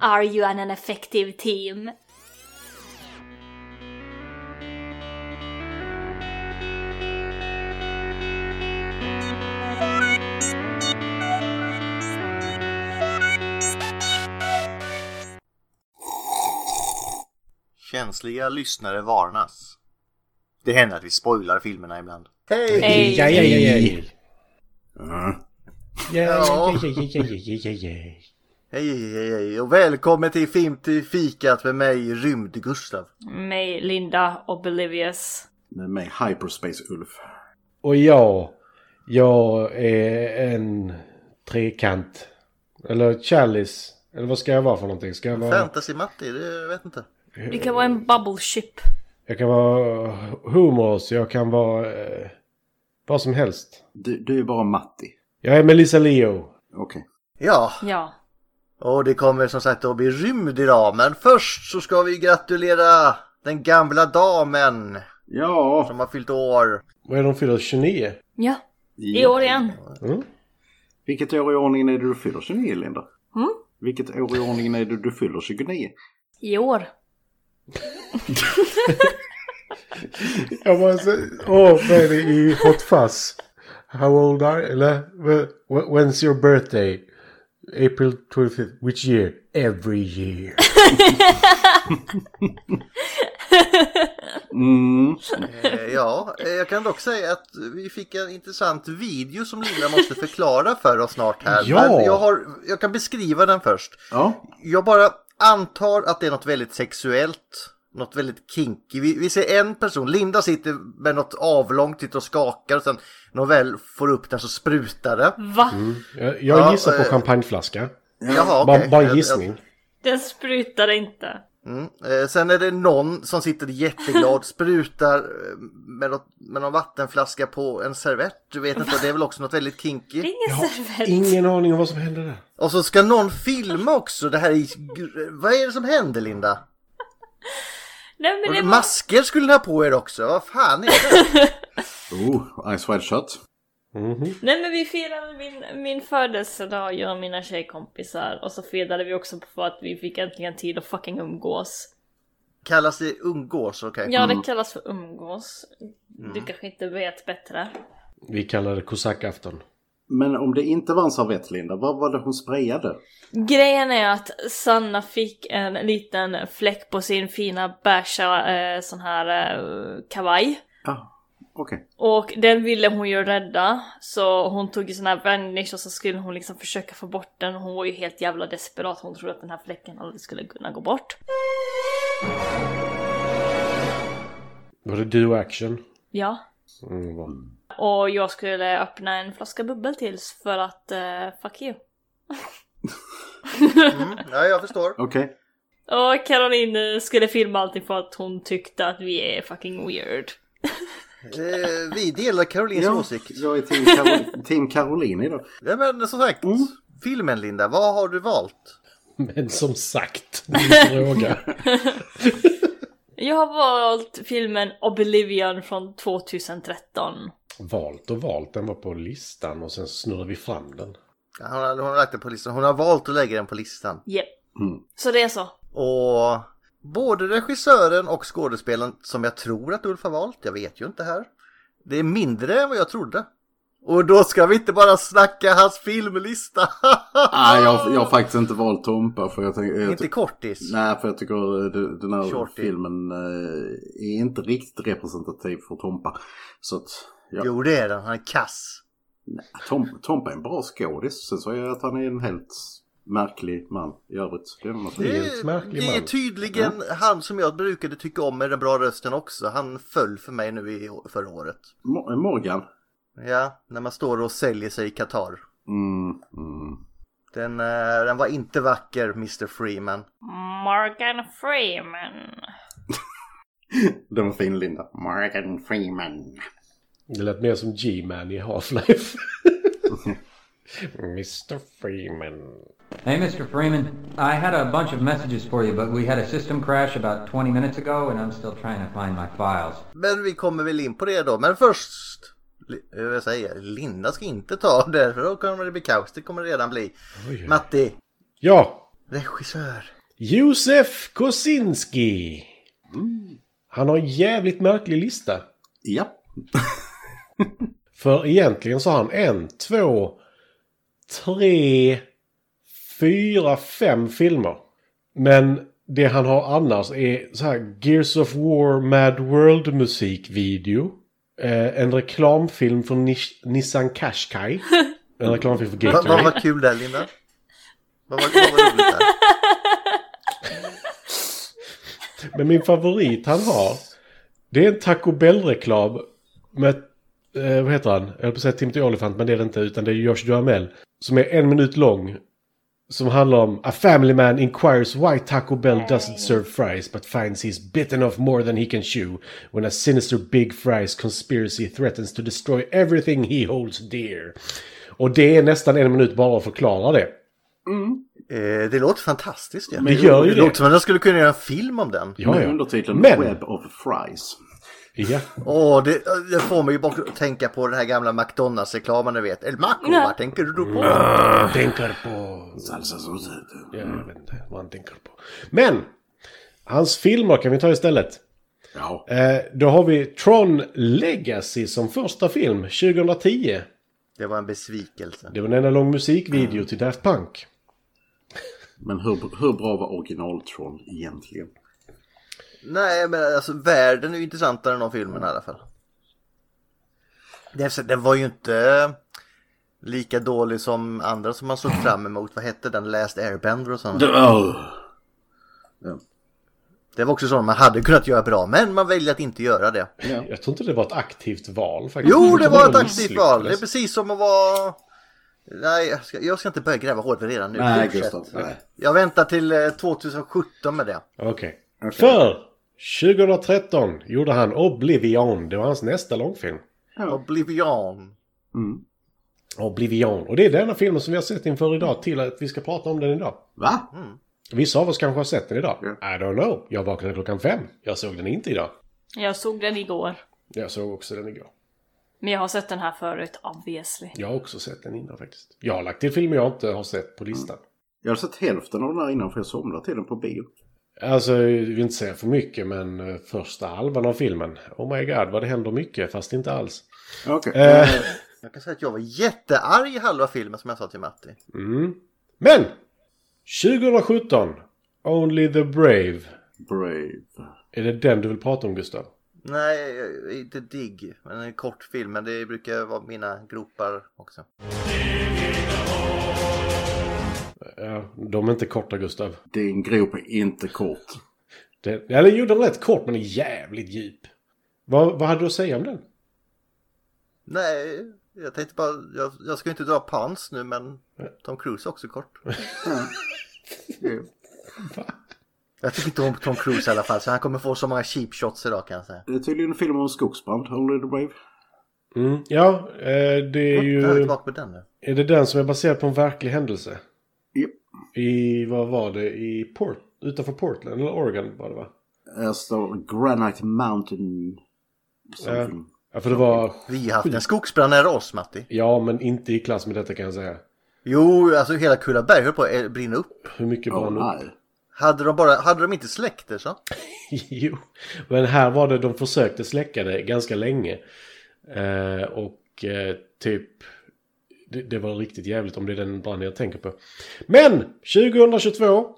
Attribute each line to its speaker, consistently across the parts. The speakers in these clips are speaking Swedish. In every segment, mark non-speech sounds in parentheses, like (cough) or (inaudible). Speaker 1: Are you an effective team?
Speaker 2: Känsliga lyssnare varnas. Det händer att vi spoilar filmerna ibland. Hej!
Speaker 1: Hej.
Speaker 3: Ja, ja, ja, ja, ja.
Speaker 2: Mm.
Speaker 3: Ja,
Speaker 2: Ja.
Speaker 3: ja, ja, ja, ja, ja, ja, ja.
Speaker 2: Hej, hej, hej, hej och välkommen till Film till fikat med mig Rymd-Gustav.
Speaker 1: Mig, Linda, Oblivious.
Speaker 4: Med mig Hyperspace-Ulf.
Speaker 3: Och jag, jag är en trekant. Eller chalice. Eller vad ska jag vara för någonting? Ska jag vara...
Speaker 2: Fantasy-Matti, det jag vet inte.
Speaker 1: Det kan vara en bubble ship.
Speaker 3: Jag kan vara humorous, jag kan vara... Eh, vad som helst.
Speaker 4: Du, du är bara Matti.
Speaker 3: Jag är Melissa Leo.
Speaker 4: Okej.
Speaker 2: Ja,
Speaker 1: Ja.
Speaker 2: och det kommer som sagt att bli rymd idag. Men först så ska vi gratulera den gamla damen
Speaker 4: Ja.
Speaker 2: som har fyllt år.
Speaker 3: Vad är de fyller? 29?
Speaker 1: Ja, i år igen.
Speaker 3: Mm.
Speaker 4: Vilket år i ordningen är det du fyller 29, Linda?
Speaker 1: Mm.
Speaker 4: Vilket år i ordningen är det du fyller 29?
Speaker 1: I år.
Speaker 3: Jag bara säger... Åh, vad är det i Hot Fuzz? How old are you? Eller? wh- wh- When's your birthday? April 25th. Which year? Every year.
Speaker 4: Mm.
Speaker 2: Eh, ja, eh, jag kan dock säga att vi fick en intressant video som Linda måste förklara för oss snart här.
Speaker 3: Ja.
Speaker 2: Men jag, har, jag kan beskriva den först.
Speaker 4: Ja.
Speaker 2: Jag bara antar att det är något väldigt sexuellt. Något väldigt kinky. Vi, vi ser en person, Linda sitter med något avlångt, sitter och skakar och sen när hon väl får upp den så sprutar det.
Speaker 1: Va?
Speaker 3: Jag, jag
Speaker 2: Ja,
Speaker 3: gissar på
Speaker 2: eh,
Speaker 3: champagneflaska.
Speaker 2: Jaha,
Speaker 3: Bara,
Speaker 2: okej. Jag-
Speaker 3: bara en
Speaker 2: jag-
Speaker 3: gissning.
Speaker 1: Den sprutar inte.
Speaker 2: Mm. Eh, sen är det någon som sitter jätteglad, (laughs) sprutar eh, med, något, med någon vattenflaska på en servett. Du vet inte, det är väl också något väldigt kinky.
Speaker 1: Det är ingen servett.
Speaker 3: Ingen aning om vad som hände där.
Speaker 2: Och så ska någon filma också. Det här är... gr- eh, Vad är det som händer Linda?
Speaker 1: Nej men det var...
Speaker 2: Masker skulle ni ha på er också. Vad fan är det?
Speaker 4: Oh, Ice Wide Shut.
Speaker 3: Mhm.
Speaker 1: Nej men vi firade min, min födelsedag, jag och mina tjejkompisar. Och så firade vi också för att vi fick äntligen tid att fucking umgås.
Speaker 2: Kallas det umgås? Okej.
Speaker 1: Ja det kallas för umgås. Du kanske inte vet bättre.
Speaker 3: Vi kallar det kosackafton.
Speaker 4: Men om det inte var en servett, Linda, vad var det hon sprayade?
Speaker 1: Grejen är att Sanna fick en liten fläck på sin fina beiga eh, sån här eh, kavaj.
Speaker 4: Ja. Ah, Okej.
Speaker 1: Och den ville hon ju rädda, så hon tog ju sån här vanish och så skulle hon liksom försöka få bort den. Hon var ju helt jävla desperat, hon trodde att den här fläcken aldrig skulle kunna gå bort.
Speaker 3: Var det do action?
Speaker 1: Ja.
Speaker 3: Mm, vad-
Speaker 1: Och jag skulle öppna en flaska bubbel tills för att, eh, fuck you.
Speaker 2: Mm, ja, jag förstår.
Speaker 4: Okej.
Speaker 1: Och Caroline eh, skulle filma allting för att hon tyckte att vi är fucking weird.
Speaker 2: Eh, vi delar Karolins
Speaker 4: Ja,
Speaker 2: åsikt.
Speaker 4: jag är team, Karol- (laughs) team Caroline idag.
Speaker 2: Ja, men som sagt.
Speaker 4: Mm.
Speaker 2: Filmen Linda, vad har du valt?
Speaker 3: Men som sagt, min fråga.
Speaker 1: Jag har valt filmen Oblivion från 2013.
Speaker 3: Valt och valt, den var på listan och sen snurrade vi fram den.
Speaker 2: Hon har, hon har lagt den på listan. Hon har valt att lägga den på listan.
Speaker 1: Yep.
Speaker 4: Mm.
Speaker 1: Så det är så.
Speaker 2: Och både regissören och skådespelaren som jag tror att Ulf har valt, jag vet ju inte här. Det är mindre än vad jag trodde. Och då ska vi inte bara snacka hans filmlista. (laughs)
Speaker 4: Ah, jag, jag har faktiskt inte valt Tompa för jag tänker... Jag,
Speaker 2: inte kortis.
Speaker 4: Nej, för jag tycker eh, det- den här
Speaker 2: Shorty.
Speaker 4: filmen eh, är inte riktigt representativ för Tompa. Så att, ja.
Speaker 2: Jo det är den, han är kass.
Speaker 4: Tom, Tompa är en bra skådis. Sen så är jag att han är en helt märklig man i övrigt. Det är något
Speaker 2: Det
Speaker 3: Helt
Speaker 2: är,
Speaker 3: märklig
Speaker 2: det är
Speaker 3: man.
Speaker 2: tydligen han som jag brukade tycka om med den bra rösten också. Han föll för mig nu i förra året.
Speaker 4: Mo- eh, Morgan.
Speaker 2: Ja, när man står och säljer sig i Qatar.
Speaker 4: Mm, mm.
Speaker 2: Den, eh, den var inte vacker, Mr Freeman.
Speaker 1: Morgan Freeman.
Speaker 4: Den var fin Linda. Morgan Freeman.
Speaker 3: Det lät mer som G-Man
Speaker 2: (laughs)
Speaker 3: i Half-Life. Mr Freeman.
Speaker 5: Hey, Mr. Freeman. I had a bunch of messages for you, but we had a system crash about 20 minutes ago, and I'm still trying to find my files.
Speaker 2: Men vi kommer väl in på det då. Men först, Li- eh, vad säger jag? Linda ska inte ta det, för då kommer det bli kaos. Det kommer det redan bli.
Speaker 3: Oj, oj.
Speaker 2: Matti,
Speaker 3: Ja,
Speaker 2: Regissör.
Speaker 3: Josef Kosinski.
Speaker 2: Mm.
Speaker 3: Han har en jävligt märklig lista.
Speaker 4: Ja.
Speaker 3: För egentligen så har han en, två, tre, fyra, fem filmer. Men det han har annars är så här Gears of War Mad World musikvideo. Eh, en reklamfilm för Nis- Nissan Qashqai. En reklamfilm för
Speaker 2: Va- Vad
Speaker 3: Gatorade.
Speaker 2: var kul där Linda? Vad var, vad var roligt där?
Speaker 3: Men min favorit han har, det är en Taco Bell-reklam med, eh, vad heter han? Jag höll på att säga Timothy Olyphant, men det är det inte, utan det är Josh Duhamel. Som är en minut lång. Som handlar om A family man inquires why Taco Bell doesn't serve fries but finds he's bitten off more than he can chew when a sinister big fries conspiracy threatens to destroy everything he holds dear. Och det är nästan en minut bara att förklara det.
Speaker 2: Eh, det låter fantastiskt ju.
Speaker 3: Det gör ju
Speaker 2: Det
Speaker 3: det.
Speaker 2: låter som att jag skulle kunna göra en film om den.
Speaker 3: Ja,
Speaker 4: Med
Speaker 3: ja.
Speaker 4: undertiteln
Speaker 3: Men-
Speaker 4: Web of Fries.
Speaker 3: ja.
Speaker 2: Åh, det, det får mig ju bara att tänka på den här gamla McDonalds-reklamen ni vet. El Maco,
Speaker 1: Ja.
Speaker 2: vad tänker du då på?
Speaker 4: Ah.
Speaker 3: Tänker på
Speaker 4: Salsa som söter.
Speaker 3: Ja,
Speaker 2: Mm.
Speaker 3: Jag vet inte vad han tänker på. Men! Hans filmer kan vi ta istället.
Speaker 4: Ja.
Speaker 3: Eh, då har vi Tron Legacy som första film, 2010.
Speaker 2: Det var en besvikelse.
Speaker 3: Det var en enda lång
Speaker 2: Mm.
Speaker 3: musikvideo till Daft Punk.
Speaker 4: Men hur, hur bra var originaltroll egentligen?
Speaker 2: Nej, men alltså världen är ju intressantare än de filmerna i alla fall. Det är så- Den var ju inte lika dålig som andra som man såg fram emot. Vad hette den? Last Airbender och sånt. Det var också sådana man hade kunnat göra bra, men man väljer att inte göra det.
Speaker 4: Ja.
Speaker 3: Jag tror inte det var ett aktivt val faktiskt.
Speaker 2: Jo, Mm, det var ett
Speaker 3: bara
Speaker 2: aktivt val. Det är
Speaker 3: misslyckades.
Speaker 2: precis som att vara... Nej, jag ska, jag ska inte börja gräva hårt redan nu.
Speaker 4: Nej,
Speaker 2: Fortsätt.
Speaker 4: Gustav. Nej.
Speaker 2: Jag väntar till eh, 2017 med det.
Speaker 3: Okej. För 2013 gjorde han Oblivion. Det var hans nästa långfilm.
Speaker 2: Oblivion.
Speaker 4: Mm.
Speaker 3: Oblivion. Och det är denna filmen som vi har sett inför idag till att vi ska prata om den idag.
Speaker 4: Va?
Speaker 3: Vissa av oss kanske har sett den idag.
Speaker 4: Ja.
Speaker 3: I don't know. Jag vaknade klockan fem. Jag såg den inte idag.
Speaker 1: Jag såg den igår.
Speaker 3: Jag såg också den igår.
Speaker 1: Men jag har sett den här förut, obviously.
Speaker 3: Jag har också sett den innan faktiskt. Jag har lagt till filmer jag inte har sett på listan.
Speaker 4: Jag har sett hälften av den här innan för jag somnade till den på bio.
Speaker 3: Alltså, jag vill inte säga för mycket, men eh, första halvan av filmen. Oh my god, vad det händer mycket, fast inte alls.
Speaker 4: Okej.
Speaker 3: Eh,
Speaker 2: Jag kan säga att jag var jättearg i halva filmen som jag sa till Matti.
Speaker 3: mm. Men! 2017, Only the Brave.
Speaker 4: Brave.
Speaker 3: Är det den du vill prata om, Gustav?
Speaker 2: Nej, eh, inte digg. Men en kort film, men det brukar vara mina gropar också.
Speaker 3: Ja, de är inte korta, Gustav.
Speaker 4: Din grop är inte kort.
Speaker 3: Den, eller jo, den är rätt kort, men är jävligt djup. Vad, vad hade du att säga om den?
Speaker 2: Nej, jag tänkte bara, jag, jag ska ju inte dra pans nu men Tom Cruise är också kort.
Speaker 3: Eh.
Speaker 2: Jag tycker inte om Tom Cruise i alla fall så han kommer få så många cheap shots idag kan jag säga.
Speaker 4: Det är tydligen en film om en skogsbrand, Only the Brave.
Speaker 3: Mm, ja, eh, det är
Speaker 2: Jag är
Speaker 3: ju...
Speaker 2: tillbaka på den nu.
Speaker 3: Är det den som är baserad på en verklig händelse?
Speaker 4: Japp.
Speaker 3: I, vad var det, i Port, utanför Portland eller Oregon var det va?
Speaker 4: Här står Granite Mountain. Something.
Speaker 3: Ja, för Eh, det var...
Speaker 2: Vi har haft en skogsbrand nära oss Matti.
Speaker 3: Ja, men inte i klass med detta kan jag säga.
Speaker 2: Jo, alltså hela Kullaberg höll på att eh, brinna upp.
Speaker 3: Hur mycket
Speaker 4: Åh
Speaker 3: var det?
Speaker 4: nej.
Speaker 2: Hade de, bara, hade de inte släkter så?
Speaker 3: (laughs) jo, men här var det de försökte släcka det ganska länge. Eh, och eh, typ... Det, det var riktigt jävligt om det är den branden jag tänker på. Men! 2022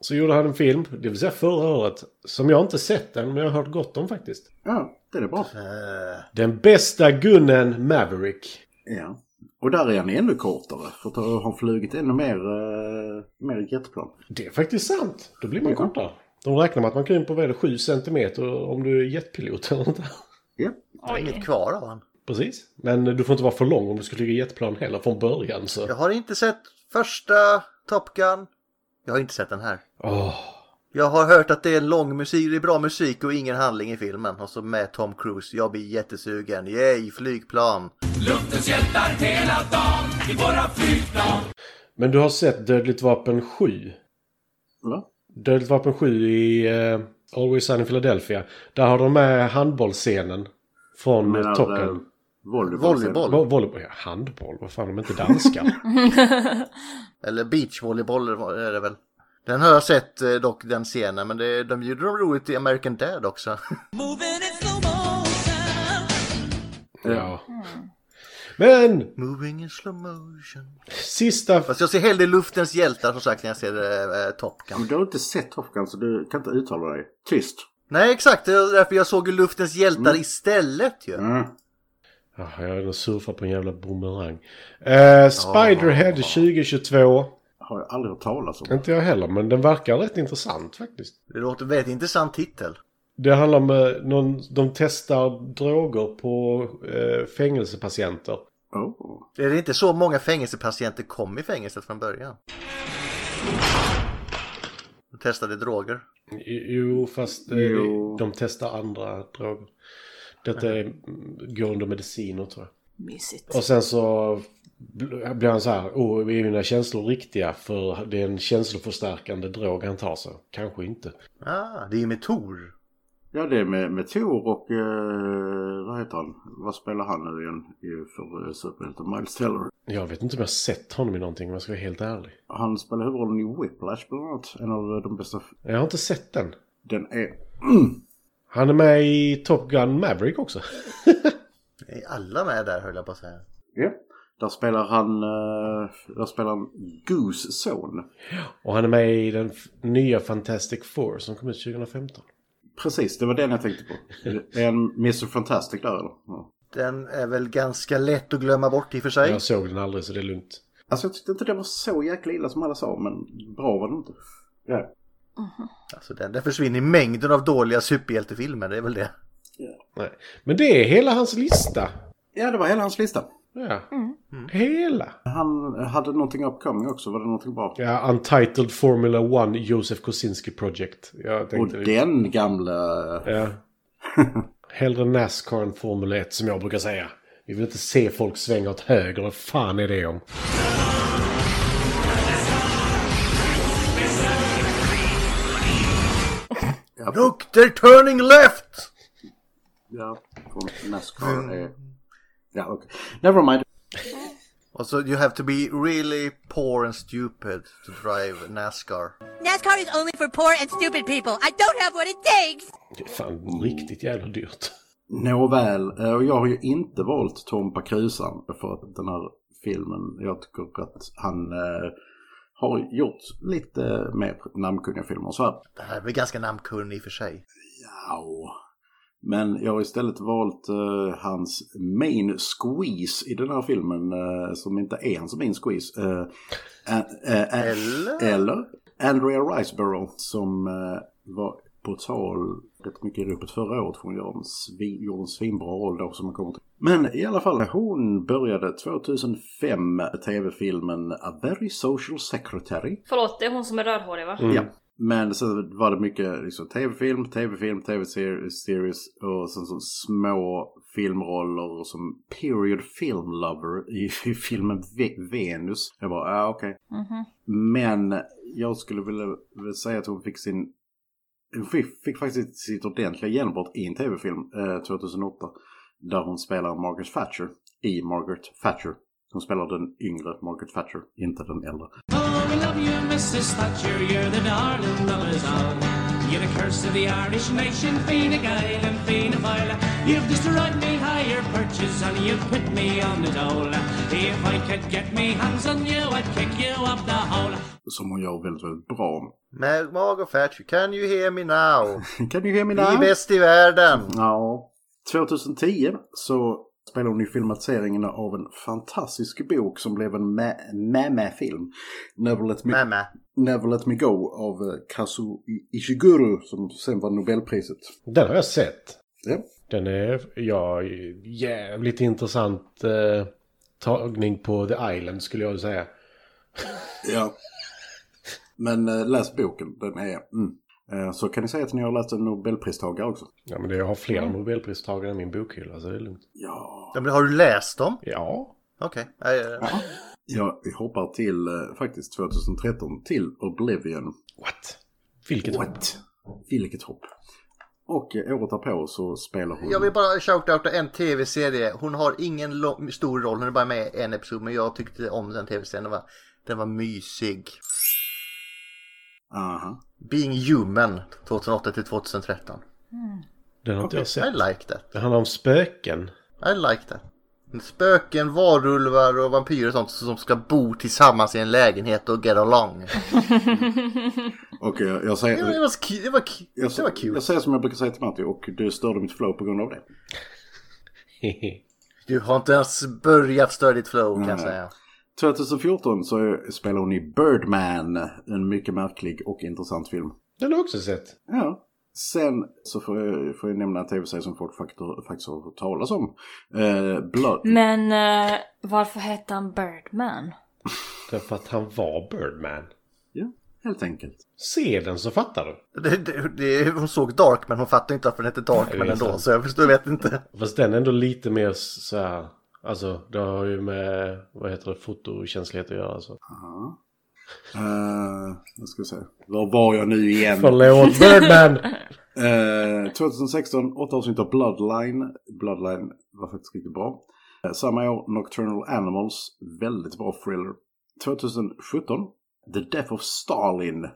Speaker 3: så gjorde han en film, det vill säga förra året, som jag inte sett den, men jag har hört gott om faktiskt.
Speaker 4: Ja, det är bra.
Speaker 2: Eh,
Speaker 3: Den bästa gunnen Maverick.
Speaker 4: Ja. Och där är han ännu kortare. För då har han flugit ännu mer, eh, mer jetplan.
Speaker 3: Det är faktiskt sant. Då blir man kortare. De räknar med att man krymper väl 7 centimeter om du är jetpilot eller något.
Speaker 4: Ja.
Speaker 2: inget kvar av han.
Speaker 3: (laughs) Precis. Men du får inte vara för lång om du ska flyga jetplan heller från början. Så.
Speaker 2: Jag har inte sett första Top Gun. Jag har inte sett den här.
Speaker 3: Åh.
Speaker 2: Jag har hört att det är lång musik, det är bra musik och ingen handling i filmen. Och så med Tom Cruise, jag blir jättesugen. Yay, flygplan!
Speaker 3: Men du har sett Dödligt vapen 7.
Speaker 4: Va?
Speaker 3: Dödligt vapen 7 i eh, Always Sunny in Philadelphia. Där har de med handbollsscenen från
Speaker 4: Menar,
Speaker 3: eh, Top Gun.
Speaker 4: eh, volleyboll.
Speaker 2: Volleyboll.
Speaker 3: Vo- volleyboll. Ja, handboll. Vad fan, de är inte danskar.
Speaker 2: Eller beachvolleyboll är det väl? Den har jag sett eh, dock, den scenen, men det, de gjorde dem roligt i American Dad också. (laughs)
Speaker 6: Moving in slow motion.
Speaker 3: Ja. Men
Speaker 2: Moving in slow motion.
Speaker 3: sista...
Speaker 2: Fast jag ser hellre luftens hjältar som sagt när jag ser eh, eh, Top Gun.
Speaker 4: Men du har inte sett Top Gun så du kan inte uttala dig. Tyst!
Speaker 2: Nej exakt, det är därför jag såg ju luftens hjältar istället ju.
Speaker 4: Mm.
Speaker 3: Ah, jag har redan surfat på en jävla boomerang. Eh, Spiderhead 2022.
Speaker 4: Har jag aldrig hört talas om.
Speaker 3: Inte jag heller, men den verkar rätt intressant faktiskt.
Speaker 2: Det låter en väldigt intressant titel.
Speaker 3: Det handlar om eh, någon, de testar droger på eh, fängelsepatienter.
Speaker 4: Oh.
Speaker 2: Det är inte så många fängelsepatienter kom i fängelset från början. De testade droger.
Speaker 3: Jo, fast eh,
Speaker 4: Jo.
Speaker 3: de testar andra droger. Detta är, går under mediciner tror
Speaker 1: (laughs)
Speaker 3: jag.
Speaker 1: Mysigt.
Speaker 3: Och sen så bl- blir han så här, oh, är mina känslor riktiga? För det är en känsloförstärkande drog han tar så. Kanske inte.
Speaker 2: Ah, det är ju med Tor.
Speaker 4: Ja det är med, med Thor och eh, vad heter han? Vad spelar han nu igen i- för eh, superhjälten? Miles Teller.
Speaker 3: Jag vet inte om jag sett honom i någonting om jag ska vara helt ärlig.
Speaker 4: Han spelar huvudrollen i Whiplash bland annat. En av eh, de bästa. f-
Speaker 3: Jag har inte sett den.
Speaker 4: Den är... (clears throat)
Speaker 3: Han är med i Top Gun Maverick också.
Speaker 2: Är alla med där höll jag på att säga.
Speaker 4: Ja. Där spelar han... Eh, där spelar han Goose son.
Speaker 3: Och han är med i den f- nya Fantastic Four som kom ut 2015.
Speaker 4: Precis, det var den jag tänkte på. Är en Mr Fantastic där eller? Ja.
Speaker 2: Den är väl ganska lätt att glömma bort i och för sig.
Speaker 3: Jag såg den aldrig så det är lugnt.
Speaker 4: Alltså jag tyckte inte det var så jäkla illa som alla sa men bra var det inte. Ja.
Speaker 2: Alltså den, den försvinner i mängden av dåliga superhjältefilmer, det är väl det.
Speaker 3: Nej. Men det är hela hans lista.
Speaker 4: ja, det var hela hans lista.
Speaker 3: Ja. Hela.
Speaker 4: Han hade någonting upcoming också. Var det någonting bra?
Speaker 3: Ja, Untitled Formula One Josef Kosinski Project. Jag
Speaker 4: Och
Speaker 3: tänkte... liksom-
Speaker 4: den gamla...
Speaker 3: Ja. Hellre Nascar än Formel 1 som jag brukar säga. Vi vill inte se folk svänga åt höger. Vad fan är det om?
Speaker 2: Look, they're turning left!
Speaker 4: Ja, från Nascar är... Eh, Ja, okej. Never mind.
Speaker 2: Och så you have to be really poor and stupid to drive Nascar.
Speaker 6: NASCAR is only for poor and stupid people. I don't have what it takes.
Speaker 3: Det är fan riktigt jävla dyrt.
Speaker 4: Nåväl, eh, och jag har ju inte valt Tompa Krusan för att den här filmen, jag tycker att han eh, har gjort lite mer namnkunniga filmer så här.
Speaker 2: Det här är väl ganska namnkunnig i och för sig.
Speaker 4: Au. Men jag har istället valt eh, hans main squeeze i den här filmen eh, som inte är hans main squeeze. Eh, eh, eh, eh,
Speaker 2: Eller?
Speaker 4: eller Andrea Riceborough som eh, var på tal rätt mycket i ropet förra året. för Hon gjorde en, svin, gjorde en svinbra roll då som man kommer till. Men i alla fall, hon började 2005 med tv-filmen A Very Social Secretary.
Speaker 1: Förlåt, det är hon som är rödhårig va?
Speaker 3: Mm.
Speaker 4: Ja. Men sen var det mycket liksom, tv-film, tv-film, tv-series och sen så små filmroller som period film lover i, i filmen Ve- Venus. Jag bara, ah, okej. Men jag skulle vilja, vilja säga att hon fick sin... Hon fick, fick faktiskt sitt ordentliga genombrott i en tv-film eh, 2008. Där hon spelar Margaret Thatcher i Margaret Thatcher. Hon spelar den yngre Margaret Thatcher, inte den äldre.
Speaker 7: Oh, we love you, Mrs. Thatcher, you're the darling of us all. You're the curse of the Irish nation, Fine Gael and Fianna Fáil. You've destroyed me higher perches and you've put me on the dole. If I could get me hands on you, I'd kick you up the hole.
Speaker 4: Som hon gör väldigt, väldigt bra.
Speaker 2: Mag Margot Thatcher, can you hear me now?
Speaker 4: Kan du hear me
Speaker 2: Vi är bäst i världen!
Speaker 4: Ja. 2010 så spelade hon i filmatiseringen av en fantastisk bok som blev en mä- mamma-film. Never Let Me,
Speaker 2: Mamma.
Speaker 4: Never Let Me Go av eh, Kazuo I- Ishiguro som sen vann Nobelpriset.
Speaker 3: Den har jag sett.
Speaker 4: Ja.
Speaker 3: Den är, ja, jävligt intressant eh, tagning på The Island skulle jag säga.
Speaker 4: ja. Men eh, läs boken, den är... Mm. Eh, Så kan ni säga att ni har läst en Nobelpristagare också?
Speaker 3: Ja, men det, jag har flera Nobelpristagare i min bokhylla så det är lugnt.
Speaker 4: Ja.
Speaker 2: Ja, men Har du läst dem?
Speaker 3: Ja.
Speaker 2: Okej. Nej, eh,
Speaker 4: Jag hoppar till eh, faktiskt 2013 till Oblivion.
Speaker 3: What? Vilket
Speaker 4: What? Vilket hopp. Och eh, året därpå så spelar hon...
Speaker 2: Jag vill bara shoutouta en tv-serie. Hon har ingen lo- stor roll, hon är bara med i en episod. Men jag tyckte om den tv-serien. Den var, den var mysig.
Speaker 4: Aha.
Speaker 2: Being Human 2008 till 2013.
Speaker 3: Den har inte jag
Speaker 2: I
Speaker 3: sett.
Speaker 2: like that.
Speaker 3: Det handlar om spöken. (laughs)
Speaker 2: I like that. Spöken, varulvar och vampyrer och sånt som ska bo tillsammans i en lägenhet och get
Speaker 4: (laughs)
Speaker 2: along.
Speaker 4: Okej, jag, jag
Speaker 2: Det var, det
Speaker 4: säger...
Speaker 2: var, cu- det var, cu-
Speaker 4: Jag,
Speaker 2: det var kul.
Speaker 4: jag säger som jag brukar säga till Matti och du störde mitt flow på grund av det.
Speaker 2: Du har inte ens börjat störa ditt flow kan jag
Speaker 4: Nej.
Speaker 2: säga.
Speaker 4: 2014 så spelar hon i Birdman, en mycket märklig och intressant film.
Speaker 3: Den har jag också sett.
Speaker 4: Ja. Sen så får jag, får jag nämna en tv-serie som folk faktor, faktiskt har hört talas om. Eh, Blood.
Speaker 2: Mm.
Speaker 1: Men eh, varför hette han Birdman?
Speaker 3: Därför att han var Birdman.
Speaker 4: Ja, helt enkelt.
Speaker 3: Se den så fattar du.
Speaker 2: Det, det, det, hon såg Dark men hon fattade inte varför den hette Dark
Speaker 3: Nej,
Speaker 2: men
Speaker 3: det är
Speaker 2: ändå
Speaker 3: sant.
Speaker 2: så jag förstår, vet inte.
Speaker 3: Fast den är ändå lite mer så här... Alltså, det har ju med, vad heter det, fotokänslighet att göra. Så.
Speaker 4: Ja. Eh, vad ska jag säga? Var var jag nu igen?
Speaker 3: Förlåt, Birdman!
Speaker 4: Eh, 2016, åtta avsnitt av Bloodline. Bloodline var faktiskt riktigt bra. Eh, samma år, Nocturnal Animals. Väldigt bra thriller. 2017, The Death of Stalin.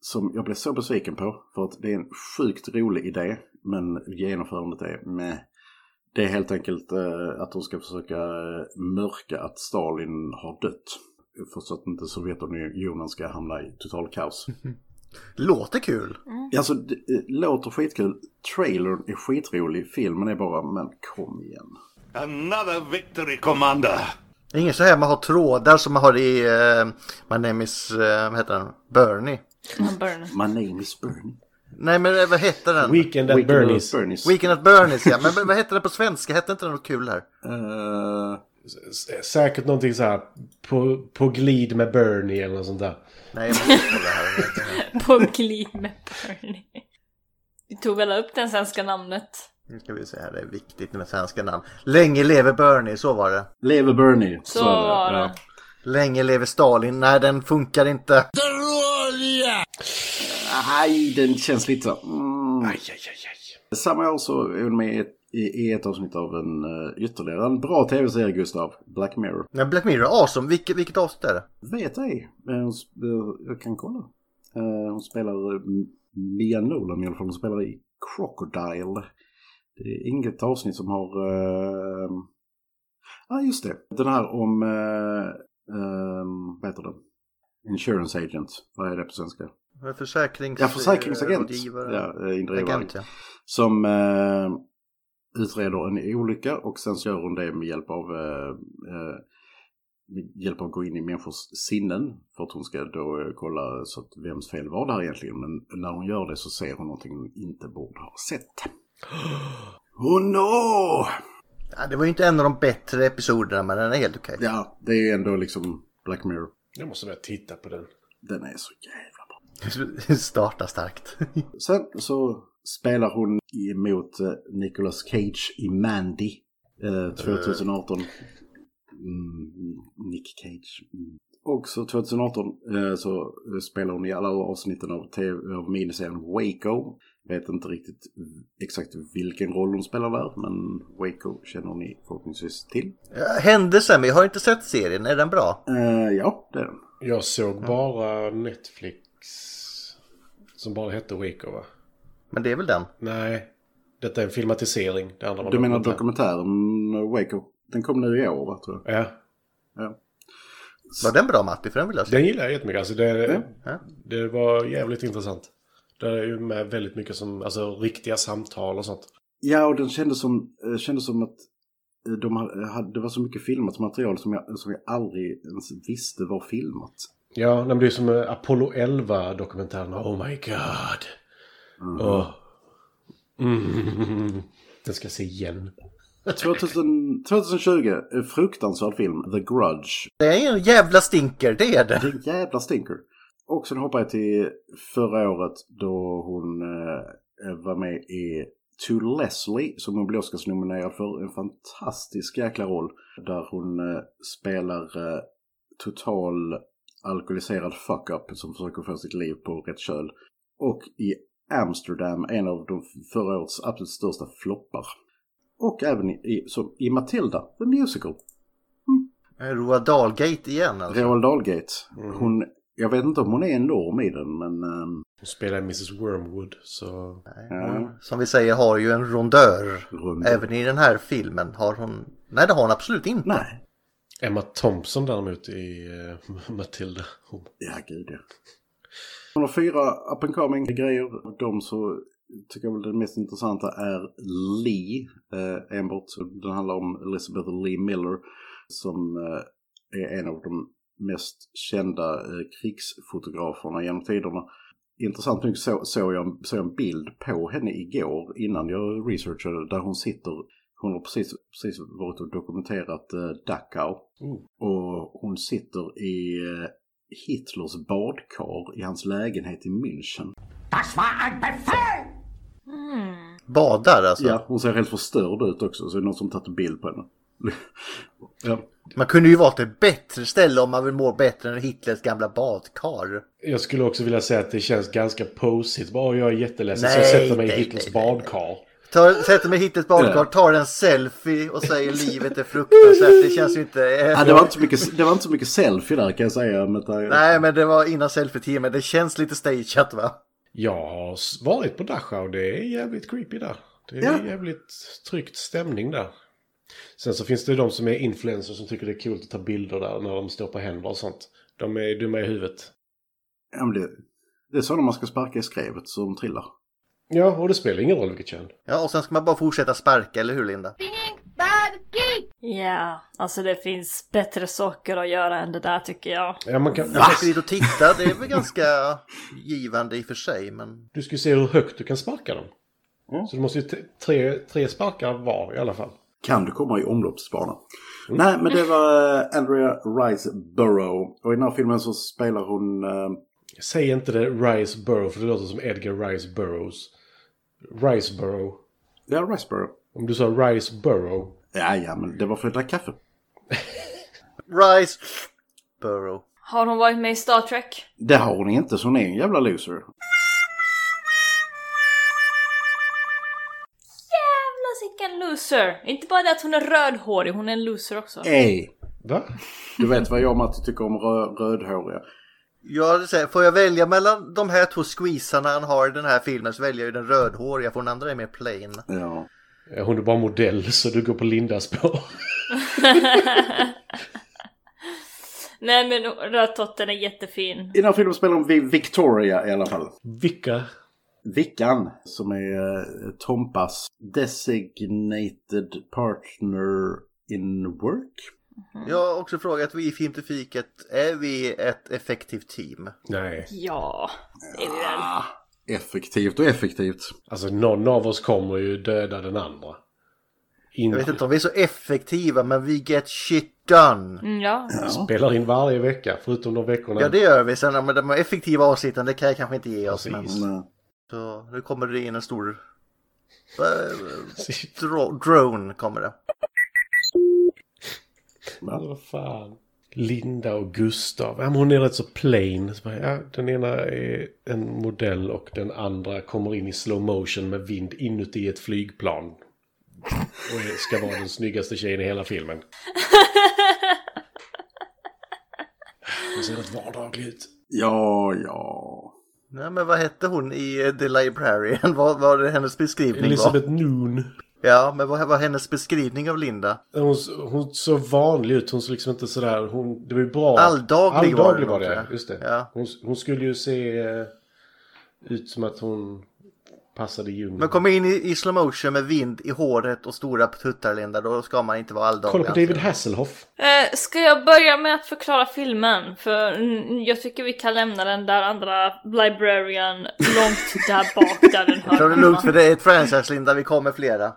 Speaker 4: Som jag blev så besviken på, för att det är en sjukt rolig idé, men genomförandet är med. Det är helt enkelt eh, att de ska försöka eh, mörka att Stalin har dött. För så att inte Sovjetunionen ska hamna i total kaos.
Speaker 2: Låter kul.
Speaker 4: Alltså, det eh, låter skitkul. Trailern är skitrolig. Filmen är bara, men kom igen.
Speaker 8: Another victory, Commander.
Speaker 2: Det är Ingen så här man har trådar som man har i uh, My name is, eh, vad heter den? Bernie.
Speaker 1: Han
Speaker 4: (laughs)
Speaker 1: Birdman.
Speaker 4: My name is Bernie.
Speaker 2: Nej men eh, vad heter den?
Speaker 3: Weekend at Bernies.
Speaker 4: Bernies.
Speaker 2: Weekend at Bernies ja. Men vad heter den på svenska? Hette inte den något kul här?
Speaker 4: Eh,
Speaker 3: S- Säkert någonting så här på, på glid med Bernie eller något sånt där.
Speaker 2: Nej, jag måste kolla här.
Speaker 1: På glid med Bernie. Vi tog väl upp den svenska namnet.
Speaker 2: Nu ska vi se här, det är viktigt med svenska namn. Länge leve Bernie, så var det.
Speaker 4: Leve Bernie.
Speaker 1: Så var det.
Speaker 2: Länge leve Stalin, nej den funkar inte.
Speaker 4: Nej, den känns lite så... Mm. Samma år så är hon med i ett, i, i ett avsnitt av en eh, ytterligare en bra tv-serie, Gustav. Black Mirror.
Speaker 2: Nej, Black Mirror, awesome. Vilket, vilket avsnitt är det?
Speaker 4: Vet ej. Eh, hon sp- eh, jag kan kolla. Eh, hon spelar eh, Mia Nolan i alla fall. Hon spelar i Crocodile. Det är inget avsnitt som har... eh, Ja, just det. Den här om... eh, ehm, vad heter den? Insurance agent. Vad är det på svenska?
Speaker 2: Försäkrings...
Speaker 4: Ja, försäkringsagent.
Speaker 2: rådgivare.
Speaker 4: Ja, eh, indrivare.
Speaker 2: Agent, ja.
Speaker 4: Som eh, utreder en olycka och sen så gör hon det med hjälp av eh, eh, med hjälp av att gå in i människors sinnen. För att hon ska då eh, kolla så att vems fel var det här egentligen. Men när hon gör det så ser hon någonting hon inte borde ha sett. (gasps) Oh no!
Speaker 2: Ja, det var ju inte en av de bättre episoderna, men den är helt okej. (laughs)
Speaker 4: Ja, det är ju ändå liksom Black Mirror.
Speaker 3: Jag måste börja titta på den.
Speaker 4: Den är så jävla bra.
Speaker 2: Starta starkt. (laughs)
Speaker 4: Sen så spelar hon emot eh, Nicolas Cage i Mandy eh, 2018. Mm, Nick Cage. Mm. Också 2018 eh, så spelar hon i alla avsnitten av, TV, av miniserien Waco. Vet inte riktigt exakt vilken roll hon spelar där, men Waco känner ni förhoppningsvis till.
Speaker 2: Eh, Händelsen, men jag har inte sett serien. Är den bra?
Speaker 4: Eh, ja, det är den.
Speaker 3: Jag såg bara Netflix. Som bara hette Waco va?
Speaker 2: Men det är väl den?
Speaker 3: Nej. Detta är en filmatisering. Det andra var
Speaker 4: Du menar
Speaker 3: dokumentär.
Speaker 4: dokumentären Waco? Den kom nu i år, va, tror jag.
Speaker 3: Ja.
Speaker 4: Ja.
Speaker 2: Var den bra Matti? För den vill jag se.
Speaker 3: Den gillar jag jättemycket. Alltså det,
Speaker 2: Ja.
Speaker 3: det var jävligt intressant. Det är ju med väldigt mycket som, alltså riktiga samtal och sånt.
Speaker 4: Ja, och den kändes som, eh, kändes som att eh, de hade, hade- det var så mycket filmat material som jag, som jag aldrig ens visste var filmat.
Speaker 3: Ja, nej, men det är som eh, Apollo 11-dokumentären. Oh my god. Åh. Mm. (laughs) Den ska jag se igen.
Speaker 4: 2000, 2020, en eh, fruktansvärd film, The Grudge.
Speaker 2: Det är ju en jävla stinker, det är det.
Speaker 4: Det är en jävla stinker. Och sen hoppar jag till förra året då hon eh, var med i To Leslie som hon blir Oscarsnominerad för. En fantastisk jäkla roll där hon eh, spelar eh, total alkoholiserad fuck-up som försöker få sitt liv på rätt köl. Och i Amsterdam, en av de förra årets absolut största floppar. Och även i, som i Matilda, The Musical.
Speaker 2: Roald Dahl-gate igen alltså.
Speaker 4: Roald Dahlgate. Hon Jag vet inte om hon är en norm i den, men... ehm,
Speaker 3: Hon spelar Mrs Wormwood, så...
Speaker 4: ja,
Speaker 2: Som vi säger har ju en rondör.
Speaker 4: rund.
Speaker 2: Även i den här filmen har hon... Nej, det har hon absolut inte.
Speaker 4: Nej.
Speaker 3: Emma Thompson däremot i eh, Matilda. Hon...
Speaker 4: Ja, gud ja. Hon har fyra up and coming grejer. Och de så tycker jag väl det mest intressanta är Lee. Eh, enbart. Så Den handlar om Elizabeth Lee Miller. Som eh, är en av de mest kända eh, krigsfotograferna genom tiderna. Intressant nog så, såg jag, en- såg jag en bild på henne igår innan jag researchade där hon sitter. Hon har precis, precis varit och dokumenterat eh, Dachau. Och hon sitter i eh, Hitlers badkar i hans lägenhet i München.
Speaker 2: Badar alltså.
Speaker 4: Ja, hon ser helt förstörd ut också, så det är någon som tagit en bild på henne. (laughs) ja.
Speaker 2: Man kunde ju valt ett bättre ställe om man vill må bättre än Hitlers gamla badkar.
Speaker 3: Jag skulle också vilja säga att det känns ganska posigt. Bara jag är jätteledsen så jag
Speaker 2: Nej,
Speaker 3: sätter mig i
Speaker 2: nej,
Speaker 3: Hitlers
Speaker 2: nej, nej, nej.
Speaker 3: badkar.
Speaker 2: Tar, sätter mig i Hitlers badkar, tar en selfie och säger livet är fruktansvärt. Det känns ju inte... eh,
Speaker 4: Ja, Ah, det, var inte så mycket, det var inte så mycket selfie där kan jag säga. Men eh, där,
Speaker 2: Nej, men det var innan selfie men det känns lite stageat va?
Speaker 3: Jag har s- varit på Dachau. Det är jävligt creepy där. Det är
Speaker 4: Ja.
Speaker 3: jävligt tryckt stämning där. Sen så finns det ju de som är influencers som tycker det är coolt att ta bilder där när de står på händer och sånt. De är dumma i huvudet.
Speaker 4: Ja, men det, det är så när man ska sparka i skrevet så de trillar.
Speaker 3: Ja, och det spelar ingen roll vilket kön.
Speaker 2: Ja, och sen ska man bara fortsätta sparka, eller hur Linda?
Speaker 1: Ja, alltså det finns bättre saker att göra än det där tycker jag.
Speaker 3: Ja, man kan...
Speaker 2: Jag försöker dit och titta, det är väl ganska givande i och för sig, men...
Speaker 3: Du ska ju se hur högt du kan sparka dem.
Speaker 2: Mm.
Speaker 3: Så du måste ju t- tre, tre sparkar var i alla fall.
Speaker 4: Kan du komma i omloppsbana? Nej, men det var eh, Andrea Riseborough. Och i den här filmen så spelar hon... eh,
Speaker 3: Säg inte det Rice Burrow för det låter som Edgar Rice Burroughs. Rice Burrow.
Speaker 4: Ja, Riseborough.
Speaker 3: Om du sa Rice Burrow.
Speaker 4: Ja, ja, men det var för att dricka kaffe.
Speaker 2: Rice... Burrow.
Speaker 1: Har hon varit med i Star Trek?
Speaker 4: Det har hon inte, så hon är en jävla loser.
Speaker 1: Jävla sicken loser! Inte bara det att hon är rödhårig, hon är en loser också.
Speaker 4: Ej!
Speaker 3: Va?
Speaker 4: Du vet vad jag och Matti tycker om rö- rödhåriga.
Speaker 2: Jag vill säga, får jag välja mellan de här två squeezarna han har i den här filmen så väljer jag ju den rödhåriga för den andra är mer plain.
Speaker 4: Ja.
Speaker 3: Ja, Hon är bara modell så du går på Lindas spår.
Speaker 1: Nej men rödtotten är jättefin.
Speaker 4: I den här filmen spelar hon Vi- Victoria i alla fall.
Speaker 3: Vilka?
Speaker 4: Vickan, som är eh, Tompas designated partner in work.
Speaker 2: Jag har också frågat, vi i Filmtifiket, är vi ett effektivt team?
Speaker 3: Nej.
Speaker 1: Ja, det är vi väl.
Speaker 4: Ah, effektivt och effektivt.
Speaker 3: Alltså någon av oss kommer ju döda den andra. In...
Speaker 2: Jag
Speaker 3: Mm.
Speaker 2: vet inte om vi är så effektiva, men vi get shit done.
Speaker 1: Mm, ja.
Speaker 3: Spelar in varje vecka förutom de veckorna.
Speaker 2: Ja, det gör vi. Sen med de effektiva avsnitten, det kan jag kanske inte ge oss. Men...
Speaker 3: Precis.
Speaker 4: Nej.
Speaker 2: Så nu kommer det in en stor
Speaker 3: (laughs)
Speaker 2: eh, dro- drone kommer det.
Speaker 3: Alltså, vad fan. Linda och Gustav. Ja, men hon är rätt så plain. Så bara, ja, den ena är en modell och den andra kommer in i slow motion med vind inuti ett flygplan. Och är- ska vara den snyggaste tjejen i hela filmen. Hon ser rätt vardaglig ut.
Speaker 4: Ja, ja.
Speaker 2: Nej men vad hette hon i eh, The Librarian? (laughs) Vad var det hennes beskrivning var?
Speaker 3: Elizabeth Noon.
Speaker 2: Ja, men vad var hennes beskrivning av Linda?
Speaker 3: Hon, hon såg vanlig ut. Hon såg liksom inte sådär... Hon, det var ju bra.
Speaker 2: Alldaglig var
Speaker 3: Alldaglig
Speaker 2: det
Speaker 3: var det,
Speaker 2: nog, tror jag.
Speaker 3: just det.
Speaker 2: Ja.
Speaker 3: Hon, hon skulle ju se eh, ut som att hon passade Jung.
Speaker 2: Men kommer in i, i slow motion med vind i håret och stora tuttar Linda, då ska man inte vara alldaglig.
Speaker 3: Kolla på David Hasselhoff.
Speaker 1: Eh, ska jag börja med att förklara filmen? För mm, jag tycker vi kan lämna den där andra librarian långt där bak där den hör
Speaker 2: Ta det
Speaker 1: hemma.
Speaker 2: lugnt för det är ett franchise Linda, vi kommer flera.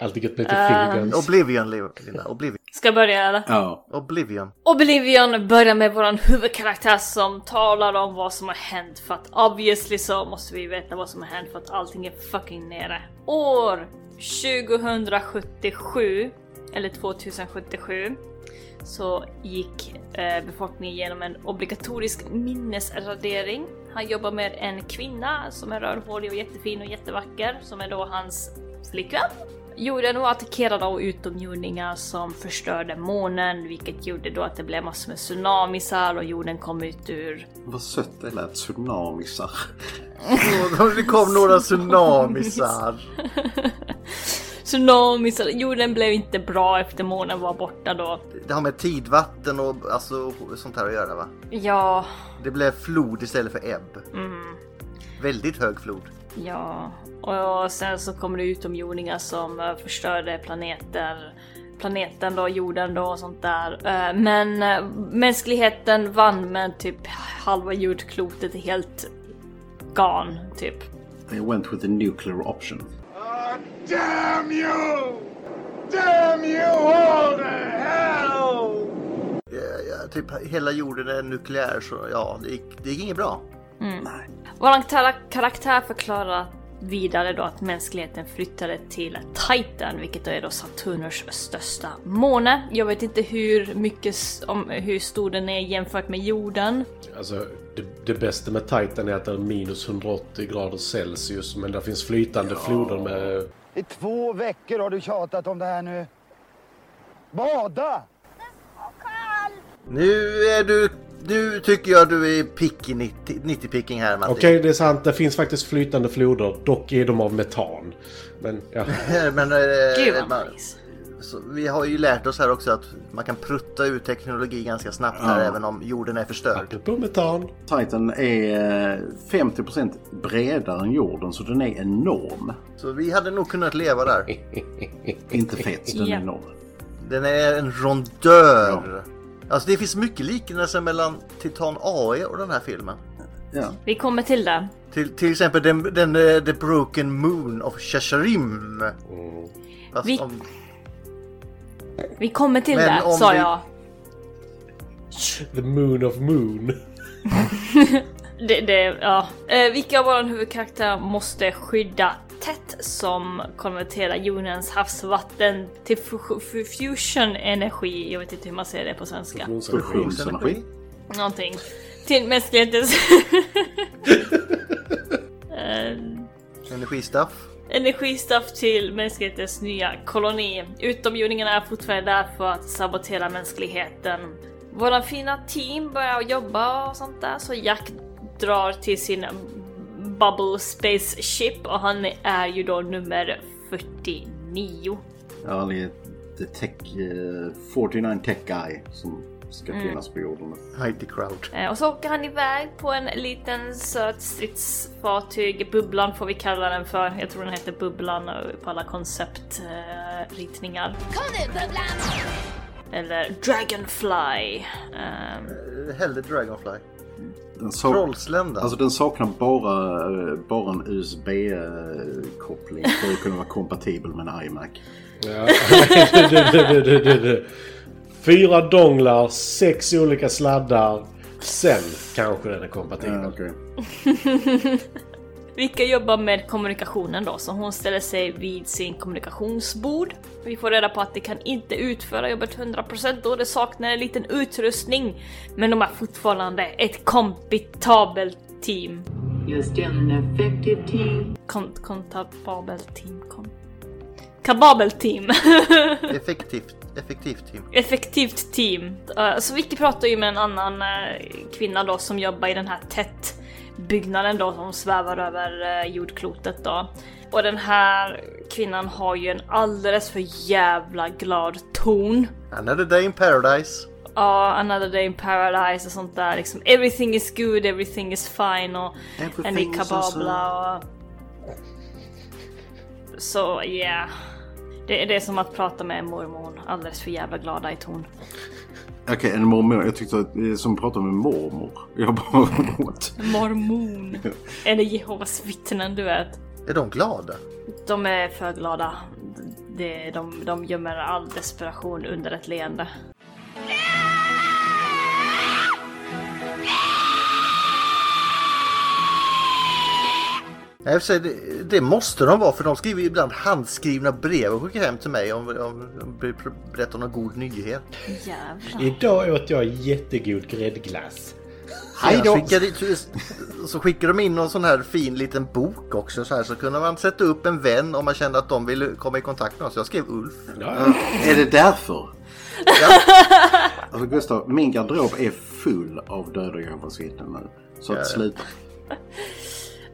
Speaker 3: Alltid gött med lite fingerguns.
Speaker 2: Oblivion Li- Linda, Oblivion.
Speaker 1: Ska jag börja eller?
Speaker 4: Ja.
Speaker 2: Oblivion.
Speaker 1: Oblivion börjar med våran huvudkaraktär som talar om vad som har hänt för att obviously så måste vi veta vad som har hänt för att allting är fucking nere. År 2077, eller 2077, så gick eh, befolkningen igenom en obligatorisk minnesradering. Han jobbar med en kvinna som är rödhårig och jättefin och jättevacker som är då hans flickvän Jorden var attackerad av utomjordingar som förstörde månen, vilket gjorde då att det blev massor med tsunamisar och jorden kom ut ur...
Speaker 4: Vad sött det lät. Tsunamisar.
Speaker 2: (laughs) Och Det kom några (laughs) tsunamisar.
Speaker 1: Tsunamis, eller- jorden blev inte bra efter månen var borta då.
Speaker 2: Det har med tidvatten och alltså, sånt här att göra va?
Speaker 1: Ja,
Speaker 2: Det blev flod istället för ebb.
Speaker 1: Mm.
Speaker 2: Väldigt hög flod.
Speaker 1: ja. Och sen så kom det utomjordingar som eh, förstörde planeter. Planeten då, jorden då och sånt där. Eh, Men eh, mänskligheten vann med typ halva jordklotet är helt gan, typ.
Speaker 4: They went with the nuclear option.
Speaker 8: Oh, Damn you! Damn you all to hell!
Speaker 2: Ja, ja, typ hela jorden är nukleär så ja, det gick, det gick inget bra.
Speaker 1: Våran karak- karaktär förklarar vidare då att mänskligheten flyttade till Titan, vilket då är då Saturners största måne. Jag vet inte hur mycket, s- om hur stor den är jämfört med jorden.
Speaker 3: Alltså, det, det bästa med Titan är att det är minus 180 grader Celsius, men där finns flytande floder med...
Speaker 9: I två veckor har du tjatat om det här nu. Bada!
Speaker 2: Nu är du, nu tycker jag du är picky 90 90-picking här Matti.
Speaker 3: Okej, det är sant. Det finns faktiskt flytande floder. Dock är de av metan. Men
Speaker 2: (laughs)
Speaker 3: ja,
Speaker 2: (laughs) Men eh,
Speaker 1: Gud vad
Speaker 2: man,
Speaker 1: nice.
Speaker 2: så, vi har ju lärt oss här också att man kan prutta ut teknologi ganska snabbt här även om jorden är förstörd.
Speaker 3: på metan.
Speaker 4: Titan är eh, 50% bredare än jorden så den är enorm.
Speaker 2: Så vi hade nog kunnat leva där.
Speaker 4: Inte fet, den
Speaker 1: Ja.
Speaker 4: är enorm.
Speaker 2: Den är en rondör. Alltså det finns mycket liknelser mellan Titan AE och den här filmen.
Speaker 4: Ja.
Speaker 1: Vi kommer till det.
Speaker 2: Till, till exempel den, den, eh, The Broken Moon of Shasharim. Fast
Speaker 1: Vi-
Speaker 2: om,
Speaker 1: Vi kommer till
Speaker 2: Men
Speaker 1: det,
Speaker 2: om
Speaker 1: sa
Speaker 2: vi-
Speaker 1: jag.
Speaker 3: The moon of moon.
Speaker 1: Det, det, ja. eh, vilka av våra huvudkaraktär måste skydda Tet som konverterar jordens havsvatten till fu- fu- fusion energi. Jag vet inte hur man säger det på svenska.
Speaker 4: Fusionsenergi.
Speaker 1: Någonting. Till mänsklighetens... (laughs) Eh,
Speaker 2: energistaff.
Speaker 1: Energistaff till mänsklighetens nya koloni. Utomjordingarna är fortfarande där för att sabotera mänskligheten. Våra fina team börjar jobba och sånt där så Jack drar till sin bubble spaceship och han är ju då nummer 49.
Speaker 4: Ja, det är the tech, eh, 49 tech guy som ska finnas på jorden.
Speaker 2: Heidi Crowd.
Speaker 1: Eh, Och så åker han iväg på en liten söt stridsfartyg. Bubblan får vi kalla den för. Jag tror den heter Bubblan eh, på alla konceptritningar.
Speaker 6: Kom nu, Bubblan!
Speaker 1: Eller Dragonfly. Ehm,
Speaker 2: Eh, Hellre Dragonfly.
Speaker 4: Den sak-
Speaker 2: Trollslända.
Speaker 4: Alltså den saknar bara, eh, bara en USB-koppling för att kunna vara kompatibel med en iMac.
Speaker 3: Ja. Du, du, du, du, du, du. Fyra donglar, sex olika sladdar. Sen kanske den är kompatibel.
Speaker 4: Ja, okej.
Speaker 1: Vilka jobbar med kommunikationen då, så hon ställer sig vid sin kommunikationsbord. Vi får reda på att de kan inte utföra jobbet 100% då det saknar en liten utrustning. Men de är fortfarande ett kompetabelt team.
Speaker 10: You're still an effective team.
Speaker 1: Kon- Kontababelt team. Kon- kababelt team. (laughs)
Speaker 2: Effektivt. Effektivt team.
Speaker 1: effektivt team. Eh, Så Vicky pratar ju med en annan eh, kvinna då som jobbar i den här tätt byggnaden då som svävar över eh, jordklotet då. Och den här kvinnan har ju en alldeles för jävla glad ton.
Speaker 2: Another day in paradise.
Speaker 1: Ja, another day in paradise och sånt där liksom. Everything is good, everything is fine och en i
Speaker 4: Everything is
Speaker 1: kababla och... Så yeah. Det, det är som att prata med en mormon, alldeles för jävla glada i ton.
Speaker 4: Okej, en mormor. Jag tyckte att eh, som pratade med mormor. Jag bara... (laughs) what?
Speaker 1: Mormon. Eller Jehovas vittnen, du vet.
Speaker 2: Är de glada?
Speaker 1: De är för glada. De, de, de gömmer all desperation under ett leende.
Speaker 2: Nej, i och för sig, det, det måste de vara för de skriver ju ibland handskrivna brev och skickar hem till mig om de berättar någon god nyhet.
Speaker 1: Jävlar.
Speaker 3: Idag åt jag jättegod gräddglass.
Speaker 2: Hej
Speaker 4: då!
Speaker 2: Så skickade de in någon sån här fin liten bok också så här så kunde man sätta upp en vän om man kände att de ville komma i kontakt med oss. Jag skrev Ulf.
Speaker 4: Är det därför? Alltså Gustav, min garderob är full av döda gubbar nu. Så
Speaker 1: Ja,
Speaker 4: att
Speaker 1: ja.
Speaker 4: sluta.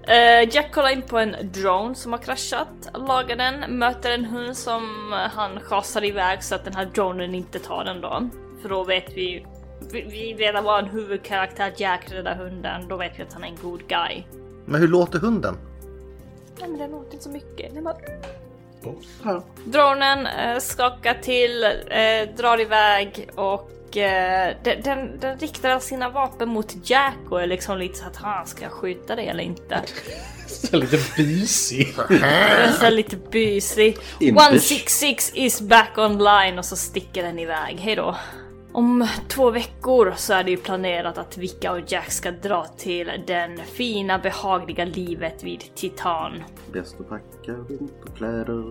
Speaker 1: Eh, Jack kollar in på en drone som har kraschat, lagar den, möter en hund som eh, han schasar iväg så att den här dronen inte tar den då. För då vet vi, vi, vi redan var en huvudkaraktär, Jack räddar hunden, då vet vi att han är en god guy.
Speaker 2: Men hur låter hunden?
Speaker 1: Nej men den låter inte så mycket, den bara... Dronen eh, skakar till, eh, drar iväg och eh, den, den, den riktar sina vapen mot Jack och är liksom lite så att han ska jag skjuta dig eller inte.
Speaker 3: Så lite
Speaker 2: (laughs)
Speaker 3: busig.
Speaker 1: Den är så här lite busig.
Speaker 3: Impish.
Speaker 1: 166 is back online och så sticker den iväg. Hejdå. Om två veckor så är det ju planerat att Vicka och Jack ska dra till den fina behagliga livet vid Titan.
Speaker 4: Bäst att packa vinterkläder.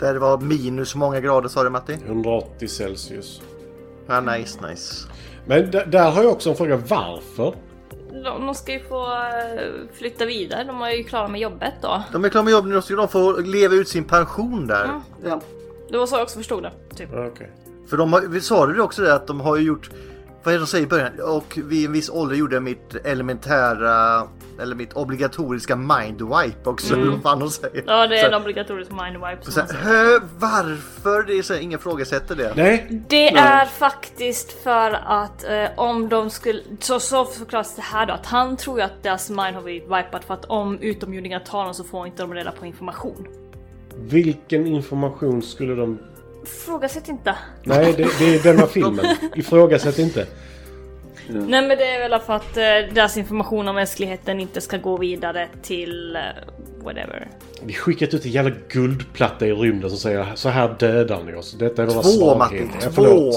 Speaker 2: Där det var minus många grader sa du Matti?
Speaker 3: 180 Celsius.
Speaker 2: Ja, nice, nice.
Speaker 3: Men d- där har jag också en fråga. Varför?
Speaker 1: De, de ska ju få eh, flytta vidare, de är ju klara med jobbet då.
Speaker 2: De är klara med jobbet nu, då ska de få leva ut sin pension där.
Speaker 1: Mm. Det var så jag också förstod det. Typ.
Speaker 2: För de har, vi sa du det också det att de har ju gjort, vad är det de säger i början? Och vid en viss ålder gjorde jag mitt elementära, eller mitt obligatoriska mindwipe också.
Speaker 1: Mm.
Speaker 2: eller Vad fan de säger.
Speaker 1: Ja, det
Speaker 2: Så
Speaker 1: är en
Speaker 2: här-
Speaker 1: obligatorisk mindwipe.
Speaker 2: och
Speaker 1: som
Speaker 2: så
Speaker 1: man
Speaker 2: här,
Speaker 1: säger.
Speaker 2: "Hö, varför? Det är så här, ingen frågesätter det.
Speaker 3: Nej.
Speaker 1: Det är faktiskt för att eh, om de skulle... Så, så förklaras det här då att han tror ju att deras mind har blivit wipat för att om utomjordingar tar dem så får inte de reda på information.
Speaker 3: Vilken information skulle de...
Speaker 1: Frågasätt inte.
Speaker 2: Mm.
Speaker 3: Nej, det, det är denna filmen. Ifrågasätt inte.
Speaker 1: Nej men det är väl för att eh, deras information om mänskligheten inte ska gå vidare till eh, whatever.
Speaker 3: Vi skickat ut en jävla guldplatta i rymden som säger så här dödar ni oss. Detta är våra
Speaker 2: Två
Speaker 3: svagheter.
Speaker 2: Matti, två!
Speaker 3: Ja, förlåt.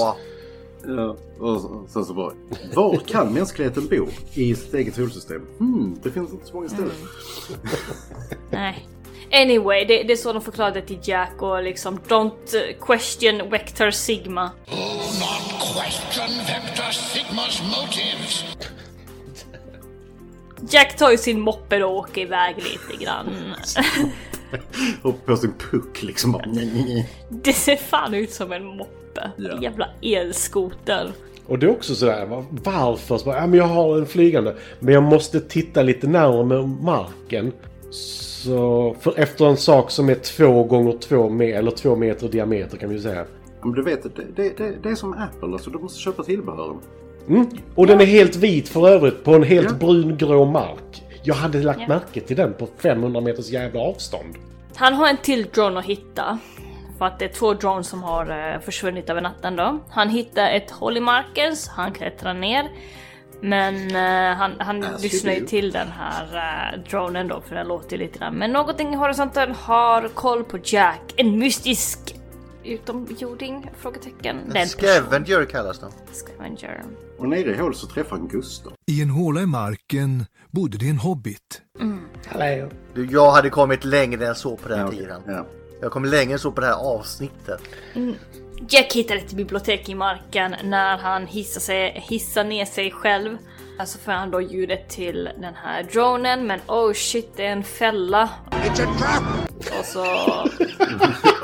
Speaker 4: Ja, och så- sen så bara. Var kan mänskligheten bo i sitt eget solsystem? Hmm, det finns inte så många ställen.
Speaker 1: Nej. Anyway, det, det är så de förklarade till Jack och liksom don't question Vector Sigma.
Speaker 8: Do not question Vector Sigma's motives.
Speaker 1: Jack tar ju sin moppe och åker iväg lite grann.
Speaker 4: Och på sin puck liksom. Bara, nej, nej, nej.
Speaker 1: Det ser fan ut som en moppe.
Speaker 3: Ja.
Speaker 1: Jävla elskoter.
Speaker 3: Och det är också sådär, va- varför? Så bara, ja, men jag har en flygande, men jag måste titta lite närmare marken. Så, för efter en sak som är två gånger två, me- eller två meter i diameter kan vi ju säga.
Speaker 4: Men du vet, det, det, det, det är som Apple alltså. Du måste köpa tillbehören.
Speaker 3: Mm. Och den är helt vit för övrigt på en helt
Speaker 4: Ja.
Speaker 3: brungrå mark. Jag hade lagt
Speaker 1: Ja.
Speaker 3: märke till den på 500 meters jävla avstånd.
Speaker 1: Han har en till drone att hitta. För att det är två drones som har eh, försvunnit över natten då. Han hittar ett hål i marken så han klättrar ner. Men eh, han, han
Speaker 11: As you
Speaker 1: lyssnar ju
Speaker 11: do.
Speaker 1: till den här eh, dronen då för den låter ju lite grann. Men någonting i horisonten har koll på Jack. En mystisk utomjording? Frågetecken. Det är en person.
Speaker 2: Scavenger kallas de.
Speaker 1: Scavenger.
Speaker 4: Och nere i hålet så träffar han Gustav.
Speaker 12: I en håla i marken bodde det en hobbit.
Speaker 2: Du, jag hade kommit längre än så på den tiden. Jag kom längre än så på det här avsnittet.
Speaker 3: (laughs)
Speaker 1: Mm. Jack hittar ett bibliotek i marken när han hissar, sig, hissar ner sig själv. Alltså får han då ljudet till den här dronen men oh shit det är en fälla. Och så...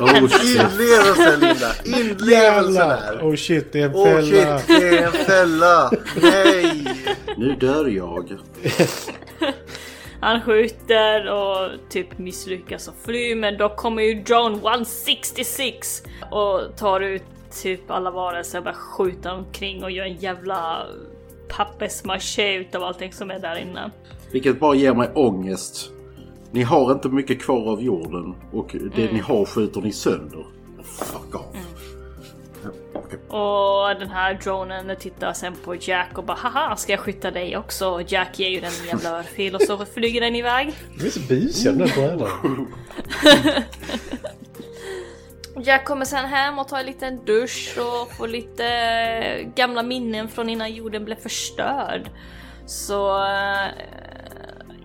Speaker 4: Oh,
Speaker 2: Inlevelse
Speaker 3: (laughs)
Speaker 2: Linda! Inlevelse där!
Speaker 3: Oh shit, det är en
Speaker 2: Åh oh,
Speaker 3: fälla.
Speaker 2: shit, det är en fälla! Nej!
Speaker 4: Nu dör jag.
Speaker 1: Han skjuter och typ misslyckas och flyr men då kommer ju drone 166 och tar ut typ alla varelser och börjar skjuta omkring och gör en jävla pappersmaché utav allting som är där inne.
Speaker 4: Vilket bara ger mig ångest. Ni har inte mycket kvar av jorden och det
Speaker 1: Mm.
Speaker 4: ni har skjuter ni sönder. Fuck off.
Speaker 1: Och den här dronen tittar sen på Jack och bara haha ska jag skjuta dig också? Och Jack ger ju den en jävla örfil och så flyger den iväg.
Speaker 3: Det är så busiga den här brönan.
Speaker 1: Jack kommer sen hem och tar en liten dusch och får lite eh, gamla minnen från innan jorden blev förstörd. Så... eh,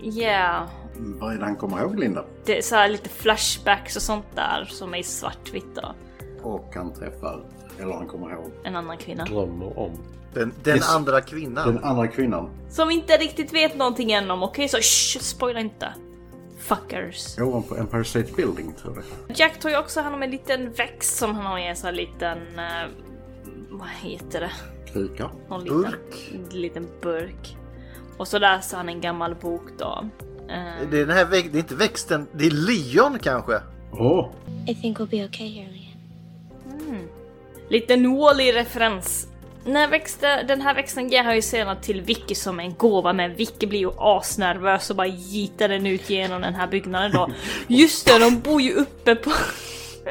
Speaker 1: Yeah.
Speaker 4: Vad är det han kommer ihåg Linda?
Speaker 1: Det är så här lite flashbacks och sånt där som är i svartvitt då.
Speaker 4: och han träffar, eller han kommer ihåg,
Speaker 1: En annan kvinna.
Speaker 4: drömmer om.
Speaker 2: Den, den andra kvinnan.
Speaker 4: Den andra kvinnan.
Speaker 1: Som inte riktigt vet någonting än om, okej? så shh, spoila inte. Fuckers.
Speaker 4: Ovanpå Empire State Building tror jag.
Speaker 1: Jack tar ju också hand om en liten växt som han har i en sån här liten... eh, vad heter det?
Speaker 4: Kruka.
Speaker 1: Någon liten, liten burk. Och så läser han en gammal bok då. Eh,
Speaker 2: Det är, den här väx- det är inte växten, det är lejon kanske.
Speaker 4: Åh!
Speaker 11: I think we'll be okay here, Leanne.
Speaker 1: Mm. Lite nålig referens. Den här, växte, den här växten ger han ju senare till Vicky som en gåva, men Vicky blir ju asnervös och bara gitar den ut genom den här byggnaden
Speaker 2: (laughs)
Speaker 1: då. Just det, de bor ju uppe på... (laughs)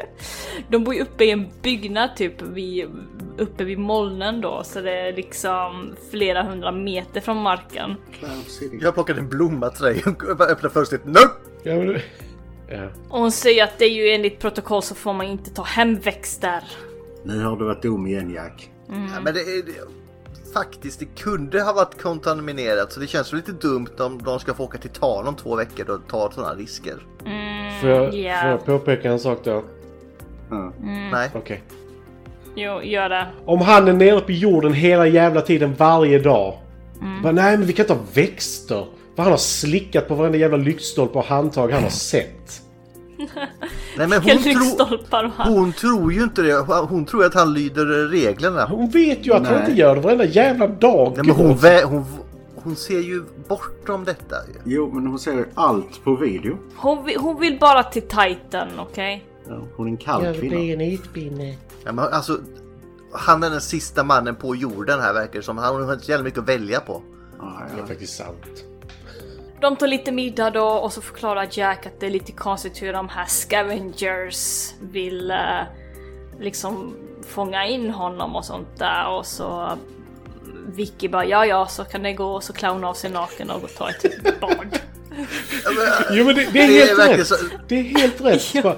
Speaker 1: De bor ju uppe i en byggnad typ, vid, uppe vid molnen då, så det är liksom flera hundra meter från marken.
Speaker 2: Jag plockade en blomma till dig och bara öppnade fönstret. Nope!
Speaker 3: Ja, men... Ja.
Speaker 1: Och hon säger att det är ju enligt protokoll så får man inte ta hem växter.
Speaker 4: Nu har du varit dum igen Jack.
Speaker 1: Mm.
Speaker 2: Ja, men det, är- det, faktiskt, det kunde ha varit kontaminerat så det känns lite dumt om de ska få åka till Tarn om två veckor och ta sådana risker.
Speaker 1: Mm.
Speaker 3: Får jag,
Speaker 1: ja.
Speaker 3: får jag påpeka en sak då?
Speaker 1: Mm. (laughs)
Speaker 2: Nej.
Speaker 3: Okej.
Speaker 1: Jo, gör det.
Speaker 3: Om han är nere på jorden hela jävla tiden varje dag.
Speaker 1: Mm.
Speaker 3: Bara, nej men vi kan inte ha växter. För han har slickat på varenda jävla lyktstolpe och handtag han har sett.
Speaker 2: Nej, men hon,
Speaker 1: Vilka
Speaker 2: tro,
Speaker 1: lyktstolpar va?
Speaker 2: hon tror ju inte det. Hon tror att han lyder reglerna.
Speaker 3: Hon vet ju att han
Speaker 2: Nej.
Speaker 3: inte gör det varenda jävla dag.
Speaker 2: Nej, men hon, vä- hon, hon ser ju bortom detta. ju.
Speaker 4: Jo, men hon ser ju allt på video.
Speaker 1: Hon, vi- hon vill bara till Titan, okej?
Speaker 4: Ja, Hon är en kall kvinna.
Speaker 3: en utbildning.
Speaker 2: Ja, men alltså, han är den sista mannen på jorden här verkar det som. Han har inte så jävla mycket att
Speaker 1: (laughs)
Speaker 2: välja på.
Speaker 3: Det är faktiskt sant.
Speaker 1: De tar lite middag då och så förklarar Jack att det är lite konstigt hur de här scavengers vill eh, liksom fånga in honom och sånt där och så eh, Vicky bara ja ja så kan det gå och så clownar av sig naken och går och tar ett bad.
Speaker 3: Jo men det, det är
Speaker 2: Det är
Speaker 3: helt
Speaker 2: verkligen
Speaker 3: rätt.
Speaker 2: så-
Speaker 3: Det är
Speaker 2: (laughs)
Speaker 3: helt rätt. Bara,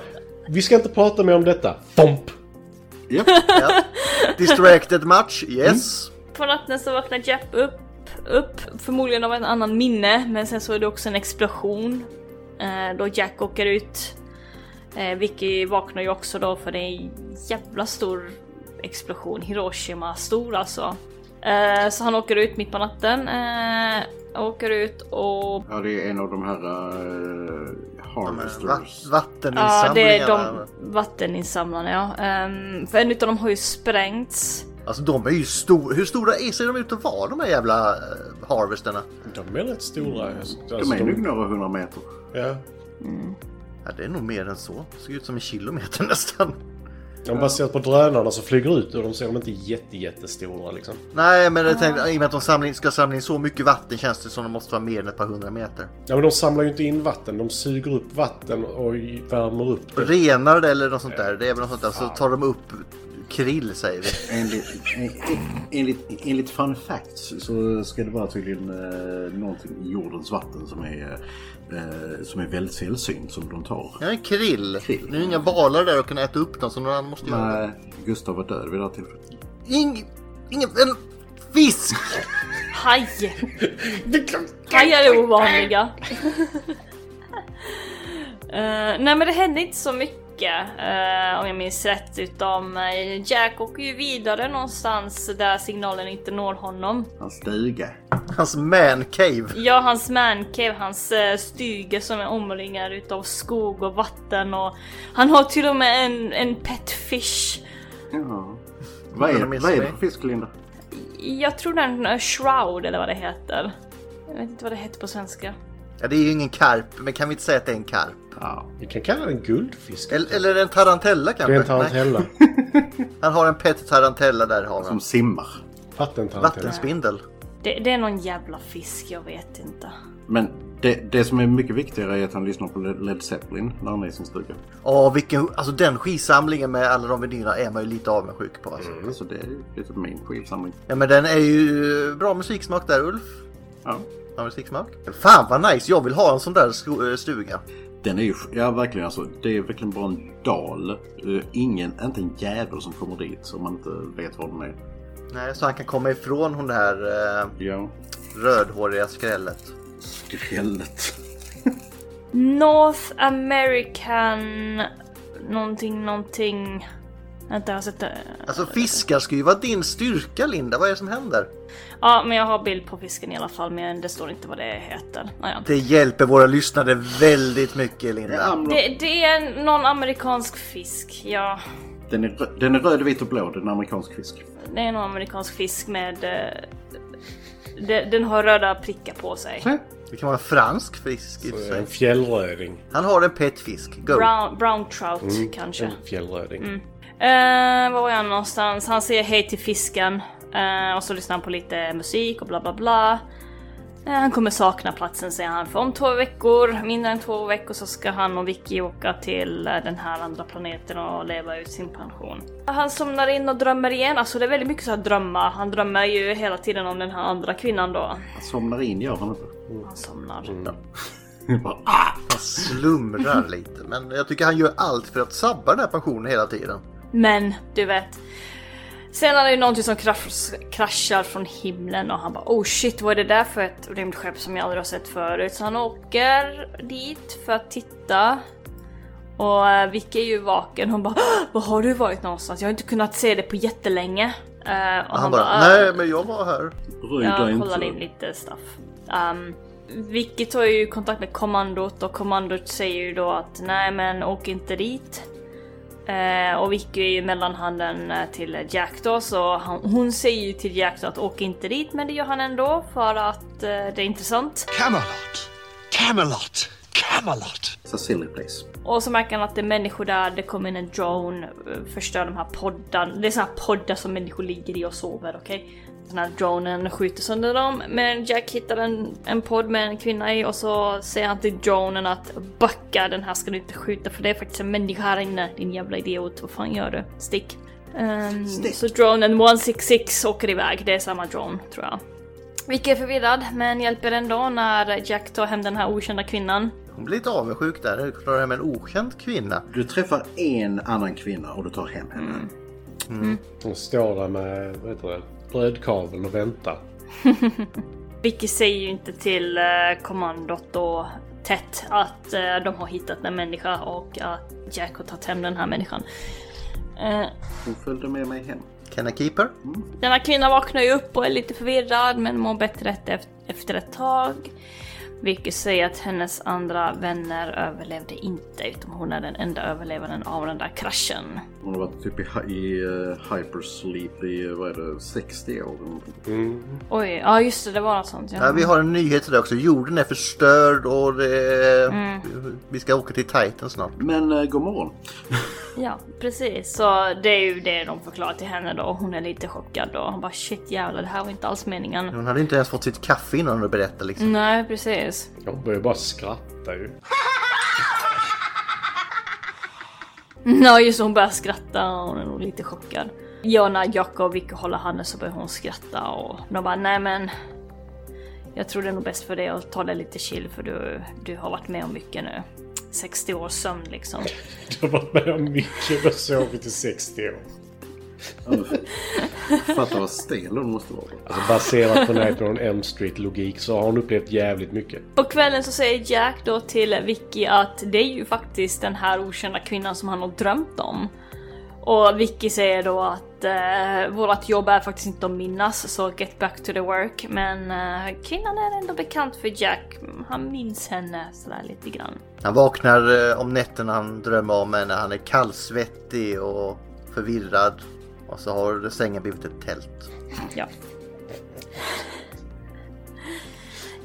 Speaker 3: vi ska inte prata mer om detta. Fomp!
Speaker 2: Ja. Distracted match, yes.
Speaker 1: På natten så vaknar Jack upp, upp förmodligen av en annan minne men sen så är det också en explosion eh, då Jack åker ut. Eh, Vicky vaknar ju också då för det är en jävla stor explosion, Hiroshima stor alltså. Eh, så han åker ut mitt på natten, eh, åker ut och
Speaker 4: Ja, det är en av de här uh,
Speaker 2: Va-
Speaker 4: harvesters.
Speaker 1: Ja, det är
Speaker 2: vatteninsamlingarna.
Speaker 1: de vatteninsamlarna ja. Ehm, för en utav dem har ju sprängts.
Speaker 2: Alltså de är ju stora. Hur stora är, ser de ut att vara de här jävla eh, harvesterna?
Speaker 3: De är rätt stora.
Speaker 2: Mm.
Speaker 3: Alltså,
Speaker 4: De är nog några hundra meter.
Speaker 3: Ja.
Speaker 2: Ja, det är nog mer än så. Det ser ut som en kilometer (laughs) nästan.
Speaker 3: De baserat på drönarna som flyger ut och de ser de inte jätte, jättestora liksom.
Speaker 2: Nej, men jag tänkte, i och med att de samlar in, ska samla in så mycket vatten känns det som de måste vara mer än ett par hundra meter.
Speaker 3: Ja, men de samlar ju inte in vatten. De suger upp vatten och värmer upp det.
Speaker 2: Renar det eller något sånt där. Det är väl något sånt där. Så tar de upp krill säger vi.
Speaker 4: Enligt, en- enligt, enligt fun facts så ska det vara tydligen eh, någonting i jordens vatten som är, eh, som är väldigt sällsynt som de tar.
Speaker 2: Ja, en krill. Nu är inga valar där och kan äta upp dem så någon annan måste göra det.
Speaker 4: Nej, Eh, Gustav var död vid det här tillfället.
Speaker 2: Ing, ingen, en fisk!
Speaker 1: Haj! Hajar är ovanliga. Eh, nej men det hände inte så mycket eh, om jag minns rätt utom eh, Jack åker ju vidare någonstans där signalen inte når honom.
Speaker 4: Hans stuga.
Speaker 2: Hans man cave.
Speaker 1: Ja, hans mancave, hans eh, stuga som är omringad utav skog och vatten och han har till och med en, en pet fish.
Speaker 4: Ja. Vad är,
Speaker 2: Undrar om jag
Speaker 4: vad är det
Speaker 2: ser
Speaker 4: för fisk, Linda?
Speaker 1: Jag tror den är shroud eller vad det heter. Jag vet inte vad det heter på svenska.
Speaker 2: Ja, det är ju ingen karp, men kan vi inte säga att det är en karp?
Speaker 4: Ja.
Speaker 3: Vi kan kalla den guldfisk.
Speaker 2: Eller, eller en tarantella kanske?
Speaker 3: Det är
Speaker 2: (laughs)
Speaker 3: en tarantella.
Speaker 2: Nej, Han har en pet tarantella där har
Speaker 4: Som
Speaker 2: han.
Speaker 4: simmar.
Speaker 3: Vattentarantella.
Speaker 2: Vattenspindel.
Speaker 1: Det, det är någon jävla fisk, jag vet inte.
Speaker 4: Men det, det som är mycket viktigare är att han lyssnar på Led Zeppelin när han är i sin stuga.
Speaker 2: Ja, vilken... Alltså den skivsamlingen med alla de vinylerna är man ju lite avundsjuk på. Alltså.
Speaker 4: Så det är lite min skivsamling.
Speaker 2: Ja, men den är ju eh, bra musiksmak där Ulf.
Speaker 4: Ja.
Speaker 2: Bra musiksmak. Fan vad nice, jag vill ha en sån där sko- eh, stuga.
Speaker 4: Den är ju, ja verkligen alltså, det är verkligen bara en dal. Eh, Ingen, inte en jävel som kommer dit om man inte vet var den är.
Speaker 2: Nej, så han kan komma ifrån hon där eh,
Speaker 4: Ja.
Speaker 2: rödhåriga skrället.
Speaker 4: Skrället.
Speaker 1: North American... Någonting, någonting... Vänta, jag har sett det.
Speaker 2: Alltså fiskar ska ju vara din styrka Linda, vad är det som händer?
Speaker 1: Ja, men jag har bild på fisken i alla fall, men det står inte vad det heter. Naja.
Speaker 2: Det hjälper våra lyssnare väldigt mycket Linda.
Speaker 1: Det, det är en- någon amerikansk fisk, ja.
Speaker 4: Den är, rö- den är röd, vit och blå. Den är amerikansk fisk.
Speaker 1: Det är någon amerikansk fisk med... eh, de- Den har röda prickar på sig.
Speaker 2: Det kan vara en fransk fisk i och för sig.
Speaker 3: En fjällröding.
Speaker 2: Han har en petfisk. Go!
Speaker 1: Brown, brown trout
Speaker 3: Mm,
Speaker 1: kanske.
Speaker 3: En fjällröding.
Speaker 1: Mm. Eh, var var jag någonstans? Han säger hej till fisken. Eh, och så lyssnar han på lite musik och bla bla bla. Eh, han kommer sakna platsen säger han. För om två veckor, mindre än två veckor, så ska han och Vicky åka till eh, den här andra planeten och leva ut sin pension. Han somnar in och drömmer igen. Alltså det är väldigt mycket så här drömmar. Han drömmer ju hela tiden om den här andra kvinnan då.
Speaker 4: Han somnar in, gör han inte.
Speaker 1: Han somnar.
Speaker 2: Han slumrar lite. Men jag tycker han gör allt för att sabba den här pensionen hela tiden.
Speaker 1: Men du vet. Sen är det ju någonting som krasch, kraschar från himlen och han bara oh shit vad är det där för ett rymdskepp som jag aldrig har sett förut? Så han åker dit för att titta. Och eh, Vicky är ju vaken. Hon bara "Åh, var har du varit någonstans? Jag har inte kunnat se det på jättelänge. Eh, och
Speaker 2: Och han bara, äh." nej men jag var här.
Speaker 1: jag kollade in lite stuff. Um, Vicky tar ju kontakt med kommandot och kommandot säger ju då att nej men åk inte dit. Eh, och Vicky är ju mellanhanden eh, till Jack då så han, hon säger ju till Jack då att åk inte dit men det gör han ändå för att eh, det är intressant.
Speaker 8: Camelot. Camelot. Camelot.
Speaker 4: It's a silly place.
Speaker 1: Och så märker han att det är människor där, det kommer in en drone, eh, förstör de här poddarna. Det är såna här poddar som människor ligger i och sover, okej? Den här dronen skjuter sönder dem, men Jack hittar en, en podd med en kvinna i och så säger han till dronen att backa, den här ska du inte skjuta för det är faktiskt en människa här inne, din jävla idiot. Vad fan gör du? Stick. Ehm, så dronen 166 åker iväg, det är samma drone tror jag. Vicky är förvirrad, men hjälper ändå när Jack tar hem den här okända kvinnan.
Speaker 2: Hon blir lite avundsjuk där. Hur klarar jag med en okänd kvinna?
Speaker 4: Du träffar en annan kvinna och du tar hem henne.
Speaker 1: Mm.
Speaker 3: Hon står där med vad heter det, brödkaveln och väntar.
Speaker 1: Vicky säger ju inte till eh, kommandot och Tet att eh, de har hittat en människa och att Jack har tagit hem den här människan. Eh,
Speaker 4: Hon följde med mig hem.
Speaker 2: Can I keep her?
Speaker 1: den här kvinnan vaknar ju upp och är lite förvirrad men mår bättre ett- efter ett tag. Vicky säger att hennes andra vänner överlevde inte utom hon är den enda överlevaren av den där kraschen.
Speaker 4: Hon har varit typ i, hi- i eh, hypersleep i, eh, vad är det, 60 år.
Speaker 1: Oj, ja just det, det var något sånt. Ja.
Speaker 2: Ja, Äh, vi har en nyhet till det också. Jorden är förstörd och det...
Speaker 1: Mm.
Speaker 2: vi ska åka till Titan snart.
Speaker 4: Men uh, god morgon.
Speaker 1: (laughs) Ja, precis. Så det är ju det de förklarar till henne då. Hon är lite chockad då. Hon bara shit jävlar, det här var inte alls meningen.
Speaker 2: Hon hade inte ens fått sitt kaffe innan du berättade liksom.
Speaker 1: Nej, precis.
Speaker 3: Hon börjar bara skratta ju.
Speaker 1: (laughs)
Speaker 3: (laughs)
Speaker 1: Ja, just det, hon börjar skratta och hon är nog lite chockad. Ja, när Jakob och Vicky håller handen så börjar hon skratta och de bara nej men jag tror det är nog bäst för dig att ta det lite chill för du, du har varit med om mycket nu. 60 års sömn liksom.
Speaker 3: Du har varit med om mycket och sovit i 60 år.
Speaker 4: Fattar vad stel hon måste vara.
Speaker 3: Alltså baserat på Nightmare on Elm Street logik så har hon upplevt jävligt mycket.
Speaker 1: På kvällen så säger Jack då till Vicky att det är ju faktiskt den här okända kvinnan som han har drömt om. Och Vicky säger då att eh, vårat jobb är faktiskt inte att minnas, så get back to the work. Men eh, kvinnan är ändå bekant för Jack. Han minns henne sådär lite grann.
Speaker 2: Han vaknar eh, om nätterna han drömmer om henne. Han är kallsvettig och förvirrad. Och så har sängen blivit ett tält.
Speaker 1: Ja.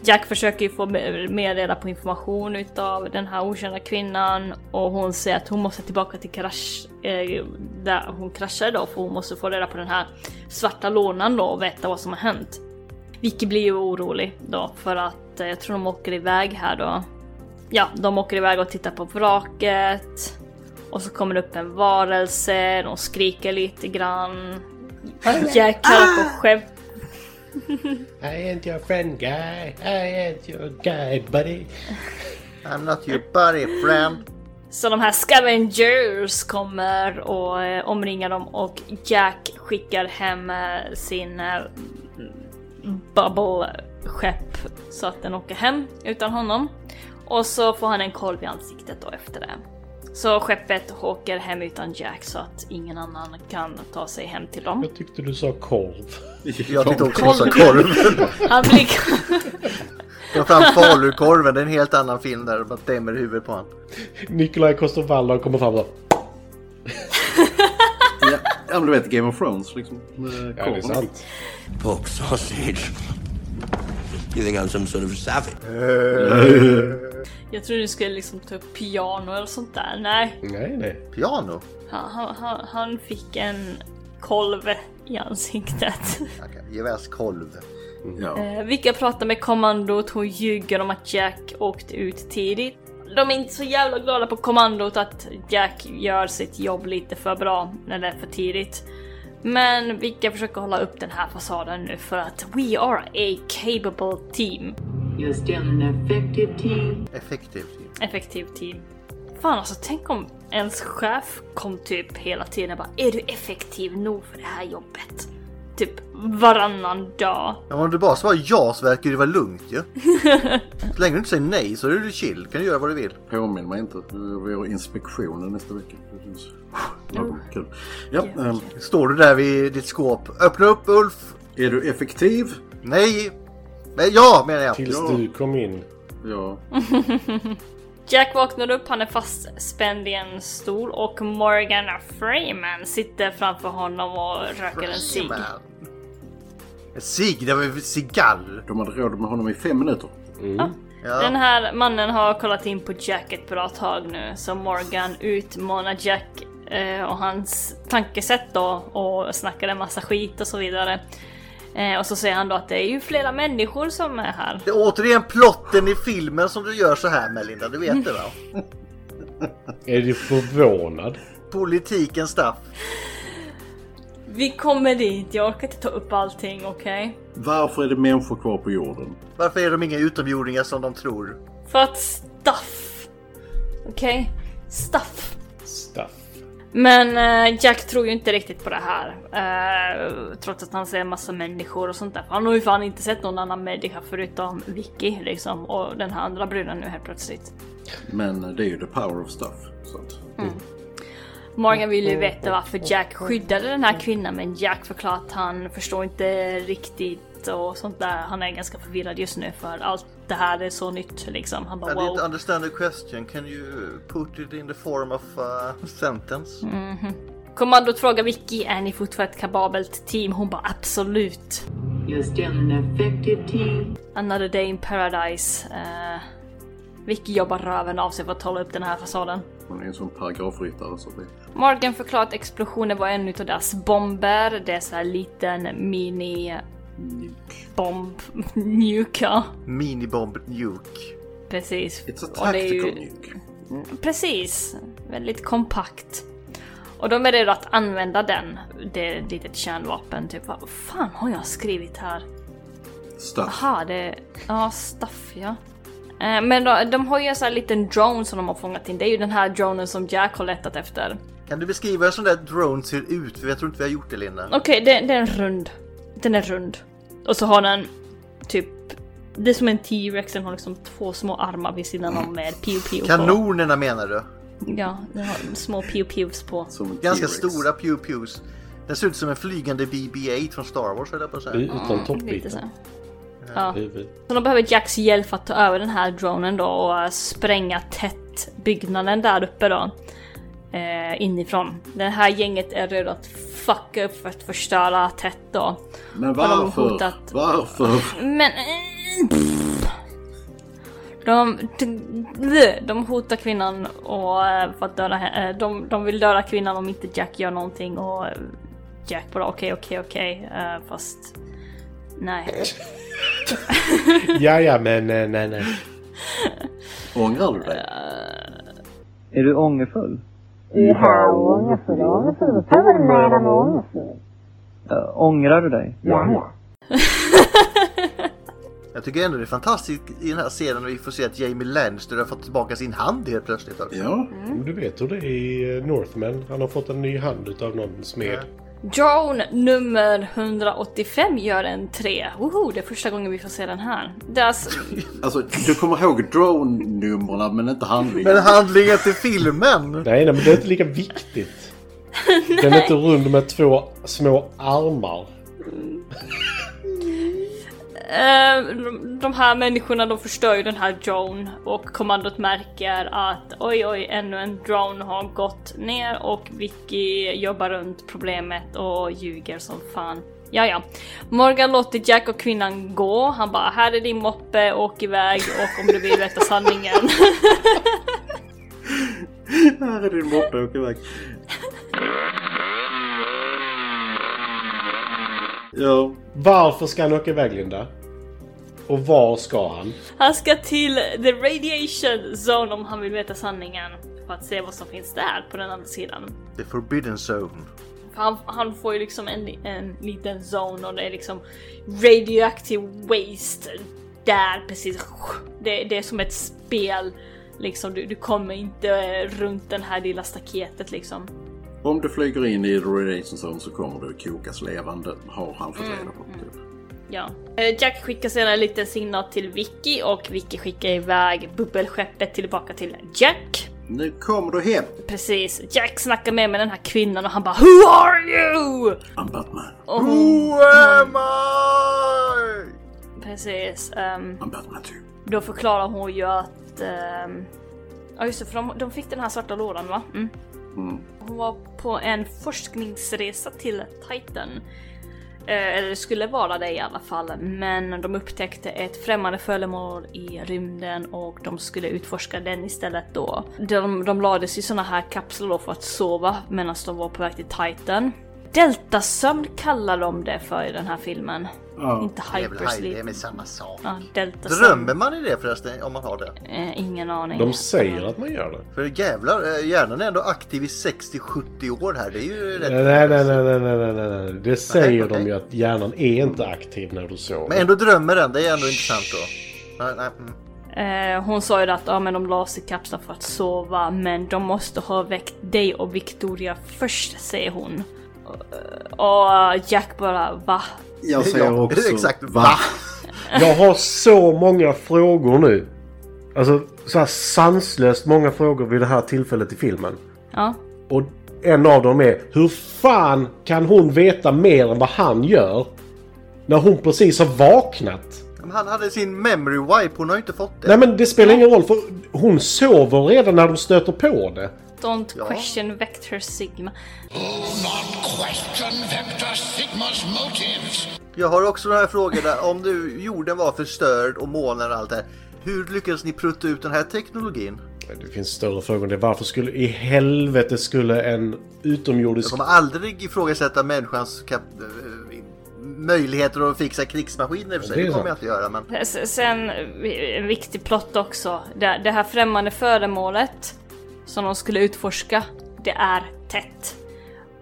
Speaker 1: Jack försöker ju få mer mer reda på information utav den här okända kvinnan och hon säger att hon måste tillbaka till krasch, eh, där hon kraschade då för hon måste få reda på den här svarta lånan då och veta vad som har hänt. Vicky blir ju orolig då för att eh, jag tror de åker iväg här då. Ja, de åker iväg och tittar på vraket och så kommer det upp en varelse, de skriker lite grann. Jack kallar på skämt
Speaker 3: I ain't your friend guy, I ain't your guy buddy.
Speaker 2: I'm not your buddy friend.
Speaker 1: Så de här scavengers kommer och eh, omringar dem och Jack skickar hem eh, sin eh, bubble-skepp så att den åker hem utan honom. Och så får han en kolv i ansiktet då efter det. Så skeppet åker hem utan Jack så att ingen annan kan ta sig hem till
Speaker 3: (laughs)
Speaker 1: dem.
Speaker 3: Jag tyckte du sa korv. (laughs)
Speaker 2: Jag tyckte också du sa korv.
Speaker 1: Han blir...
Speaker 2: Ta fram falukorven, det är en helt annan film där det bara dämmer i huvudet på honom.
Speaker 3: Nikolaj Coster-Waldau kommer fram och
Speaker 4: Ja, ja, men du vet Game of Thrones liksom. Med
Speaker 3: Ja, det är sant.
Speaker 8: Pork sausage. You think I'm some sort of savage?
Speaker 1: Jag tror du skulle liksom ta upp piano eller sånt där. Nej.
Speaker 3: Nej, nej.
Speaker 2: Piano?
Speaker 1: Han, han- han, han fick en kolv i ansiktet.
Speaker 2: Gevärskolv.
Speaker 1: Eh, Vilka pratar med kommandot, hon ljuger om att Jack åkte ut tidigt. De är inte så jävla glada på kommandot att Jack gör sitt jobb lite för bra när det är för tidigt. Men Vicka försöker hålla upp den här fasaden nu för att we are a capable team.
Speaker 10: You're still an effective team.
Speaker 2: Effektivt.
Speaker 1: Effektiv team. Fan alltså, tänk om ens chef kom typ hela tiden och bara är du effektiv nog för det här jobbet? Typ varannan dag.
Speaker 2: Ja, men om du bara svarar ja så verkar det vara lugnt
Speaker 1: (laughs)
Speaker 2: ju. Så länge du inte säger nej så är du chill. kan du göra vad du vill.
Speaker 4: Påminn mig inte. Vi har inspektionen nästa vecka. Det känns- Ja, kul. Ja, ehm,
Speaker 2: Står du där vid ditt skåp. Öppna upp Ulf!
Speaker 4: Är du effektiv?
Speaker 2: Nej! Men ja menar jag!
Speaker 3: Tills
Speaker 2: ja.
Speaker 3: du kom in.
Speaker 4: Ja.
Speaker 1: Jack vaknar upp, han är fastspänd i en stol och Morgan Freeman sitter framför honom och röker en cigg.
Speaker 2: Sig, det var ju cigall.
Speaker 4: De hade råd med honom i fem minuter.
Speaker 1: Den här mannen har kollat in på Jack ett bra tag nu, så Morgan utmanar Jack eh, och hans tankesätt då och snackar en massa skit och så vidare. Eh, och så säger han då att det är ju flera människor som är här.
Speaker 2: Det är återigen plotten i filmen som du gör så här Melinda, du vet det va?
Speaker 3: Är du förvånad?
Speaker 2: Politikens straff.
Speaker 1: Vi kommer dit, jag orkar inte ta upp allting, okej?
Speaker 4: Varför är det människor kvar på jorden?
Speaker 2: Varför är de inga utomjordingar som de tror?
Speaker 1: För att stuff. Okej? Stuff.
Speaker 3: Stuff.
Speaker 1: Men eh, Jack tror ju inte riktigt på det här. Eh, trots att han ser en massa människor och sånt där. Han har ju fan inte sett någon annan människa förutom Vicky liksom. Och den här andra bruden nu helt plötsligt.
Speaker 4: Men eh, det är ju the power of stuff. Så att...
Speaker 1: Morgan vill ju veta varför Jack skyddade den här kvinnan men Jack förklarar att han förstår inte riktigt och sånt där. Han är ganska förvirrad just nu för allt det här är så nytt liksom. Han bara
Speaker 2: I didn't
Speaker 1: wow.
Speaker 2: understand the question. Can you uh, put it in the form of a sentence?
Speaker 1: Mhm. Kommandot frågar Vicky, är ni fortfarande ett kapabelt team? Hon bara absolut.
Speaker 10: You're still an effective team.
Speaker 1: Another Day in Paradise. Uh, Vicky jobbar röven av sig för att hålla upp den här fasaden.
Speaker 4: Man är en sån paragrafryttare. Så det...
Speaker 1: Morgan förklarar att explosionen var en utav deras bomber. Det är så här liten mini... Bomb... (laughs) Nuke, ja.
Speaker 2: Minibomb nuke.
Speaker 1: Precis.
Speaker 4: It's a
Speaker 1: Och det är ju-
Speaker 4: tactical nuke.
Speaker 1: Precis. Väldigt kompakt. Och de är redo att använda den. Det är ett litet kärnvapen. Typ, vad fan har jag skrivit här?
Speaker 4: Stuff.
Speaker 1: Aha, det... Ja, staff ja. Eh, Men då, de har ju en sån här liten drone som de har fångat in. Det är ju den här dronen som Jack har letat efter.
Speaker 2: Kan du beskriva hur sån där drone ser ut? För jag tror inte vi har gjort det Linda.
Speaker 1: Okej, det, det är en rund. Den är rund. Och så har den typ... Det är som en T-rex, den har liksom två små armar vid sidan om med pew-pew på.
Speaker 2: Kanonerna menar du?
Speaker 1: Ja, den har små pew-pews på.
Speaker 2: Ganska stora pew-pews. Den ser ut som en flygande BB-8 från Star Wars höll jag på att säga.
Speaker 3: U- Utan
Speaker 1: Mm, lite så.
Speaker 3: toppbiten.
Speaker 1: Ja.
Speaker 3: Huvud.
Speaker 1: Så de behöver Jacks hjälp för att ta över den här dronen då och eh, spränga tätt byggnaden där uppe då. Eh, inifrån. Det här gänget är redo att fucka upp för att förstöra tätt då.
Speaker 4: Men
Speaker 1: Har de
Speaker 4: varför?
Speaker 1: hotat?
Speaker 4: Varför?
Speaker 1: Men... eh, pff. De, de, de hotar kvinnan och eh, för att döda henne. eh, De, de vill döda kvinnan om inte Jack gör någonting och eh, Jack bara okej, okej, okej. eh, Fast... Nej.
Speaker 3: Ja, ja, men nej, nej, nej.
Speaker 4: Ångrar du dig?
Speaker 13: Är du ångerfull? Äh, ångrar du dig?
Speaker 2: Jag tycker ändå det är fantastiskt i den här scenen när vi får se att Jamie Lannister har fått tillbaka sin hand helt plötsligt. Också.
Speaker 4: Ja.
Speaker 3: Du vet hur det är i eh, Northmen. Han har fått en ny hand utav någon smed.
Speaker 1: Drone nummer 185 gör en 3. Woho, det är första gången vi får se den här. Deras...
Speaker 4: Alltså, du kommer ihåg drone-numren men inte handlingen.
Speaker 2: Men handlingen till filmen!
Speaker 3: Nej, nej, men det är inte
Speaker 1: (laughs)
Speaker 3: lika viktigt. Den är inte rund med två små armar.
Speaker 1: Eh, de- de här människorna de förstör ju den här drone och kommandot märker att oj oj ännu en drone har gått ner och Vicky jobbar runt problemet och ljuger som fan. Ja, ja. Morgan låter Jack och kvinnan gå. Han bara här är din moppe, åk iväg och om du vill veta sanningen.
Speaker 4: (laughs)
Speaker 1: (laughs)
Speaker 4: Här är din moppe, åk iväg. Ja.
Speaker 3: Varför ska han åka iväg Linda? Och var ska han?
Speaker 1: Han ska till the radiation zone om han vill veta sanningen. För att se vad som finns där på den andra sidan.
Speaker 2: The forbidden zone.
Speaker 1: För han, han får ju liksom en, en liten zone och det är liksom radioactive waste där precis. Det, det är som ett spel. Liksom, du, du kommer inte runt den här lilla staketet liksom.
Speaker 4: Om du flyger in i Radiation Zone så kommer du kokas levande, har han fått reda på. Typ.
Speaker 1: Ja. Eh, Jack skickar sedan en liten signal till Vicky och Vicky skickar iväg bubbelskeppet tillbaka till Jack.
Speaker 4: Nu kommer du hem!
Speaker 1: Precis. Jack snackar med, med den här kvinnan och han bara Who are you?
Speaker 4: I'm Batman.
Speaker 1: Och
Speaker 2: Who am I?
Speaker 1: Precis. ehm,
Speaker 4: I'm Batman too.
Speaker 1: Då förklarar hon ju att... ehm, ja just det, för de, de fick den här svarta lådan va? Mm.
Speaker 4: Mm.
Speaker 1: Hon var på en forskningsresa till Titan. Eh, Eller det skulle vara det i alla fall. Men de upptäckte ett främmande föremål i rymden och de skulle utforska den istället då. De, de lades i såna här kapslar då för att sova medan de var på väg till Titan. Deltasömn kallar de det för i den här filmen. Inte
Speaker 2: Det är väl haj-
Speaker 1: hypersleep.
Speaker 2: det är med samma sak.
Speaker 1: Ja, deltasömn.
Speaker 2: Drömmer man i det förresten om man har det?
Speaker 1: Eh, ingen aning.
Speaker 3: De säger att man gör det.
Speaker 2: För jävlar, eh, hjärnan är ändå aktiv i 60-70 år här. Det är ju rätt...
Speaker 3: Nej, nej, nej, nej, nej, nej, nej, nej. Det säger
Speaker 2: okej.
Speaker 3: de ju att hjärnan är inte aktiv när du sover.
Speaker 2: Men ändå drömmer den, det är ändå intressant då. Nej, nej, mm.
Speaker 1: Eh, hon sa ju det att ja, men de la sig i kapslar för att sova men de måste ha väckt dig och Victoria först, säger hon. Eh, Och, och Jack bara va?
Speaker 4: Jag säger
Speaker 3: Ja,
Speaker 4: också... (laughs)
Speaker 3: exakt,
Speaker 4: Va?
Speaker 3: Jag har så många frågor nu. Alltså så här sanslöst många frågor vid det här tillfället i filmen.
Speaker 1: Ja.
Speaker 3: Och en av dem är hur fan kan hon veta mer än vad han gör? När hon precis har vaknat.
Speaker 2: Men han hade sin memory wipe, hon har ju inte fått det.
Speaker 3: Nej men det spelar ingen roll för hon sover redan när de stöter på det.
Speaker 1: Don't question Vector Sigma.
Speaker 8: Question Vector Sigma's motives.
Speaker 2: Jag har också några frågor där. Om nu jorden var förstörd och månen och allt det här. Hur lyckades ni prutta ut den här teknologin?
Speaker 3: Det finns större frågor än det. Varför skulle i helvete skulle en
Speaker 2: Jag
Speaker 3: utomjordisk...
Speaker 2: kommer aldrig ifrågasätta människans kap- eh, möjligheter att fixa krigsmaskiner. i och för sig.
Speaker 3: Det är
Speaker 2: Det kommer
Speaker 3: sant.
Speaker 2: jag inte göra. Men...
Speaker 1: S- Sen eh, en viktig plott också. Det, det här främmande föremålet som de skulle utforska, det är tätt.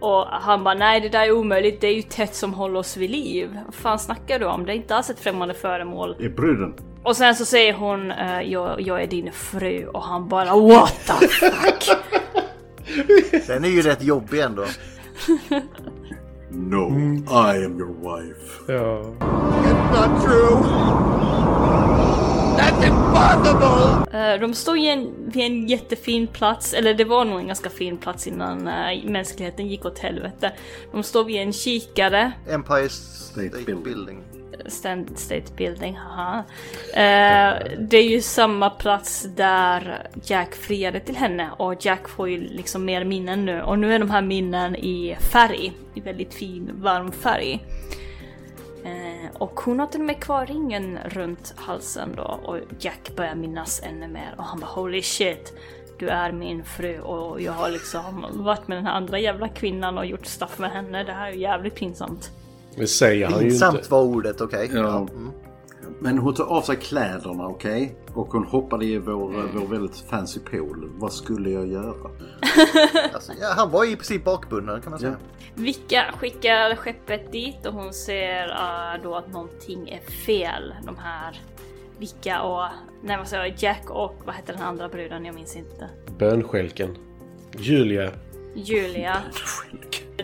Speaker 1: Och han bara nej det där är omöjligt, det är ju tätt som håller oss vid liv. Vad fan snackar du om? Det är inte alls ett främmande föremål.
Speaker 4: Är bruden?
Speaker 1: Och sen så säger hon eh, jag, jag är din fru och han bara what the fuck?
Speaker 2: Den är ju rätt jobbig ändå.
Speaker 4: No, I am your wife.
Speaker 3: Ja.
Speaker 8: Not true. That's impossible.
Speaker 1: Eh, de står ju en, vid en jättefin plats, eller det var nog en ganska fin plats innan eh, mänskligheten gick åt helvete. De står vid en kikare,
Speaker 2: Empire State, Building.
Speaker 1: Stand, State Building, haha. Eh, det är ju samma plats där Jack friade till henne och Jack får ju liksom mer minnen nu och nu är de här minnen i färg, i väldigt fin varm färg. Eh, och hon har till och med kvar ringen runt halsen då och Jack börjar minnas ännu mer och han bara holy shit. Du är min fru och jag har liksom varit med den här andra jävla kvinnan och gjort stuff med henne. Det här är ju jävligt pinsamt.
Speaker 3: Det säger han ju inte.
Speaker 2: Pinsamt var ordet, okej.
Speaker 4: Ja. Mm. Men hon tar av sig kläderna, okej? Och hon hoppade i vår, vår väldigt fancy pool. Vad skulle jag göra?
Speaker 2: Alltså, ja, han var i princip bakbunden kan man säga.
Speaker 1: Vicka skickar skeppet dit och hon ser eh, då att någonting är fel. De här Vicka och nej, vad säger jag, Jack och vad heter den andra bruden? Jag minns inte.
Speaker 3: Bönskälken. Julia.
Speaker 1: Julia.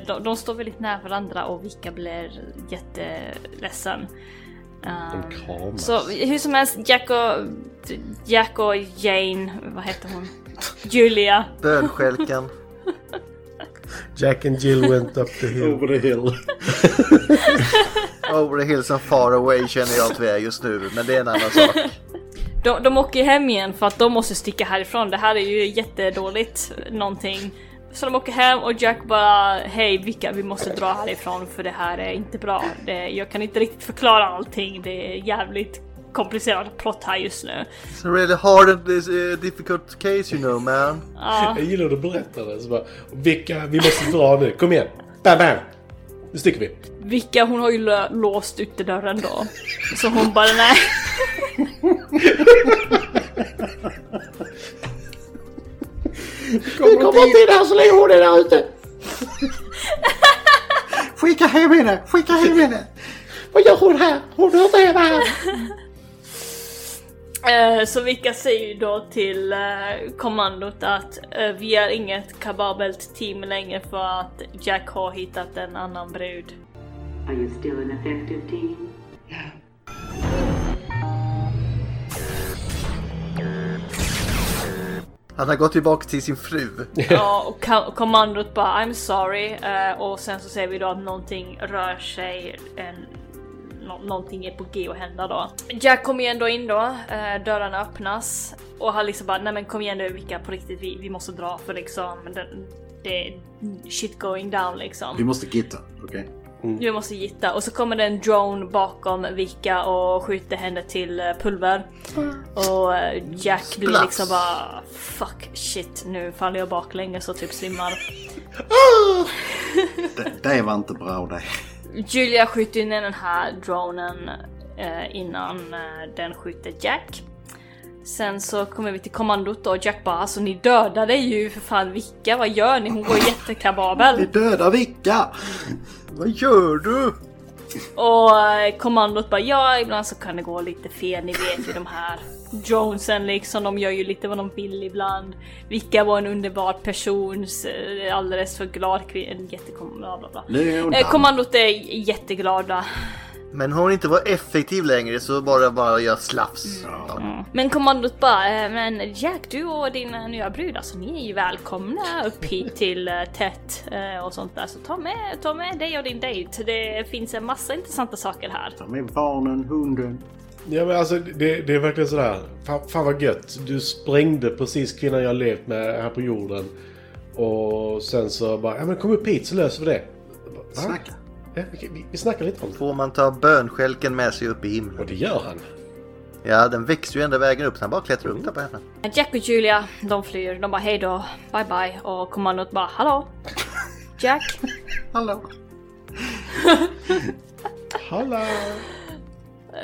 Speaker 1: De, de står väldigt nära varandra och Vika blir jätteledsen. Eh,
Speaker 3: De kramas.
Speaker 1: så hur som helst, Jack och, Jack och Jane, vad heter hon? Julia.
Speaker 9: (laughs)
Speaker 2: Bönstjälken.
Speaker 14: Jack and Jill went up the hill.
Speaker 3: (laughs)
Speaker 4: Over the hill.
Speaker 2: Over the hills and far away känner jag att vi är just nu, men det är en
Speaker 9: (laughs)
Speaker 2: annan sak.
Speaker 1: De, de åker ju hem igen för att de måste sticka härifrån. Det här är ju jättedåligt någonting. Så de åker hem och Jack bara Hej Vicka, vi måste dra härifrån för det här är inte bra. Det, jag kan inte riktigt förklara allting. Det är jävligt komplicerad plott här just nu.
Speaker 2: It's a really hard and this, eh, difficult case you know man.
Speaker 1: Ja.
Speaker 3: Jag gillar att du berättar det. Så bara, Vilka, vi måste dra nu. Kom igen. Bam, bam. Nu sticker vi.
Speaker 1: Vicka hon har ju lö- låst utedörren då. Så hon bara nej. (laughs)
Speaker 4: Du kommer inte in här så länge hon är där ute!
Speaker 9: Skicka hem henne! Skicka hem henne!
Speaker 4: Vad gör hon här? Hon hör inte hemma här!
Speaker 1: Eh, Så Vicka säger ju då till eh, kommandot att eh, vi är inget kapabelt team längre för att Jack har hittat en annan brud.
Speaker 10: Are you still an effective team?
Speaker 2: Han har gått tillbaka till sin fru.
Speaker 1: Ja, och ka- och kommandot bara I'm sorry eh, och sen så ser vi då att någonting rör sig. En, nå- någonting är på g att hända då. Jack kommer ju ändå in då, eh, dörrarna öppnas och han liksom bara nej men kom igen nu Vicka på riktigt vi, vi måste dra för liksom den, det är shit going down liksom.
Speaker 4: Vi måste gitta, okej?
Speaker 1: Du måste gitta. Och så kommer det en drone bakom Vika och skjuter henne till eh, pulver. Och eh, Jack blir
Speaker 2: Splash.
Speaker 1: liksom bara fuck shit nu faller jag baklänges och typ svimmar.
Speaker 4: Det, det var inte bra det.
Speaker 1: Julia skjuter in den här dronen eh, innan eh, den skjuter Jack. Sen så kommer vi till kommandot då och Jack bara alltså ni dödade ju för fan Vika, vad gör ni? Hon var
Speaker 2: (laughs)
Speaker 1: jättekababel.
Speaker 4: Döda Vicka!
Speaker 2: Vad gör du?
Speaker 1: Och eh, kommandot bara ja, ibland så kan det gå lite fel, ni vet ju de här Jonesen liksom, de gör ju lite vad de vill ibland. Vicka var en underbar person, s- eh, alldeles för glad kvinna, en jättekom... bla bla bla.
Speaker 2: Nu är hon
Speaker 1: Eh,
Speaker 2: down.
Speaker 1: kommandot är j- jätteglada.
Speaker 2: Men hon inte var effektiv längre så bara, bara jag slafs. Ja.
Speaker 1: Men kommandot bara, eh, men Jack du och din eh, nya brud, alltså ni är ju välkomna upp hit till eh, Tet eh, och sånt där. Så ta med, ta med dig och din dejt, det finns en massa intressanta saker här.
Speaker 4: De är barnen, hunden.
Speaker 3: Ja men alltså det, det är verkligen sådär. Fan, fan vad gött. Du sprängde precis kvinnan jag levt med här på jorden. Och sen så bara, ja men kom upp hit så löser vi det. Va?
Speaker 4: Snacka.
Speaker 3: Ja, okej, vi, vi snackar lite om det.
Speaker 2: Får man ta bönstjälken med sig upp i himlen? Och
Speaker 3: det gör han.
Speaker 2: Ja, den växer ju ända vägen upp så han bara klättrar upp där på henne.
Speaker 1: Jack och Julia, de flyr. De bara hej då, bye bye. Och kommandot bara hallå. Jack.
Speaker 2: hallå.
Speaker 3: Hallå!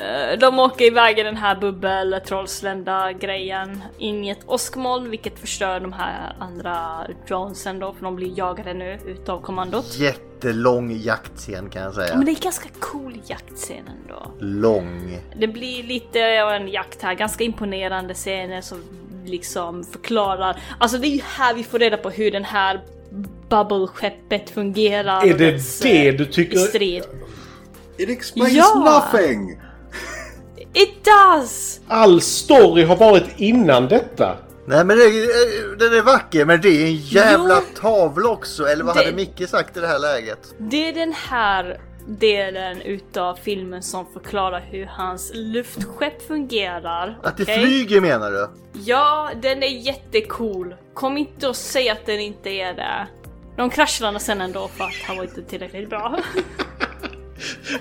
Speaker 1: Eh, De åker iväg i den här bubbeltrollslända grejen in i ett åskmoln vilket förstör de här andra dronesen då för de blir jagade nu utav kommandot.
Speaker 2: Jättelång jaktscen kan jag säga.
Speaker 1: Men det är ganska cool jaktscen ändå.
Speaker 2: Lång.
Speaker 1: Det blir lite av en jakt här, ganska imponerande scener som liksom förklarar. Alltså det är ju här vi får reda på hur den här bubbleskeppet fungerar.
Speaker 3: Är
Speaker 1: och
Speaker 3: det
Speaker 1: dess,
Speaker 3: det
Speaker 1: eh,
Speaker 3: du tycker-
Speaker 1: Strid.
Speaker 4: It explains
Speaker 1: Ja!
Speaker 4: nothing!
Speaker 1: It does!
Speaker 3: All story har varit innan detta.
Speaker 2: Nej men det, eh, den är vacker men det är en jävla tavla också. Eller vad
Speaker 1: Det-
Speaker 2: hade Micke sagt i det här läget?
Speaker 1: Det är den här delen utav filmen som förklarar hur hans luftskepp fungerar.
Speaker 2: Att det
Speaker 1: okej?
Speaker 2: flyger menar du?
Speaker 1: Ja, den är jättecool. Kom inte och säg att den inte är det. De kraschlade sen ändå för att han var inte tillräckligt bra. (laughs)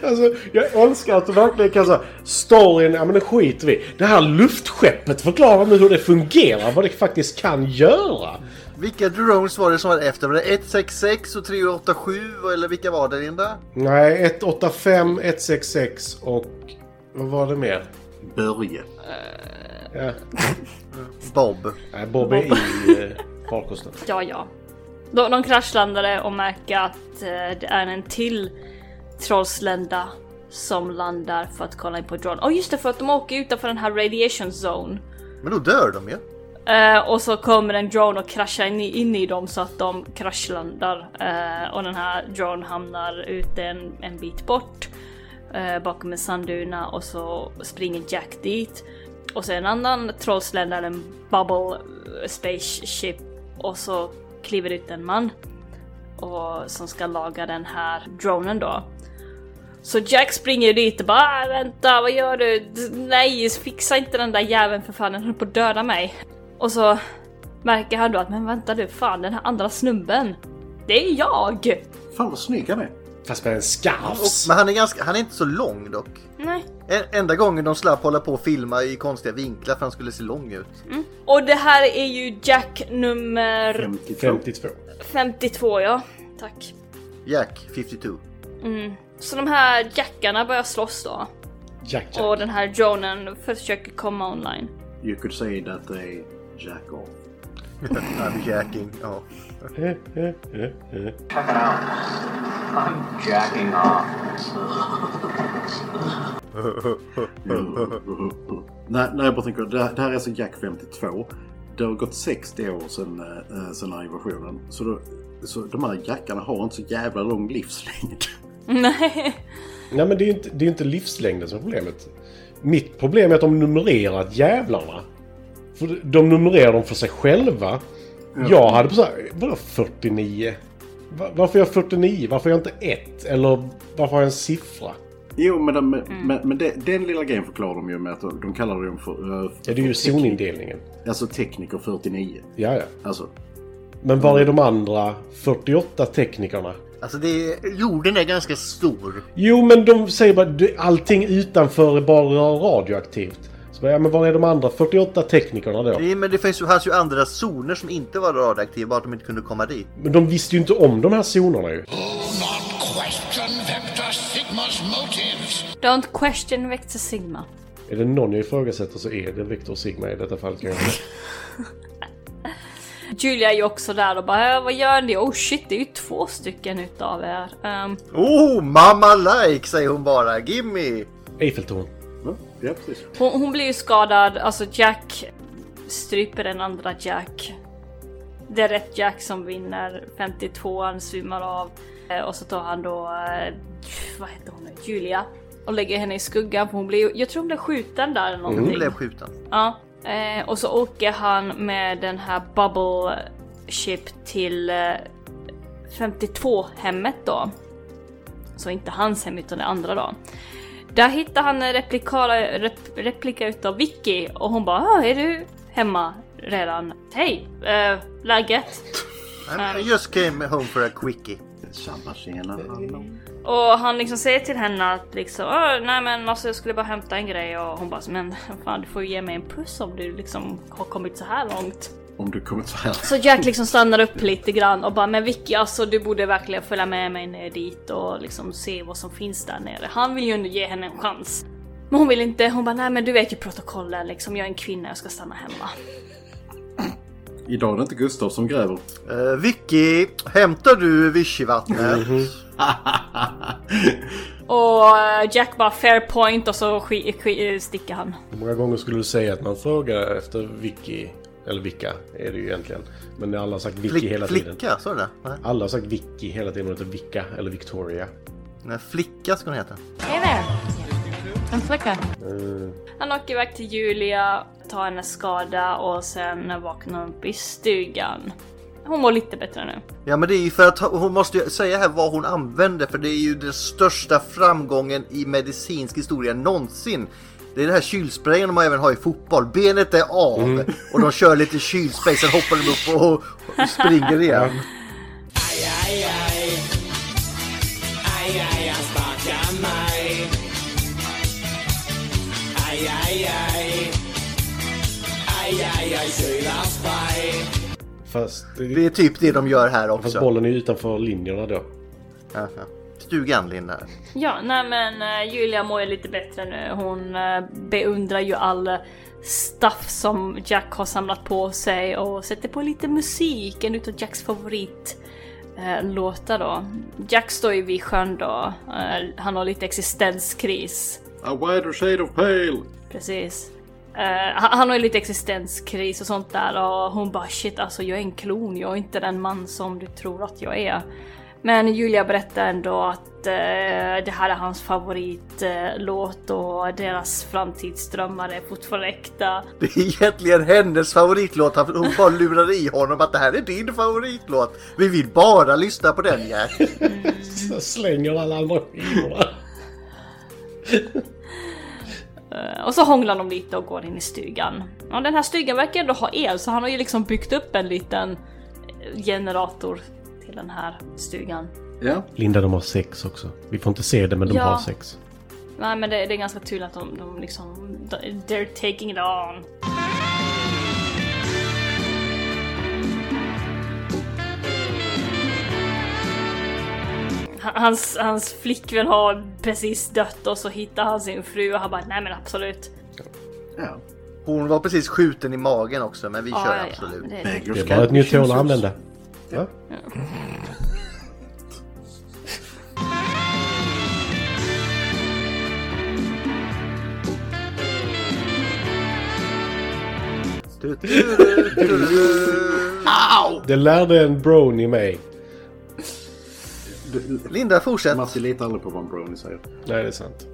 Speaker 3: Alltså, jag önskar att du verkligen kan säga storyn, ja men det skiter vi i. Det här luftskeppet, förklara nu hur det fungerar, vad det faktiskt kan göra.
Speaker 2: Vilka drones var det som var efter? Var det 166 och 387 eller vilka var det Linda?
Speaker 3: Nej, 185, 166 och vad var det mer?
Speaker 4: Börje.
Speaker 3: Ja.
Speaker 2: Bob.
Speaker 3: Nej, Bob är
Speaker 1: Bob.
Speaker 3: i eh, farkosten.
Speaker 1: Ja, ja. De, de kraschlandade och märker att eh, det är en till trollslända som landar för att kolla in på drone. Åh just det, för att de åker utanför den här radiation zone.
Speaker 2: Men då dör de ju.
Speaker 1: Eh, Eh, och så kommer en drone och kraschar in, i- in i dem så att de kraschlandar. Eh, och den här drone hamnar ute en, en bit bort eh, bakom en sandduna och så springer Jack dit. Och så en annan trollsländare, en bubble eh, spaceship och så kliver ut en man och, som ska laga den här dronen då. Så Jack springer dit och bara "Ah, “vänta, vad gör du? D- Nej, fixa inte den där jäveln för fan, den höll på att döda mig”. Och så märker han då att “men vänta du, fan den här andra snubben, det är jag!”
Speaker 4: Fan vad snygg han är!
Speaker 3: Fast med en skarvs.
Speaker 2: Men han är, ganska, han är inte så lång dock.
Speaker 1: Nej.
Speaker 2: En, enda gången de slapp hålla på och filma i konstiga vinklar för han skulle se lång ut.
Speaker 1: Och det här är ju Jack nummer
Speaker 3: 52.
Speaker 1: 52 ja, tack.
Speaker 2: Jack 52.
Speaker 1: Mm. Så de här jackarna börjar slåss då.
Speaker 3: Jack,
Speaker 1: Och den här dronen försöker komma online.
Speaker 4: You could say that they jack off.
Speaker 2: I'm jacking, ja.
Speaker 3: Eh,
Speaker 15: Check it out. I'm jacking off.
Speaker 4: Nej, nej, jag bara tänker, det, det här är alltså Jack 52. Det har gått 60 år sedan, eh, sedan den här invasionen. Så, då, så de här jackarna har inte så jävla lång livslängd. (laughs)
Speaker 1: Nej.
Speaker 3: Nej men det är ju inte, det är ju inte livslängden som är problemet. Mitt problem är att de numrerat jävlarna. För de numrerar dem för sig själva. Jag hade på så här, vadå 49? Va- Varför är jag 49? Varför är jag inte 1? Eller varför har jag en siffra?
Speaker 4: Jo, men, de, men, men det, den lilla grejen förklarar de ju med att de, de kallar dem för... eh,
Speaker 3: Ja, det är ju zonindelningen.
Speaker 4: Alltså tekniker 49.
Speaker 3: Ja, ja.
Speaker 4: Alltså,
Speaker 3: Men var är de andra 48 teknikerna?
Speaker 2: Alltså det är, jorden är ganska stor.
Speaker 3: Jo, men de säger bara "Du, allting utanför är bara radioaktivt. Så bara, ja, men var är de andra 48 teknikerna då?
Speaker 2: Det, är- men det finns ju, fanns ju andra zoner som inte var radioaktiva, bara att de inte kunde komma dit.
Speaker 3: Men de visste ju inte om de här zonerna ju.
Speaker 8: Question Vector Sigma's motives.
Speaker 1: Don't question Vector Sigma.
Speaker 3: Är det någon jag ifrågasätter så är det Victor Sigma i detta fall kan jag säga.
Speaker 1: Julia är ju också där och bara "Äh, vad gör ni? Oh shit, det är ju två stycken utav er. Ehm,
Speaker 2: Oh, mamma like säger hon bara. Gimme!
Speaker 3: Eiffeltorn.
Speaker 4: Ja, precis.
Speaker 1: hon, hon blir ju skadad, alltså Jack stryper den andra Jack. Det är rätt Jack som vinner, 52an svimmar av Eh, och så tar han då, eh, vad heter hon nu, Julia och lägger henne i skuggan för hon blir, jag tror hon blev skjuten där eller någonting.
Speaker 2: Hon blev skjuten.
Speaker 1: Ja. Eh, och så åker han med den här bubble ship till eh, 52-hemmet då. Så inte hans hem utan det andra då. Där hittar han en replikara, rep, replika utav Vicky och hon bara "Ah, är du hemma redan? Hej! Eh, läget?
Speaker 2: I just came home for a quickie.
Speaker 4: Tjabba tjena.
Speaker 1: Och han liksom säger till henne att liksom "Åh, nej men alltså jag skulle bara hämta en grej och hon bara men (laughs) fan du får ju ge mig en puss om du liksom har kommit så här långt.
Speaker 4: om du kommer så här.
Speaker 1: Så Jack liksom stannar upp lite grann och bara men Vicky alltså du borde verkligen följa med mig ner dit och liksom se vad som finns där nere. Han vill ju ändå ge henne en chans. Men hon vill inte, hon bara nej men du vet ju protokollen liksom, jag är en kvinna, jag ska stanna hemma.
Speaker 4: Idag är det inte Gustav som gräver. (laughs)
Speaker 2: Uh, Vicky, hämtar du vichyvattnet?
Speaker 1: Och eh, Jack bara fair point och så sk- sk- sticker han.
Speaker 3: Hur många gånger skulle du säga att man frågar efter Vicky? Eller Vicka är det ju egentligen. Men alla har sagt Vicky
Speaker 2: Flick-
Speaker 3: hela tiden.
Speaker 2: flicka, sa du det? Nej.
Speaker 3: Alla har sagt Vicky hela tiden och inte Vicka eller Victoria.
Speaker 2: Nej, Flicka ska hon heta.
Speaker 6: Hey there. I'm Flicka.
Speaker 3: Eh,
Speaker 1: Han åker iväg till Julia, tar hennes skada och sen vaknar hon upp i stugan. Hon mår lite bättre nu.
Speaker 2: Ja men det är ju för att hon måste ju säga här vad hon använder för det är ju den största framgången i medicinsk historia någonsin. Det är den här kylsprayen de även har i fotboll. Benet är av och de kör lite kylspray sen hoppar de upp och, och springer igen.
Speaker 7: Aj, aj, han sparkar mig. Aj, aj, aj. Aj, aj, aj, kylar spaj.
Speaker 3: Fast...
Speaker 2: Det är typ det de gör här också.
Speaker 3: Fast bollen är ju utanför linjerna då.
Speaker 2: Aha. Stugan Linda.
Speaker 1: Ja, nej men eh, Julia mår ju lite bättre nu. Hon eh, beundrar ju all stuff som Jack har samlat på sig och sätter på lite musik, en utav Jacks favorit eh, låtar då. Jack står ju vid sjön då. Eh, Han har lite existenskris.
Speaker 4: A wider shade of pale.
Speaker 1: Precis. Eh, Eh, han han har ju lite existenskris och sånt där och hon bara shit alltså jag är en klon, jag är inte den man som du tror att jag är. Men Julia berättar ändå att eh, det här är hans favoritlåt och deras framtidsdrömmar är fortfarande äkta.
Speaker 2: Det är egentligen hennes favoritlåt. Han- Hon bara lurade i honom att det här är din favoritlåt. Vi vill bara lyssna på den Jack.
Speaker 3: Så slänger alla andra skivorna.
Speaker 1: Eh, Och så hånglar de lite och går in i stugan. Ja, den här stugan verkar ändå ha el så han har ju liksom byggt upp en liten eh, generator till den här stugan.
Speaker 4: Ja.
Speaker 3: Linda, de har sex också. Vi får inte se det, men de
Speaker 1: Ja.
Speaker 3: har sex.
Speaker 1: Nej men det, det är ganska tydligt att de, de liksom... de- They're taking it on. Han- Hans, hans flickvän har precis dött och så hittar han sin fru och han bara nej men absolut.
Speaker 2: Hon var precis skjuten i magen också men vi
Speaker 1: Ja,
Speaker 2: kör
Speaker 1: ja, ja.
Speaker 2: absolut.
Speaker 1: Det är-
Speaker 3: Det var ett nytt hål att använda. Ja. Det lärde en brony mig.
Speaker 2: Linda, fortsätt.
Speaker 4: Matti litar aldrig på vad en brownie säger.
Speaker 3: Nej, det är sant.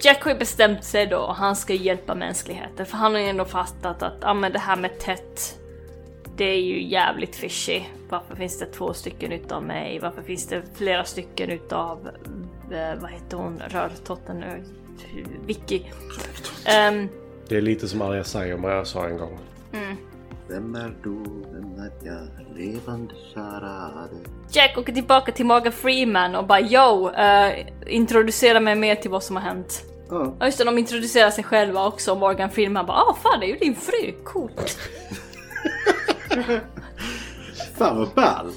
Speaker 1: Jack har ju bestämt sig då, han ska hjälpa mänskligheten för han har ju ändå fattat att ah, men det här med tätt, det är ju jävligt fishy. Varför finns det två stycken utav mig? Varför finns det flera stycken utav, eh, vad heter hon, rörtotten nu? Vicky. Ehm,
Speaker 3: Det är lite som Arja Saijonmaa sa en gång.
Speaker 1: mm.
Speaker 4: Vem är du? Vem är jag? Levande charade.
Speaker 1: Jack åker tillbaka till Morgan Freeman och bara yo, eh, introducera mig mer till vad som har hänt.
Speaker 4: Ja.
Speaker 1: just det, de introducerar sig själva också och Morgan Freeman bara ah fan det är ju din fru, coolt.
Speaker 4: Fan vad ball!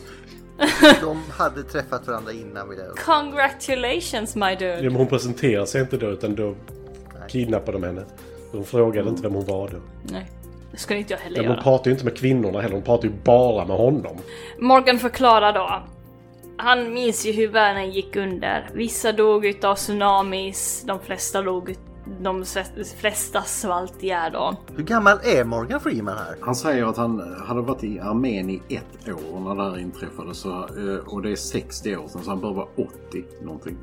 Speaker 2: De hade träffat varandra innan vi lärde
Speaker 1: Congratulations my
Speaker 3: Ja,
Speaker 1: dude.
Speaker 3: men hon presenterar sig inte då, utan då kidnappade de henne. De
Speaker 2: Mm.
Speaker 3: frågade inte vem hon var då.
Speaker 1: Nej, det skulle inte jag heller
Speaker 3: Ja, men
Speaker 1: göra.
Speaker 3: hon pratar ju inte med kvinnorna heller, hon pratar ju bara med honom.
Speaker 1: Morgan förklarar då. Han minns ju hur världen gick under. Vissa dog utav tsunamis, de flesta dog ut- de s- flesta svalt ihjäl då.
Speaker 2: Hur gammal är Morgan Freeman här?
Speaker 4: Han säger att han eh, hade varit i armén i ett år när det här inträffade. Så, eh, och det är 60 år sedan så han bör vara 80 någonting.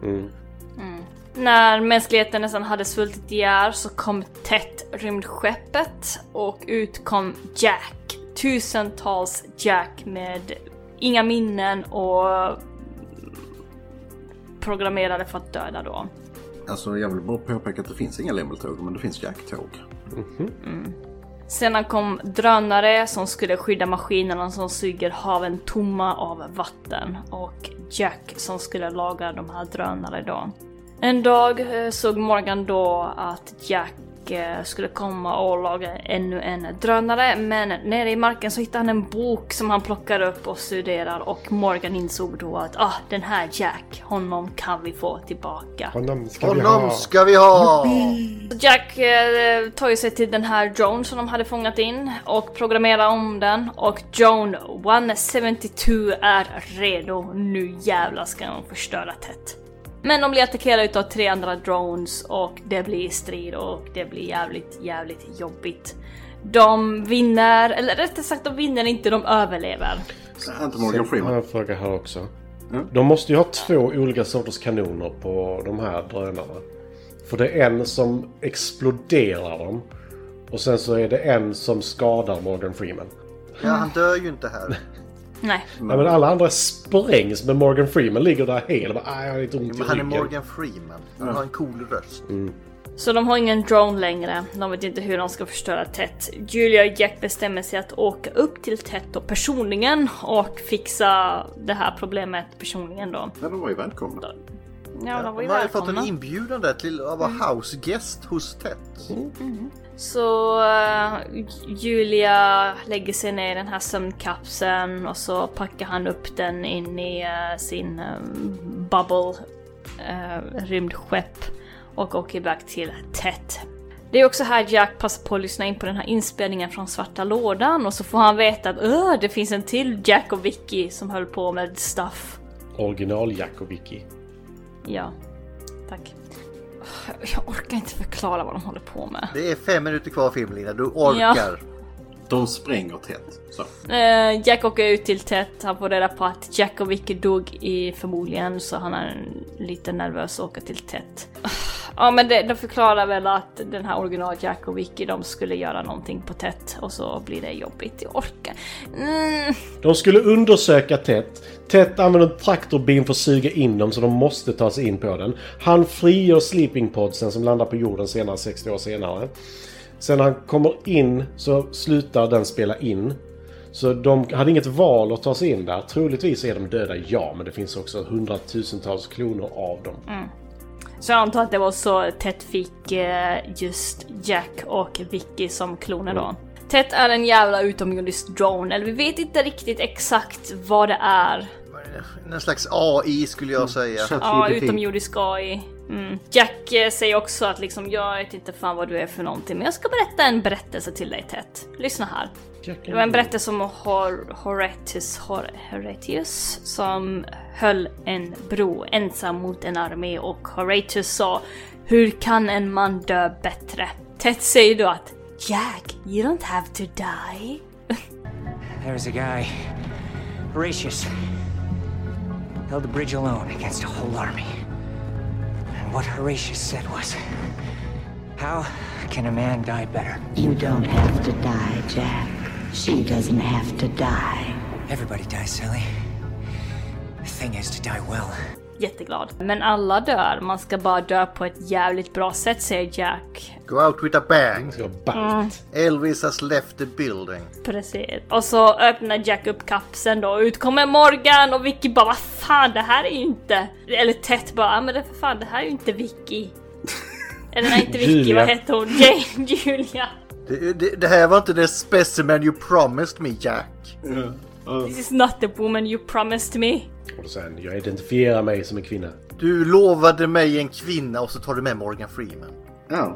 Speaker 1: När mänskligheten nästan hade svultit ihjäl så kom tätt rymdskeppet och ut kom Jack. Tusentals Jack med inga minnen och programmerade för att döda då.
Speaker 4: Alltså jag vill bara påpeka att det finns inga lämmeltåg men det finns jacktåg.
Speaker 1: Sedan kom drönare som skulle skydda maskinerna som suger haven tomma av vatten och Jack som skulle laga de här drönare då. En dag eh, såg Morgan då att Jack eh, skulle komma och laga ännu en drönare men nere i marken så hittade han en bok som han plockar upp och studerar och Morgan insåg då att ah, den här Jack, honom kan vi få tillbaka.
Speaker 3: Honom ska vi
Speaker 2: Honom
Speaker 3: ha.
Speaker 2: ska vi ha!
Speaker 1: Jack eh, tar ju sig till den här drone som de hade fångat in och programmerar om den och drone 172 är redo. Nu jävlar ska de förstöra tätt. Men de blir attackerade utav tre andra drones och det blir strid och det blir jävligt, jävligt jobbigt. De vinner, eller rättare sagt de vinner inte, de överlever.
Speaker 4: Inte Morgan
Speaker 3: Sen har
Speaker 4: Freeman.
Speaker 3: jag en fråga här också. De måste ju ha två olika sorters kanoner på de här drönarna. För det är en som exploderar dem. Och sen så är det en som skadar Morgan Freeman.
Speaker 2: Ja, han dör ju inte här.
Speaker 1: Nej.
Speaker 3: Nej, men alla andra sprängs men Morgan Freeman ligger där hel. Bara, "Aj, jag har lite ont i
Speaker 2: Men han är
Speaker 3: ryggen." Mm.
Speaker 2: Morgan Freeman. Han har en cool röst.
Speaker 1: Så de har ingen drone längre. De vet inte hur de ska förstöra Tet. Julia och Jack bestämmer sig att åka upp till Tet då personligen och fixa det här problemet personligen då.
Speaker 4: Ja, de var ju välkomna.
Speaker 1: Ja, de var ju
Speaker 2: har ju fått en
Speaker 1: välkomna.
Speaker 2: inbjudan där till att vara housegäst hos Ted.
Speaker 1: Så eh, Julia lägger sig ner i den här sömnkapseln och så packar han upp den in i eh, sin eh, bubble, eh, rymdskepp och åker iväg till Tet. Det är också här Jack passar på att lyssna in på den här inspelningen från Svarta Lådan och så får han veta att "Öh, det finns en till Jack och Vicky som höll på med stuff.
Speaker 3: Original Jack och Vicky.
Speaker 1: Ja, tack. Jag orkar inte förklara vad de håller på med.
Speaker 2: Det är fem minuter kvar av filmen Linda, du orkar.
Speaker 1: Ja.
Speaker 4: De spränger tätt. Så.
Speaker 1: Eh, Jack åker ut till Tet, han får reda på att Jack och Vicky dog i förmodligen, så han är lite nervös och åker till Tet. Ja men det, de förklarar väl att den här original Jack och Vicky, de skulle göra någonting på Tet och så blir det jobbigt. Jag orkar. Mm.
Speaker 3: De skulle undersöka Tet. Tet använder en traktorbin för att suga in dem så de måste ta sig in på den. Han frigör sleeping podsen som landar på jorden senare, 60 år senare. Sen när han kommer in så slutar den spela in. Så de hade inget val att ta sig in där. Troligtvis är de döda, ja, men det finns också hundratusentals kloner av dem.
Speaker 1: Mm. Så jag antar att det var så Ted fick eh, just Jack och Vicky som kloner då. Ted är en jävla utomjordisk drone, eller vi vet inte riktigt exakt vad det är.
Speaker 2: Någon slags AI skulle
Speaker 3: Mm.
Speaker 2: jag säga.
Speaker 1: Ja, utomjordisk AI. Mm. Jack eh, säger också att liksom, jag vet inte fan vad du är för någonting, men jag ska berätta en berättelse till dig Ted. Lyssna här. Det
Speaker 3: Mm.
Speaker 1: var en berättelse om Hor- Horatius, Hor- Horatius som höll en bro ensam mot en armé och Horatius sa Hur kan en man dö bättre? Ted säger då att Jack, you don't have to die.
Speaker 16: There's a guy, Horatius, held the bridge alone against a whole army. And what Horatius said was, How can a man die better?
Speaker 10: You don't have to die, Jack. She doesn't have to die.
Speaker 16: Everybody dies, Sally. The thing is to die well.
Speaker 1: Jätteglad. Men alla dör, man ska bara dö på ett jävligt bra sätt säger Jack.
Speaker 2: Go out with a bang.
Speaker 1: Mm.
Speaker 2: Elvis has left the building.
Speaker 1: Precis. Och så öppnar Jack upp kapseln då, ut kommer Morgan och Vicky bara vad fan det här är ju inte... Eller Ted bara, "Ja, men det för fan det här är ju inte Vicky. Eller nej inte Vicky,
Speaker 2: Julia.
Speaker 1: vad hette hon? Jane, (laughs) Julia.
Speaker 2: Det, det, det här var inte det specimen you promised me Jack.
Speaker 1: This is not the woman you promised me.
Speaker 3: Och sen, jag identifierar mig som en kvinna.
Speaker 2: Du lovade mig en kvinna och så tar du med Morgan Freeman.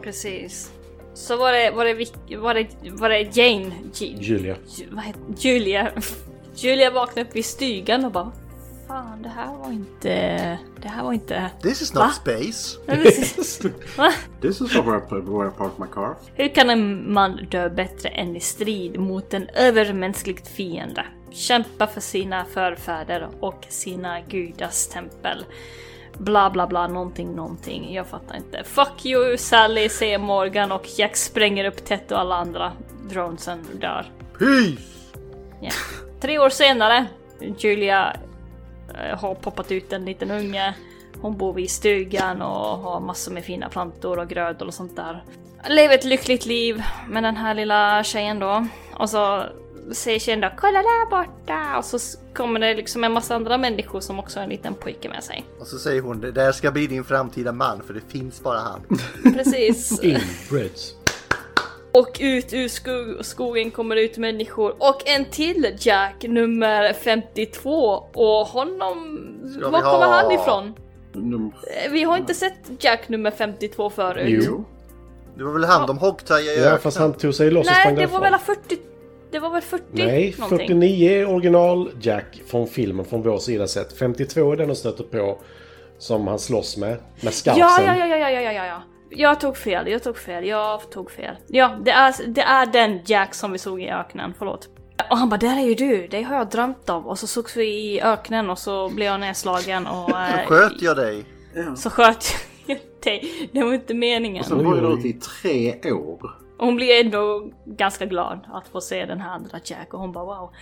Speaker 1: Precis. Så var det, var det, Vic- var det, var det Jane? J- (laughs)
Speaker 3: Julia.
Speaker 1: Ju- vad heter, Julia. (laughs) Julia vaknade upp i stugan och bara Fan, det här var inte... Det här var inte...
Speaker 2: This is
Speaker 1: Va?
Speaker 2: not space.
Speaker 1: Nej, precis. Va?
Speaker 4: This is where I, where I park my car.
Speaker 1: Hur kan en man dö bättre än i strid mot en övermänsklig fiende? Kämpa för sina förfäder och sina gudars tempel. Bla bla bla, någonting, någonting. Jag fattar inte. Fuck you Sally, säger Morgan och Jack spränger upp Tet och alla andra dronesen dör.
Speaker 2: Peace!
Speaker 1: Ja. Tre år senare, Julia eh, har poppat ut en liten unge. Hon bor vid stugan och har massor med fina plantor och grödor och sånt där. Lever ett lyckligt liv med den här lilla tjejen då. Och så säger tjejen då “kolla där borta” och så s- kommer det liksom en massa andra människor som också har en liten pojke med sig.
Speaker 2: Och så säger hon, det där ska bli din framtida man för det finns
Speaker 1: (laughs)
Speaker 2: bara han.
Speaker 1: (laughs) Precis.
Speaker 3: Inbreds.
Speaker 1: Och ut ur skog- skogen kommer det ut människor och en till Jack, nummer 52. Och honom...
Speaker 4: Ska
Speaker 1: Var
Speaker 4: vi ha-
Speaker 1: kommer han ifrån?
Speaker 4: De
Speaker 1: Eh, Vi har inte sett Jack nummer 52 förut.
Speaker 3: Jo.
Speaker 2: Det var väl han de hoggtade i
Speaker 3: Ja, fast han tog sig loss och
Speaker 1: Nej,
Speaker 3: sprang
Speaker 1: det var
Speaker 3: därifrån.
Speaker 1: väl 40... Det var väl 40
Speaker 3: Nej,
Speaker 1: någonting?
Speaker 3: 49 är original Jack från filmen från vår sida sett. 52 är den de stöter på som han slåss med. Med
Speaker 1: Ja,
Speaker 3: skarpsen.
Speaker 1: ja, ja, ja, ja, ja, ja, ja. Jag tog fel, jag tog fel, jag tog fel. Ja, det är, det är den Jack som vi såg i öknen, förlåt. Och han bara, där är ju du, det har jag drömt om. Och så sågs vi i öknen och så blev jag nedslagen och... eh,
Speaker 2: Så sköt jag dig.
Speaker 1: Så sköt jag (laughs) dig. Det var inte meningen.
Speaker 4: Och sen var jag ute i tre år.
Speaker 1: Och Hon blir ändå ganska glad att få se den här andra Jack och hon bara wow.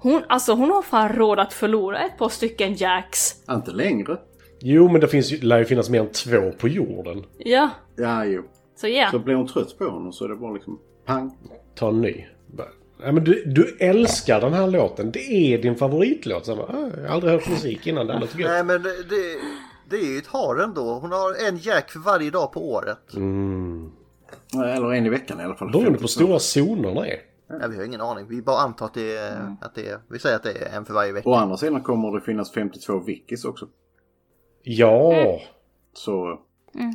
Speaker 1: Hon, alltså hon har fan råd att förlora ett par stycken Jacks.
Speaker 4: Inte längre.
Speaker 3: Jo, men det finns, ju- lär ju finnas mer än två på jorden.
Speaker 1: Ja,
Speaker 4: Ja, jo.
Speaker 1: så ja.
Speaker 4: Så blir hon trött på honom så är det bara liksom pang.
Speaker 3: Ta en ny. Bara, Ja, men du, du älskar den här låten. Det är din favoritlåt. Så jag, bara, "Ah, jag har aldrig hört musik innan. Den låter gött.
Speaker 2: Nej men det, det- det är ju ett har ändå. Hon har en Jack för varje dag på året.
Speaker 3: Mm.
Speaker 4: Eller en i veckan i alla fall.
Speaker 3: Beroende på hur stora zonerna är.
Speaker 2: Nej, vi har ingen aning. Vi bara antar att det, är,
Speaker 1: Mm.
Speaker 2: att det är, vi säger att det är en för varje vecka.
Speaker 4: Å andra sidan kommer det finnas 52 wikis också.
Speaker 3: Ja.
Speaker 4: Så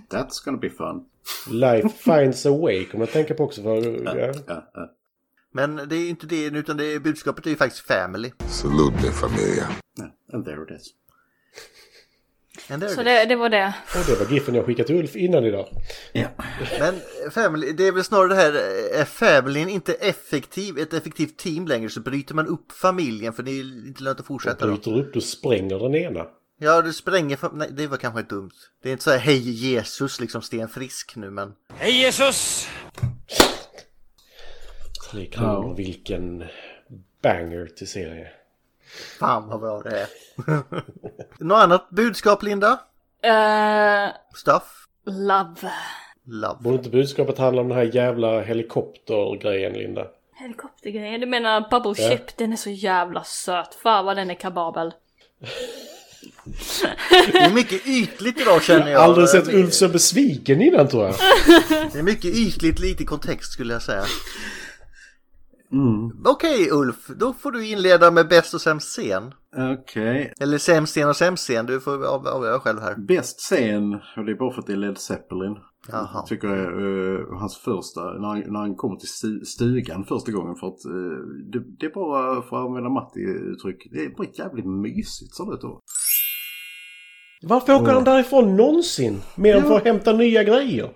Speaker 4: that's gonna be fun.
Speaker 3: Life finds a way. Kommer jag tänka på också. För, ja.
Speaker 2: Men det är inte det utan det är, budskapet är ju faktiskt family.
Speaker 8: Salute me, familia.
Speaker 4: And there it is.
Speaker 1: Så det, det var det.
Speaker 3: Och det var giffen jag skickat till Ulf innan idag.
Speaker 2: Men family, det är väl snarare det här, är familjen inte effektiv, ett effektivt team längre så bryter man upp familjen för det är inte lönt att fortsätta då.
Speaker 3: Bryter du upp, du spränger den ena.
Speaker 2: Ja, du spränger, fam- nej det var kanske inte dumt. Det är inte så här hej Jesus liksom Sten Frisk nu men.
Speaker 16: Hej Jesus!
Speaker 3: Tre kronor, vilken banger till serie.
Speaker 2: Fan vad bra
Speaker 3: (laughs)
Speaker 2: det är. Något annat budskap Linda?
Speaker 1: Eh,
Speaker 2: Stuff?
Speaker 1: love.
Speaker 2: Love.
Speaker 3: Borde inte budskapet handla om den här jävla helikoptergrejen, Linda?
Speaker 1: Helikoptergrejen. Du menar Bubble
Speaker 3: Ja.
Speaker 1: Ship? Den är så jävla söt. Fan vad den är kababel.
Speaker 2: Det är mycket ytligt idag
Speaker 3: Jag
Speaker 2: känner
Speaker 3: har
Speaker 2: jag.
Speaker 3: aldrig sett Ulf så besviken innan tror jag.
Speaker 2: Det är mycket ytligt, lite kontext skulle jag säga.
Speaker 3: Mm.
Speaker 2: Okej Ulf, då får du inleda med bäst och sämst scen.
Speaker 4: Okej.
Speaker 2: Eller sämst scen och sämst scen, du får av- avgöra själv här.
Speaker 4: Bäst scen, och det är bara för att det är Led Zeppelin.
Speaker 2: Jaha.
Speaker 4: Tycker jag eh, hans första, när han, när han kommer till stu- stugan första gången för att eh, det, det är bara, för att använda Matti-uttryck, det är bara jävligt mysigt ser det ut då.
Speaker 3: Varför åker han därifrån någonsin? Mer än för att hämta nya grejer.